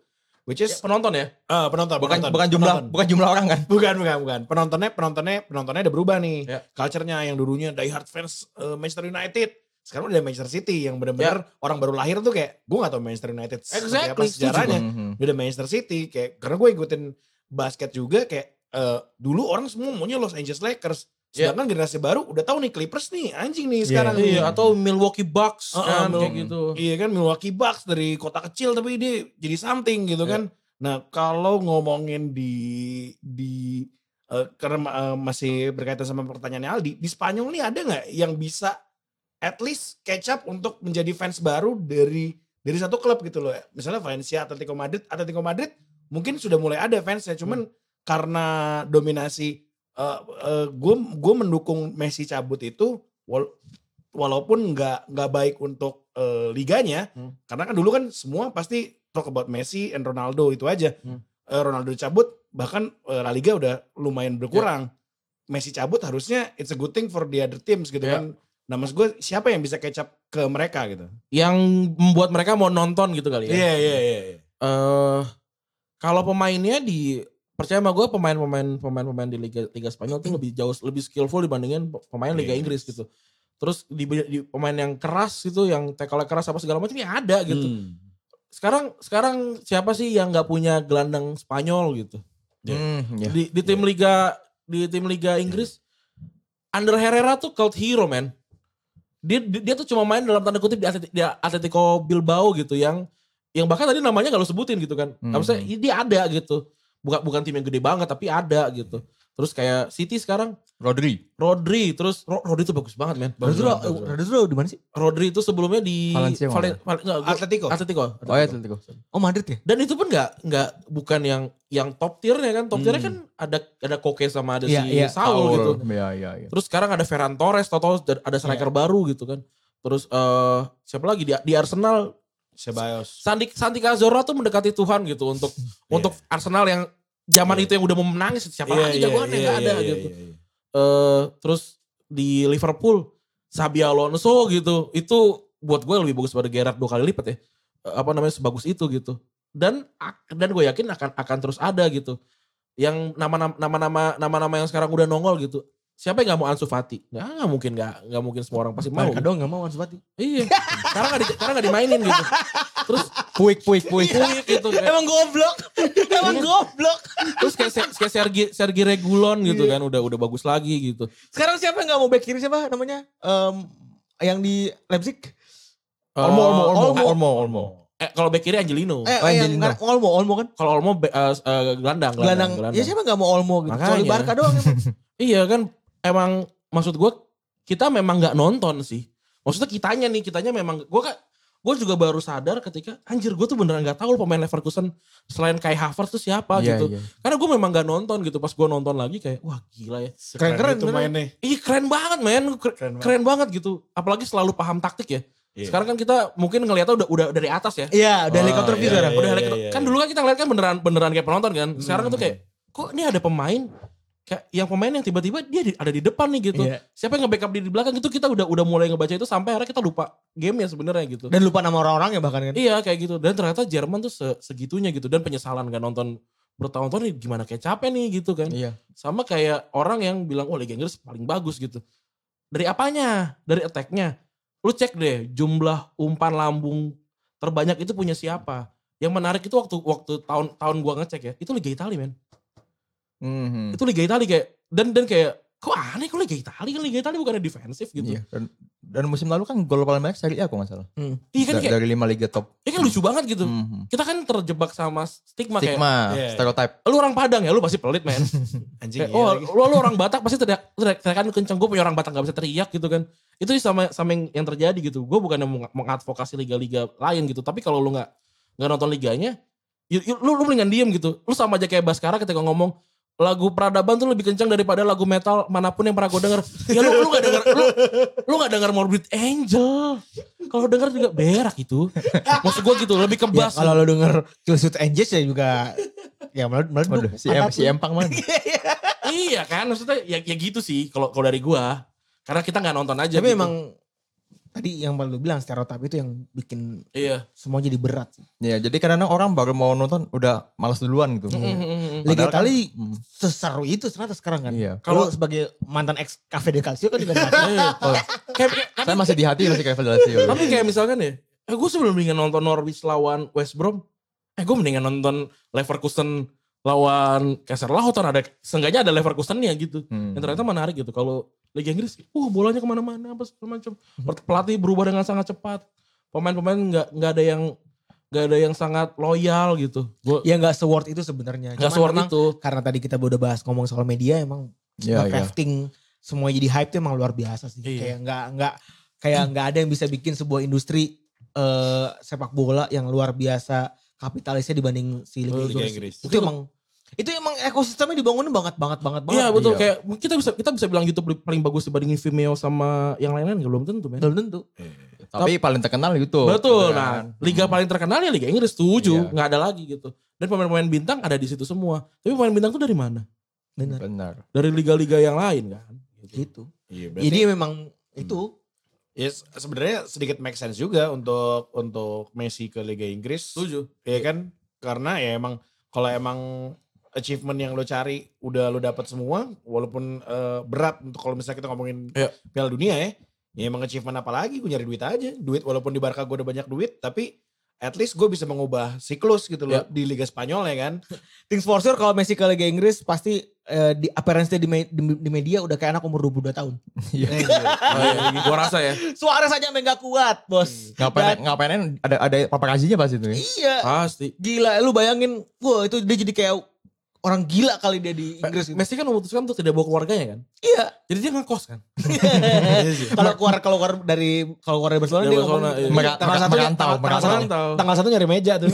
Which
Ya,
is
penonton
eh,
ya
penonton,
Bukan,
penonton,
bukan jumlah,
penonton.
bukan jumlah orang kan?
Bukan, bukan, bukan. Penontonnya, penontonnya, penontonnya udah berubah nih.
Ya.
Culture-nya yang dulunya die hard fans eh, Manchester United. Sekarang udah Manchester City yang bener-bener orang baru lahir tuh kayak gue gak tau Manchester United seperti apa
Ya. Exactly, setuju
sejarahnya.
Mhm.
Dia udah Manchester City kayak karena gue ikutin basket juga kayak eh, dulu orang semua maunya Los Angeles Lakers
Iya.
sedangkan generasi baru udah tahu nih Clippers nih anjing nih sekarang nih.
iya atau Milwaukee Bucks
Heeh,
kan
Mil-
kayak gitu
Iya kan Milwaukee Bucks dari kota kecil tapi dia jadi something gitu kan. Nah kalau ngomongin di di eh, karena eh, masih berkaitan sama pertanyaannya Aldi di Spanyol nih ada nggak yang bisa at least catch up untuk menjadi fans baru dari dari satu klub gitu loh. Misalnya Valencia, Atletico Madrid, Atletico Madrid mungkin sudah mulai ada fansnya cuman karena dominasi eh, gue gue mendukung Messi cabut itu wal- walaupun nggak nggak baik untuk eh, liganya
Hmm.
karena kan dulu kan semua pasti talk about Messi and Ronaldo itu aja
Hmm.
Eh, Ronaldo cabut bahkan eh, La Liga udah lumayan berkurang Messi cabut harusnya it's a good thing for the other teams gitu
Ya.
kan nah maksud gue siapa yang bisa catch up ke mereka gitu
yang membuat mereka mau nonton gitu kali ya
iya iya
eh kalau pemainnya di percaya sama gue pemain-pemain pemain-pemain di liga liga Spanyol tuh lebih jauh lebih skillful dibandingin pemain liga
Liga
Inggris gitu. Terus di, di pemain yang keras gitu, yang tackle keras apa segala macam ya ada gitu.
Hmm.
Sekarang sekarang siapa sih yang nggak punya gelandang Spanyol gitu? Iya.
Hmm, iya.
Di, di tim liga di tim liga Inggris Under Herrera tuh cult hero man. Dia, dia dia tuh cuma main dalam tanda kutip di, Atleti- di Atletico Bilbao gitu yang yang bahkan tadi namanya gak lo sebutin gitu kan.
Hmm.
Nggak usah, ini dia ada gitu. Bukan bukan tim yang gede banget tapi ada gitu. Terus kayak City sekarang
Rodri.
Rodri terus Ro- Rodri tuh bagus banget men.
Radu tuh Radu tuh di mana sih Ah,
Rodri itu sebelumnya di
Valencia,
Valen- Valen- nggak, gua-
Atletico
Atletico.
Oh iya, Atletico.
oh Madrid ya
Dan itu pun nggak nggak bukan yang yang top tiernya kan. Top tiernya kan ada ada Koke sama ada
Hmm. Iya,
si
iya.
Saul, gitu.
Iya, iya, iya.
Terus sekarang ada Ferran Torres, tau ada striker
Iya.
baru gitu kan. Terus eh siapa lagi di, di Arsenal
Sebayos
Sandi Santi Cazorla tuh mendekati Tuhan gitu untuk untuk
Iya.
Arsenal yang zaman itu yang udah mau menangis siapa
Iya,
lagi jagoannya
iya,
nggak ada gitu. Eh, terus di Liverpool Sabi Alonso gitu itu buat gue lebih bagus pada Gerrard dua kali lipat ya Eh, apa namanya sebagus itu gitu dan ak- dan gue yakin akan akan terus ada gitu yang nama-nama nama-nama nama-nama yang sekarang udah nongol gitu. Siapa yang gak mau Ansu Fati? Gak, gak mungkin gak, gak mungkin semua orang pasti mau.
Mereka doang gak mau Ansu Fati.
Iya. Karena gak, di, karena gak dimainin gitu. Terus
Puik, puik, puik.
kuik gitu kayak,
Emang goblok. Emang goblok.
terus kayak, Se- kayak Sergi Sergi Regulon gitu
Iya.
kan udah udah bagus lagi gitu.
Sekarang siapa yang gak mau back kiri siapa namanya? Em, yang di Leipzig?
Olmo,
Eh,
Olmo, Olmo,
Olmo.
Olmo, Olmo.
Eh, kalau back kiri Angelino.
Eh, eh, yang
Angelino.
ngar- Olmo, Olmo kan?
Kalau Olmo be- eh, eh, oh, gelandang,
Gelandang.
Iya
Ya siapa gak mau Olmo gitu. Kecuali
Makanya.
Barca doang emang.
Iya kan emang maksud gue kita memang nggak nonton sih. Maksudnya kitanya nih kitanya memang gue kan gue juga baru sadar ketika anjir gue tuh beneran nggak tahu loh pemain Leverkusen selain Kai Havertz tuh siapa
Iya,
gitu.
iya.
Karena gue memang nggak nonton gitu. Pas gue nonton lagi kayak wah gila ya.
Keren-keren itu
bener.
mainnya.
Ih keren banget men, keren,
Keren banget.
keren banget gitu. Apalagi selalu paham taktik ya.
Iya.
Sekarang kan kita mungkin ngeliatnya udah udah dari atas ya.
Iya, udah
Oh,
helikopter
iya,
view sekarang.
iya,
Udah
iya,
helikopter.
iya, Kan dulu kan kita ngeliat kan beneran beneran kayak penonton kan. Sekarang tuh kayak kok ini ada pemain kayak yang pemain yang tiba-tiba dia di- ada di depan nih gitu.
Iya.
Siapa yang nge-backup dia di belakang itu kita udah udah mulai ngebaca itu sampai akhirnya kita lupa game ya sebenarnya gitu.
Dan lupa nama orang-orang ya bahkan kan.
iya kayak gitu. Dan ternyata Jerman tuh se- segitunya gitu dan penyesalan kan nonton bertahun-tahun nih gimana kayak capek nih gitu kan.
Iya.
Sama kayak orang yang bilang oh Liga Inggris paling bagus gitu. Dari apanya? Dari attack-nya. Lu cek deh jumlah umpan lambung terbanyak itu punya siapa. Yang menarik itu waktu waktu tahun tahun gua ngecek ya, itu Liga Italia men.
Mhm.
Itu Liga Italia kayak dan dan kayak kok aneh kok Liga Italia kan Liga Italia bukannya defensif gitu.
Iya. Dan, dan musim lalu kan gol paling banyak Serie A kalau nggak salah.
Iya kan
Da-
kayak
dari lima liga top.
Ya kan lucu banget gitu.
Mhm.
Kita kan terjebak sama stigma, kayak
Stigma,
Iya.
stereotype.
lu orang Padang ya, lu pasti pelit men.
Anjing iya
kayak, oh,
lagi.
lu, lu orang Batak pasti teriak, teriak, teriakan kenceng. Gue punya orang Batak gak bisa teriak gitu kan. Itu sih sama sama yang, yang terjadi gitu. Gue bukan mau mengadvokasi liga-liga lain gitu. Tapi kalau lu nggak nggak nonton liganya, ya- ya lu, lu mendingan diem gitu. Lu sama aja kayak Baskara ketika ngomong lagu peradaban tuh lebih kencang daripada lagu metal manapun yang pernah gue denger. Ya lu lu gak denger lu lu gak denger Morbid Angel. Kalau denger juga berak itu. Maksud gue gitu lebih
Ya,
kebas.
kalau lo denger Kill Suit Angels ya juga ya meledup.
Waduh,
meledup.
si, em, si empang mana?
iya kan maksudnya ya, ya gitu sih kalau kalau dari gua karena kita nggak nonton aja
Tapi
gitu.
emang tadi yang lu bilang stereotip itu yang bikin
iya
semua jadi berat. sih.
Iya, jadi kadang orang baru mau nonton udah malas duluan gitu.
Iya, Hmm, Mm-mm.
Padahal
Liga
kan-
Italia
Mhm.
seseru itu ternyata sekarang kan.
Iya.
Kalau
Kalau-
sebagai mantan ex Cafe de Calcio kan juga ada.
Iya. kayak, kayak- tapi,
Saya masih di hati masih kayak Velasio.
tapi kayak misalkan ya eh gue sebelum mendingan nonton Norwich lawan West Brom eh gue mendingan nonton Leverkusen lawan Kaiser Lautan ada seenggaknya ada Leverkusennya gitu
Hmm.
yang ternyata menarik gitu kalau Liga Inggris uh bolanya kemana-mana apa segala macam Per- pelatih berubah dengan sangat cepat pemain-pemain nggak nggak ada yang nggak ada yang sangat loyal gitu gue
ya nggak seword itu sebenarnya.
nggak
Cuman
seward
memang
itu
Karena tadi kita udah bahas ngomong soal media emang
Iya, iya.
crafting semua jadi hype tuh emang luar biasa sih.
Iya.
Kayak nggak nggak kayak nggak ada yang bisa bikin sebuah industri eh, sepak bola yang luar biasa kapitalisnya dibanding si Liga
Liga
Inggris.
Inggris.
Itu emang itu emang ekosistemnya dibangunnya banget banget banget banget.
Iya betul
Iya.
kayak kita bisa kita bisa bilang YouTube paling bagus dibandingin Vimeo sama yang lain-lain nggak? belum tentu men.
Belum tentu.
Tapi paling terkenal YouTube. gitu
Betul.
kan.
Nah, liga paling terkenal ya Liga Inggris
Iya.
setuju, nggak ada lagi gitu. Dan pemain-pemain bintang ada di situ semua. Tapi pemain bintang tuh dari mana?
Benar.
Benar.
Dari liga-liga yang lain kan. Hmm, Gitu.
Gitu.
Iya, berarti-
Jadi memang itu
Ya, se- sebenarnya sedikit make sense juga untuk untuk Messi ke Liga Inggris.
Setuju.
Iya kan? Karena ya emang kalau emang achievement yang lo cari udah lo dapat semua, walaupun eh, berat untuk kalau misalnya kita ngomongin
Iya.
Piala Dunia ya, ya emang achievement apa lagi? Gue nyari duit aja, duit walaupun di Barca gue udah banyak duit, tapi at least gue bisa mengubah siklus gitu loh
Iya.
di Liga Spanyol ya kan?
things for sure kalau Messi ke Liga Inggris pasti eh, di appearance-nya di, me- di- di media udah kayak anak umur 22 tahun.
Oh, iya. Gua rasa ya.
Suara saja emang nggak kuat, Bos.
Ngapain
Dan-
ngapain ada ada paparazinya pas
Hmm.
itu ya.
Iya.
Pasti.
Gila, lu bayangin, wah itu dia jadi kayak orang gila kali dia di Inggris. gitu.
Messi kan memutuskan untuk tidak bawa keluarganya kan.
Iya.
Jadi dia ngekos kan.
kalau keluar kalau keluar dari kalau keluar dari Barcelona
Dari
dia
Barcelona,
ngomong,
iya.
Mega-
Tanggal
mega-
satunya-
merantau,
tanggal
merantau.
satunya- Tanggal satu nyari meja tuh.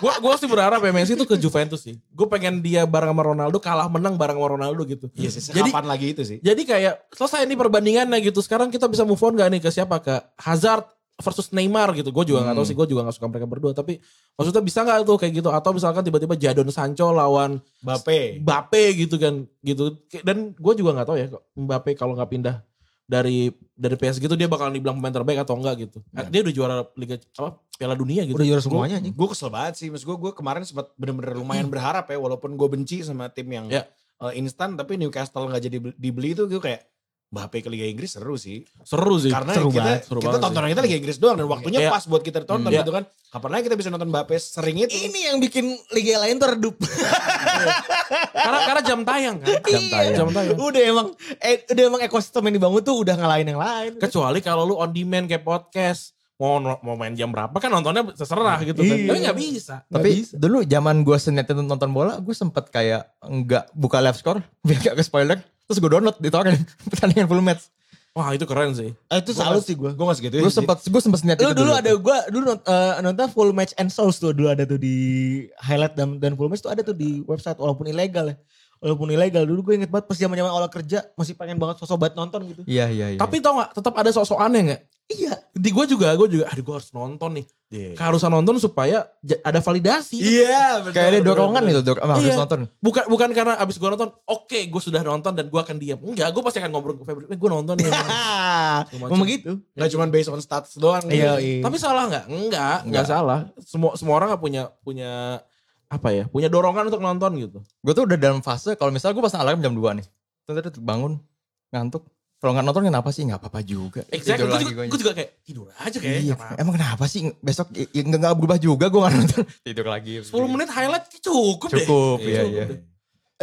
gua gua sih berharap ya Messi tuh ke Juventus sih. Gue pengen dia bareng sama Ronaldo kalah menang bareng sama Ronaldo gitu.
Iya sih,
Jadi
kapan lagi itu sih?
Jadi kayak selesai nih perbandingannya gitu. Sekarang kita bisa move on gak nih ke siapa? Ke Hazard versus Neymar gitu. Gue juga nggak
Hmm.
tahu sih. Gue juga nggak suka mereka berdua. Tapi maksudnya bisa nggak tuh kayak gitu? Atau misalkan tiba-tiba Jadon Sancho lawan
Bape.
Mbappe gitu kan? Gitu. Dan gue juga nggak tahu ya Mbappe kalau nggak pindah
Ya.
dari dari PSG itu dia bakalan dibilang pemain terbaik atau enggak gitu. Eh, Dia udah juara Liga apa? Piala Dunia gitu.
Udah juara semuanya anjing.
Gue kesel banget sih, mas gue gue kemarin sempat bener-bener lumayan berharap ya, walaupun gue benci sama tim yang
Hmm. Ya.
eh, instan, tapi Newcastle nggak jadi bel- dibeli itu gue kayak Mbappe ke Liga Inggris seru sih.
Seru sih.
Karena
seru
kita
banget, seru
kita
banget
tontonan
sih.
kita Liga Inggris doang dan waktunya
Iya.
pas buat kita tonton
Hmm.
gitu kan. Kapan lagi kita bisa nonton Mbappe sering itu?
Ini yang bikin liga lain terdup.
Karena karena jam tayang kan. Jam tayang. Jam tayang.
Iya. udah emang eh, udah emang ekosistem yang dibangun tuh udah ngalahin yang lain.
Kecuali kalau lu on demand kayak podcast. Mau, mau main jam berapa kan nontonnya terserah gitu
Iya.
kan. Tapi gak bisa.
Tapi dulu zaman gue senetnya nonton bola, gue sempet kayak enggak buka live score, biar gak ke spoiler. Terus gue download di torrent pertandingan full match.
Wah itu keren sih.
Eh, itu salut sih gue.
Gue gak
Iya,
segitu ya,
Gue sempet gue sempet senet
Lu
itu
dulu ada gue dulu nont- eh, nonton full match and souls tuh dulu ada tuh di highlight dan, dan full match tuh ada tuh di website walaupun ilegal ya. Walaupun ilegal dulu gue inget banget pas zaman zaman olah kerja masih pengen banget sosok banget nonton gitu.
Iya iya iya.
Tapi tau gak tetap ada sosok aneh gak?
Iya.
Di gue juga, gue juga, aduh gue harus nonton nih. Keharusan nonton supaya j- ada validasi.
Iya, betul.
kayak ada
betul,
dorongan
betul.
gitu, dok, emang harus
Iya.
nonton.
Bukan bukan karena abis gue nonton, oke gue sudah nonton dan gue akan diam. Enggak, gue pasti akan ngobrol ke Febri, gue nonton ya.
Ah,
Macam.
memang gitu.
Gak cuma ya. based on stats doang.
Iya,
gitu.
iya.
Tapi salah nggak? Enggak, enggak
Nggak.
salah. Semua semua orang nggak punya punya apa ya? Punya dorongan untuk nonton gitu.
Gue tuh udah dalam fase kalau misalnya gue pasang alarm jam 2 nih. Terus bangun ngantuk. Kalau nggak nonton kenapa sih? Nggak apa-apa juga. Tidur
Exactly. Gue
lagi
juga,
guanya.
gua juga kayak tidur aja kayak.
Iya, emang kenapa sih besok i- i- nggak nggak berubah juga gue nggak nonton tidur lagi.
10 menit highlight cukup, deh.
Iya. Cukup, iya
Cukup
iya.
deh.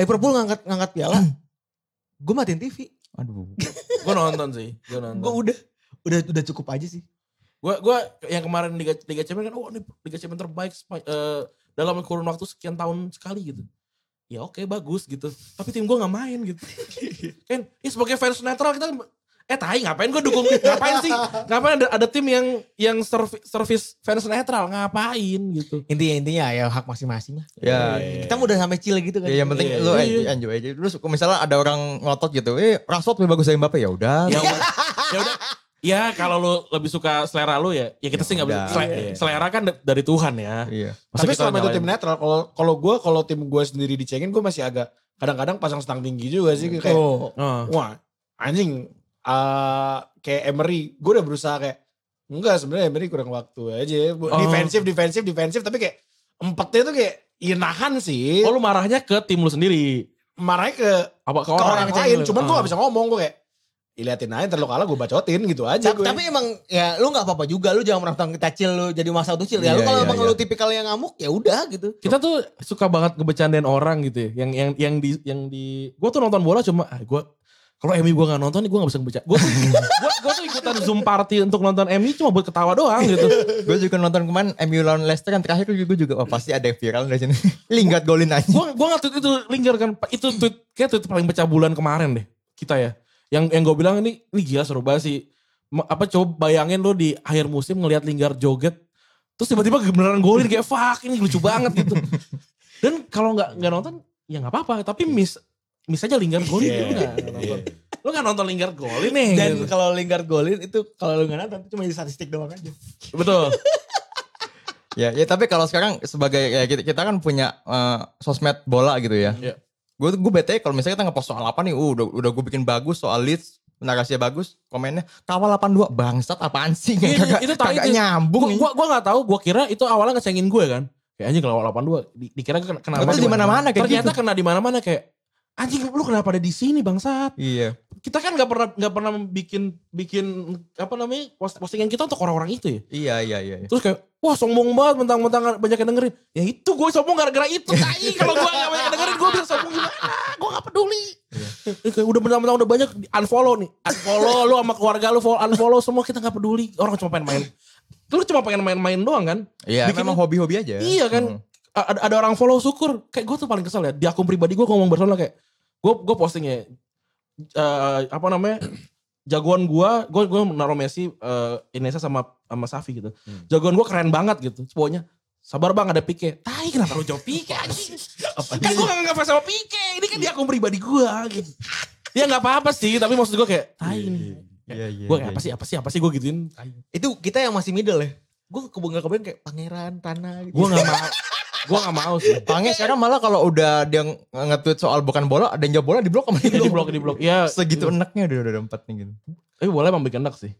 Liverpool ngangkat ngangkat piala.
Hmm.
gue matiin TV.
Aduh.
Gue nonton sih, gue nonton.
Gue udah udah udah cukup aja sih.
Gue gue yang kemarin Liga Liga Champions kan, oh ini Liga Champions terbaik Spa- eh, dalam kurun waktu sekian tahun sekali gitu. Ya oke bagus gitu. Tapi tim gue nggak main gitu. kan, ini sebagai fans netral kita eh tai ngapain gue dukung ngapain sih ngapain ada, ada tim yang yang servi- service fans netral ngapain gitu
Intinya intinya ya hak masing-masing lah.
Ya,
Kita mau udah sampai chill gitu kan.
Ya, yang penting
Iya,
lu
iya,
enjoy,
iya.
enjoy aja. Terus kalau misalnya ada orang ngotot gitu, eh Rashford lebih bagus dari Mbappe ya udah.
Iya.
ya udah ya udah ya kalau lu lebih suka selera lu ya ya kita sih nggak bisa
udah.
sele-
Iya.
selera kan da- dari Tuhan ya
Iya.
Masa
Tapi
kita
selama itu
nyalain-
tim netral, kalau kalau gue, kalau tim gue sendiri dicengin, gue masih agak kadang-kadang pasang stang tinggi juga sih. Kayak,
Oh.
Oh.
wah anjing eh kayak Emery gue udah berusaha kayak enggak sebenarnya Emery kurang waktu aja Bu-
Oh.
defensif defensif defensif tapi kayak empatnya tuh kayak ya nahan sih
Oh lu marahnya ke tim lu sendiri.
marahnya ke,
Apa ke
ke orang,
orang?
lain cuman gue
Ah.
gak bisa ngomong gue kayak diliatin aja ntar lu kalah gue bacotin gitu aja
Tapi,
gue
tapi emang ya lu nggak apa-apa juga lu jangan merasa kita chill lu jadi masa tuh chill ya lu
Iya,
kalau
iya,
emang
iya.
lu tipikal yang ngamuk ya udah gitu.
Kita tuh suka banget ngebecandain orang gitu ya. Yang yang yang di yang di gua tuh nonton bola cuma ah gua kalau MU gua nggak nonton nih gua nggak bisa ngebeca. Gua, gua gua tuh ikutan Zoom party untuk nonton MU cuma buat ketawa doang gitu.
gue juga nonton kemarin MU lawan Leicester kan terakhir gue juga wah pasti ada yang viral dari sini. Linggat golin aja.
Gua gua nge-tweet itu lingkar kan itu tweet kayak tweet paling pecah bulan kemarin deh kita ya. Yang yang gua bilang ini ini gila seru banget sih. Ma- Apa coba bayangin lo di akhir musim ngelihat lingkar joget terus tiba-tiba beneran golin kayak fuck ini lucu banget gitu. Dan kalau nggak nggak nonton ya nggak apa-apa tapi miss miss aja lingkar golin
Iya.
lu nggak nonton. Lo nggak nonton lingkar golin nih.
Dan
gitu.
kalau Lingard golin itu kalau lu nggak nonton itu cuma jadi statistik doang aja.
Betul.
ya, ya tapi kalau sekarang sebagai ya, kita, kita kan punya eh, sosmed bola gitu ya.
Iya.
Gue gue bete kalau misalnya kita ngepost soal apa nih, uh, udah udah gue bikin bagus soal Leeds, narasinya bagus, komennya kawal 82 bangsat apaan sih?
Iya,
Kagak-
itu tai
kagak
itu. Gua,
nyambung. ini.
gua, gua gak tahu, gua kira itu awalnya ngecengin gue kan. Kayak anjing kalau 82, di, dikira kena, kena
Tapi itu di mana-mana kayak
Ternyata
gitu.
kena di mana-mana kayak anjing lu kenapa ada di sini bangsat?
Iya.
Kita kan nggak pernah nggak pernah bikin bikin apa namanya post- postingan kita untuk orang-orang itu ya.
Iya, iya, iya.
Terus kayak wah sombong banget mentang-mentang banyak yang dengerin. Ya itu gue sombong gara-gara itu tai. Kalau gue gak banyak yang dengerin gue bisa sombong gimana? Gue gak peduli. Eh, Kayak udah mentang-mentang udah banyak di- unfollow nih. Unfollow lu sama keluarga lu follow unfollow semua kita gak peduli. Orang cuma pengen main. Lu cuma pengen main-main doang kan?
Iya,
Bikin-
memang hobi-hobi aja.
Iya
Hmm.
kan. A- Ada, ada orang follow syukur. Kayak gue tuh paling kesel ya. Di akun pribadi gue ngomong Barcelona kayak. Gue gue posting ya. eh, apa namanya. Jagoan gue. Gue gue naruh Messi. eh, Inesa sama sama Safi gitu. Jagoan gue keren banget gitu. Semuanya. Sabar bang ada Pique. Tai kenapa lu jawab Pique anjing. Kan gue gak ngefans sama Pique. Ini kan di akun pribadi gue gitu. Ya gak apa-apa sih. Tapi maksud gue kayak. Tai nih.
Iya, iya.
Gue
iya,
kayak apa sih apa sih apa sih gue gituin.
Itu kita yang masih middle ya. Gue kebayang kebayang kayak pangeran tanah gitu.
Gue gak mau. Gue gak mau sih.
Pange sekarang malah kalau udah dia nge- nge-tweet soal bukan bola, ada yang jawab bola di blok Iya. sama
Di blok di blok. Ya
Segitu enaknya udah udah ada empat nih gitu.
Eh, Tapi bola emang bikin enak sih.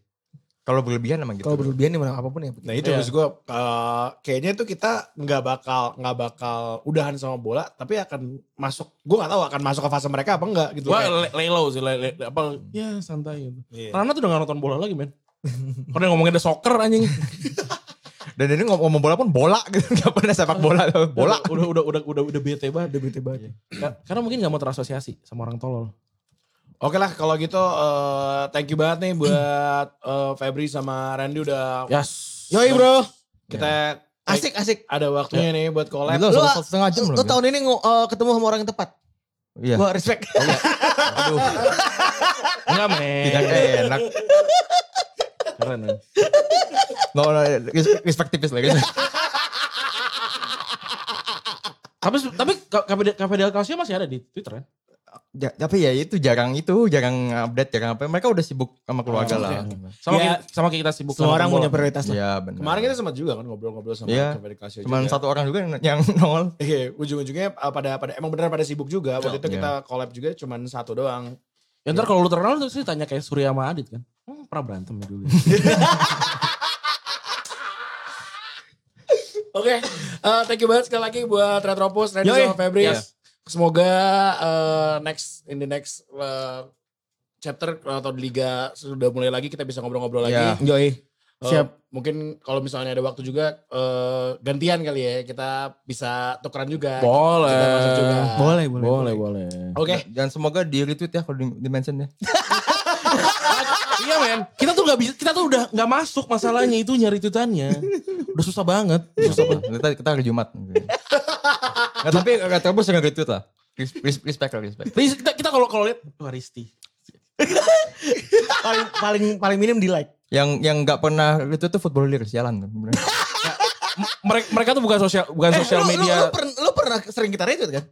Kalau berlebihan emang gitu.
Kalau berlebihan ya menang apapun ya.
Nah itu
Iya.
maksud gue eh, kayaknya tuh kita nggak bakal nggak bakal udahan sama bola tapi akan masuk gue nggak tahu akan masuk ke fase mereka apa enggak gitu.
Gua
Kayak-
le- lay low sih, lay- lay- apa ya santai gitu.
Iya.
Karena tuh udah gak nonton bola lagi men. Karena ngomongin ada soccer anjing.
Dan ini ngom- ngomong bola pun bola gitu. Gak pernah sepak bola. loh. Bola.
Udah udah udah udah udah bete banget, udah bete banget.
Iya.
Ka- Karena mungkin gak mau terasosiasi sama orang tolol.
Oke lah kalau gitu eh, thank you banget nih buat eh, Febri sama Randy udah
Yes.
Yoi
Ya.
bro.
kita
Asik asik.
ada waktunya nih buat collab.
Gila,
Lu-
satu- satu Gitu, setengah jam
Lu
loh. gitu.
tahun ini ngo- eh, ketemu sama orang yang tepat.
Iya.
Gua respect.
Aduh, Iya,
Enggak men.
tidak enak.
Keren men.
Gak boleh respektifis lagi.
Tapi tapi Ka- KPD KPDL Calcio masih ada di Twitter kan?
Ja- tapi ya itu jarang itu, jarang update, jarang apa. Mereka udah sibuk sama keluarga
Oh,
lah.
Sama
Ya,
kayak sama kayak kita sibuk
Semua
nonton
orang
bola.
punya prioritas lah.
Iya benar.
Kemarin kita sempat juga kan ngobrol-ngobrol sama
Iya.
Febri Casio
cuman
juga.
satu orang juga yang, yang nol.
Iya, ujung-ujungnya eh, pada pada emang beneran pada sibuk juga. Waktu itu
Iya.
kita collab juga cuman satu doang.
Ya ntar kalau lu terkenal terus ditanya kayak Surya sama Adit kan. Hmm, pernah berantem ya dulu.
Oke, eh, thank you banget sekali lagi buat Retropus, Randy
Yoi.
sama Febri.
Yes.
Semoga eh, next in the next eh, chapter atau di liga sudah mulai lagi kita bisa ngobrol-ngobrol lagi.
Iya.
Yoi.
Eh,
Siap.
mungkin kalau misalnya ada waktu juga eh, gantian kali ya kita bisa tukeran juga.
boleh.
Kita masuk juga.
Boleh boleh.
Boleh, boleh.
Oke.
Dan semoga di retweet ya kalau di, di mention ya.
iya men, kita tuh gak bisa, kita tuh udah gak masuk masalahnya itu nyari tweetannya. Udah susah banget. Susah banget.
kita, kita hari Jumat. Nggak, tapi kata bos yang retweet lah. Res- res- Respect lah, respect.
Riz, Kita, kita kalau kalau lihat, wah Risti.
paling paling paling minim di like.
Yang yang nggak pernah retweet tuh football leaders jalan. tuh.
Mereka, mereka tuh bukan sosial
Eh,
bukan sosial
Eh, lu,
media.
Lu, lu, pern- lu pernah sering kita retweet kan?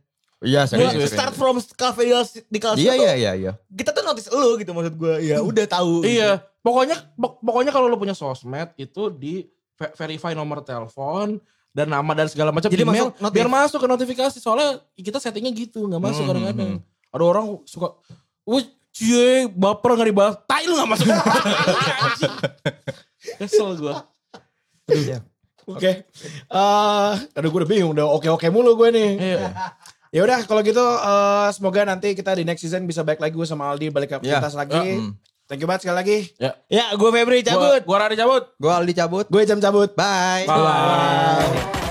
Iya serius.
Gua
serius.
start from cafe di kelas
Iya iya iya iya.
Kita tuh notice lu gitu maksud gue. Ya udah tahu.
Iya, pokoknya pok- pokoknya kalau lu punya sosmed itu di ve- verify nomor telepon dan nama dan segala macam
Jadi
email
masuk notif.
biar masuk ke notifikasi soalnya kita settingnya gitu nggak masuk
Hmm,
kadang-kadang.
hmm.
Ada orang suka Wih, cie, baper gak dibahas. Tai lu gak masuk. Anjing. Kesel gue.
Oke. Eh, aduh gue udah bingung udah oke-oke mulu gue nih.
Iya.
Ya udah kalau gitu eh, semoga nanti kita di next season bisa baik lagi gue sama Aldi balik ke
Iya.
pintas lagi.
Hmm.
Thank you banget sekali lagi.
Ya gue Febri cabut.
Gua, gua Rari cabut.
Gue Aldi cabut.
Gue jam cabut.
Bye.
Bye.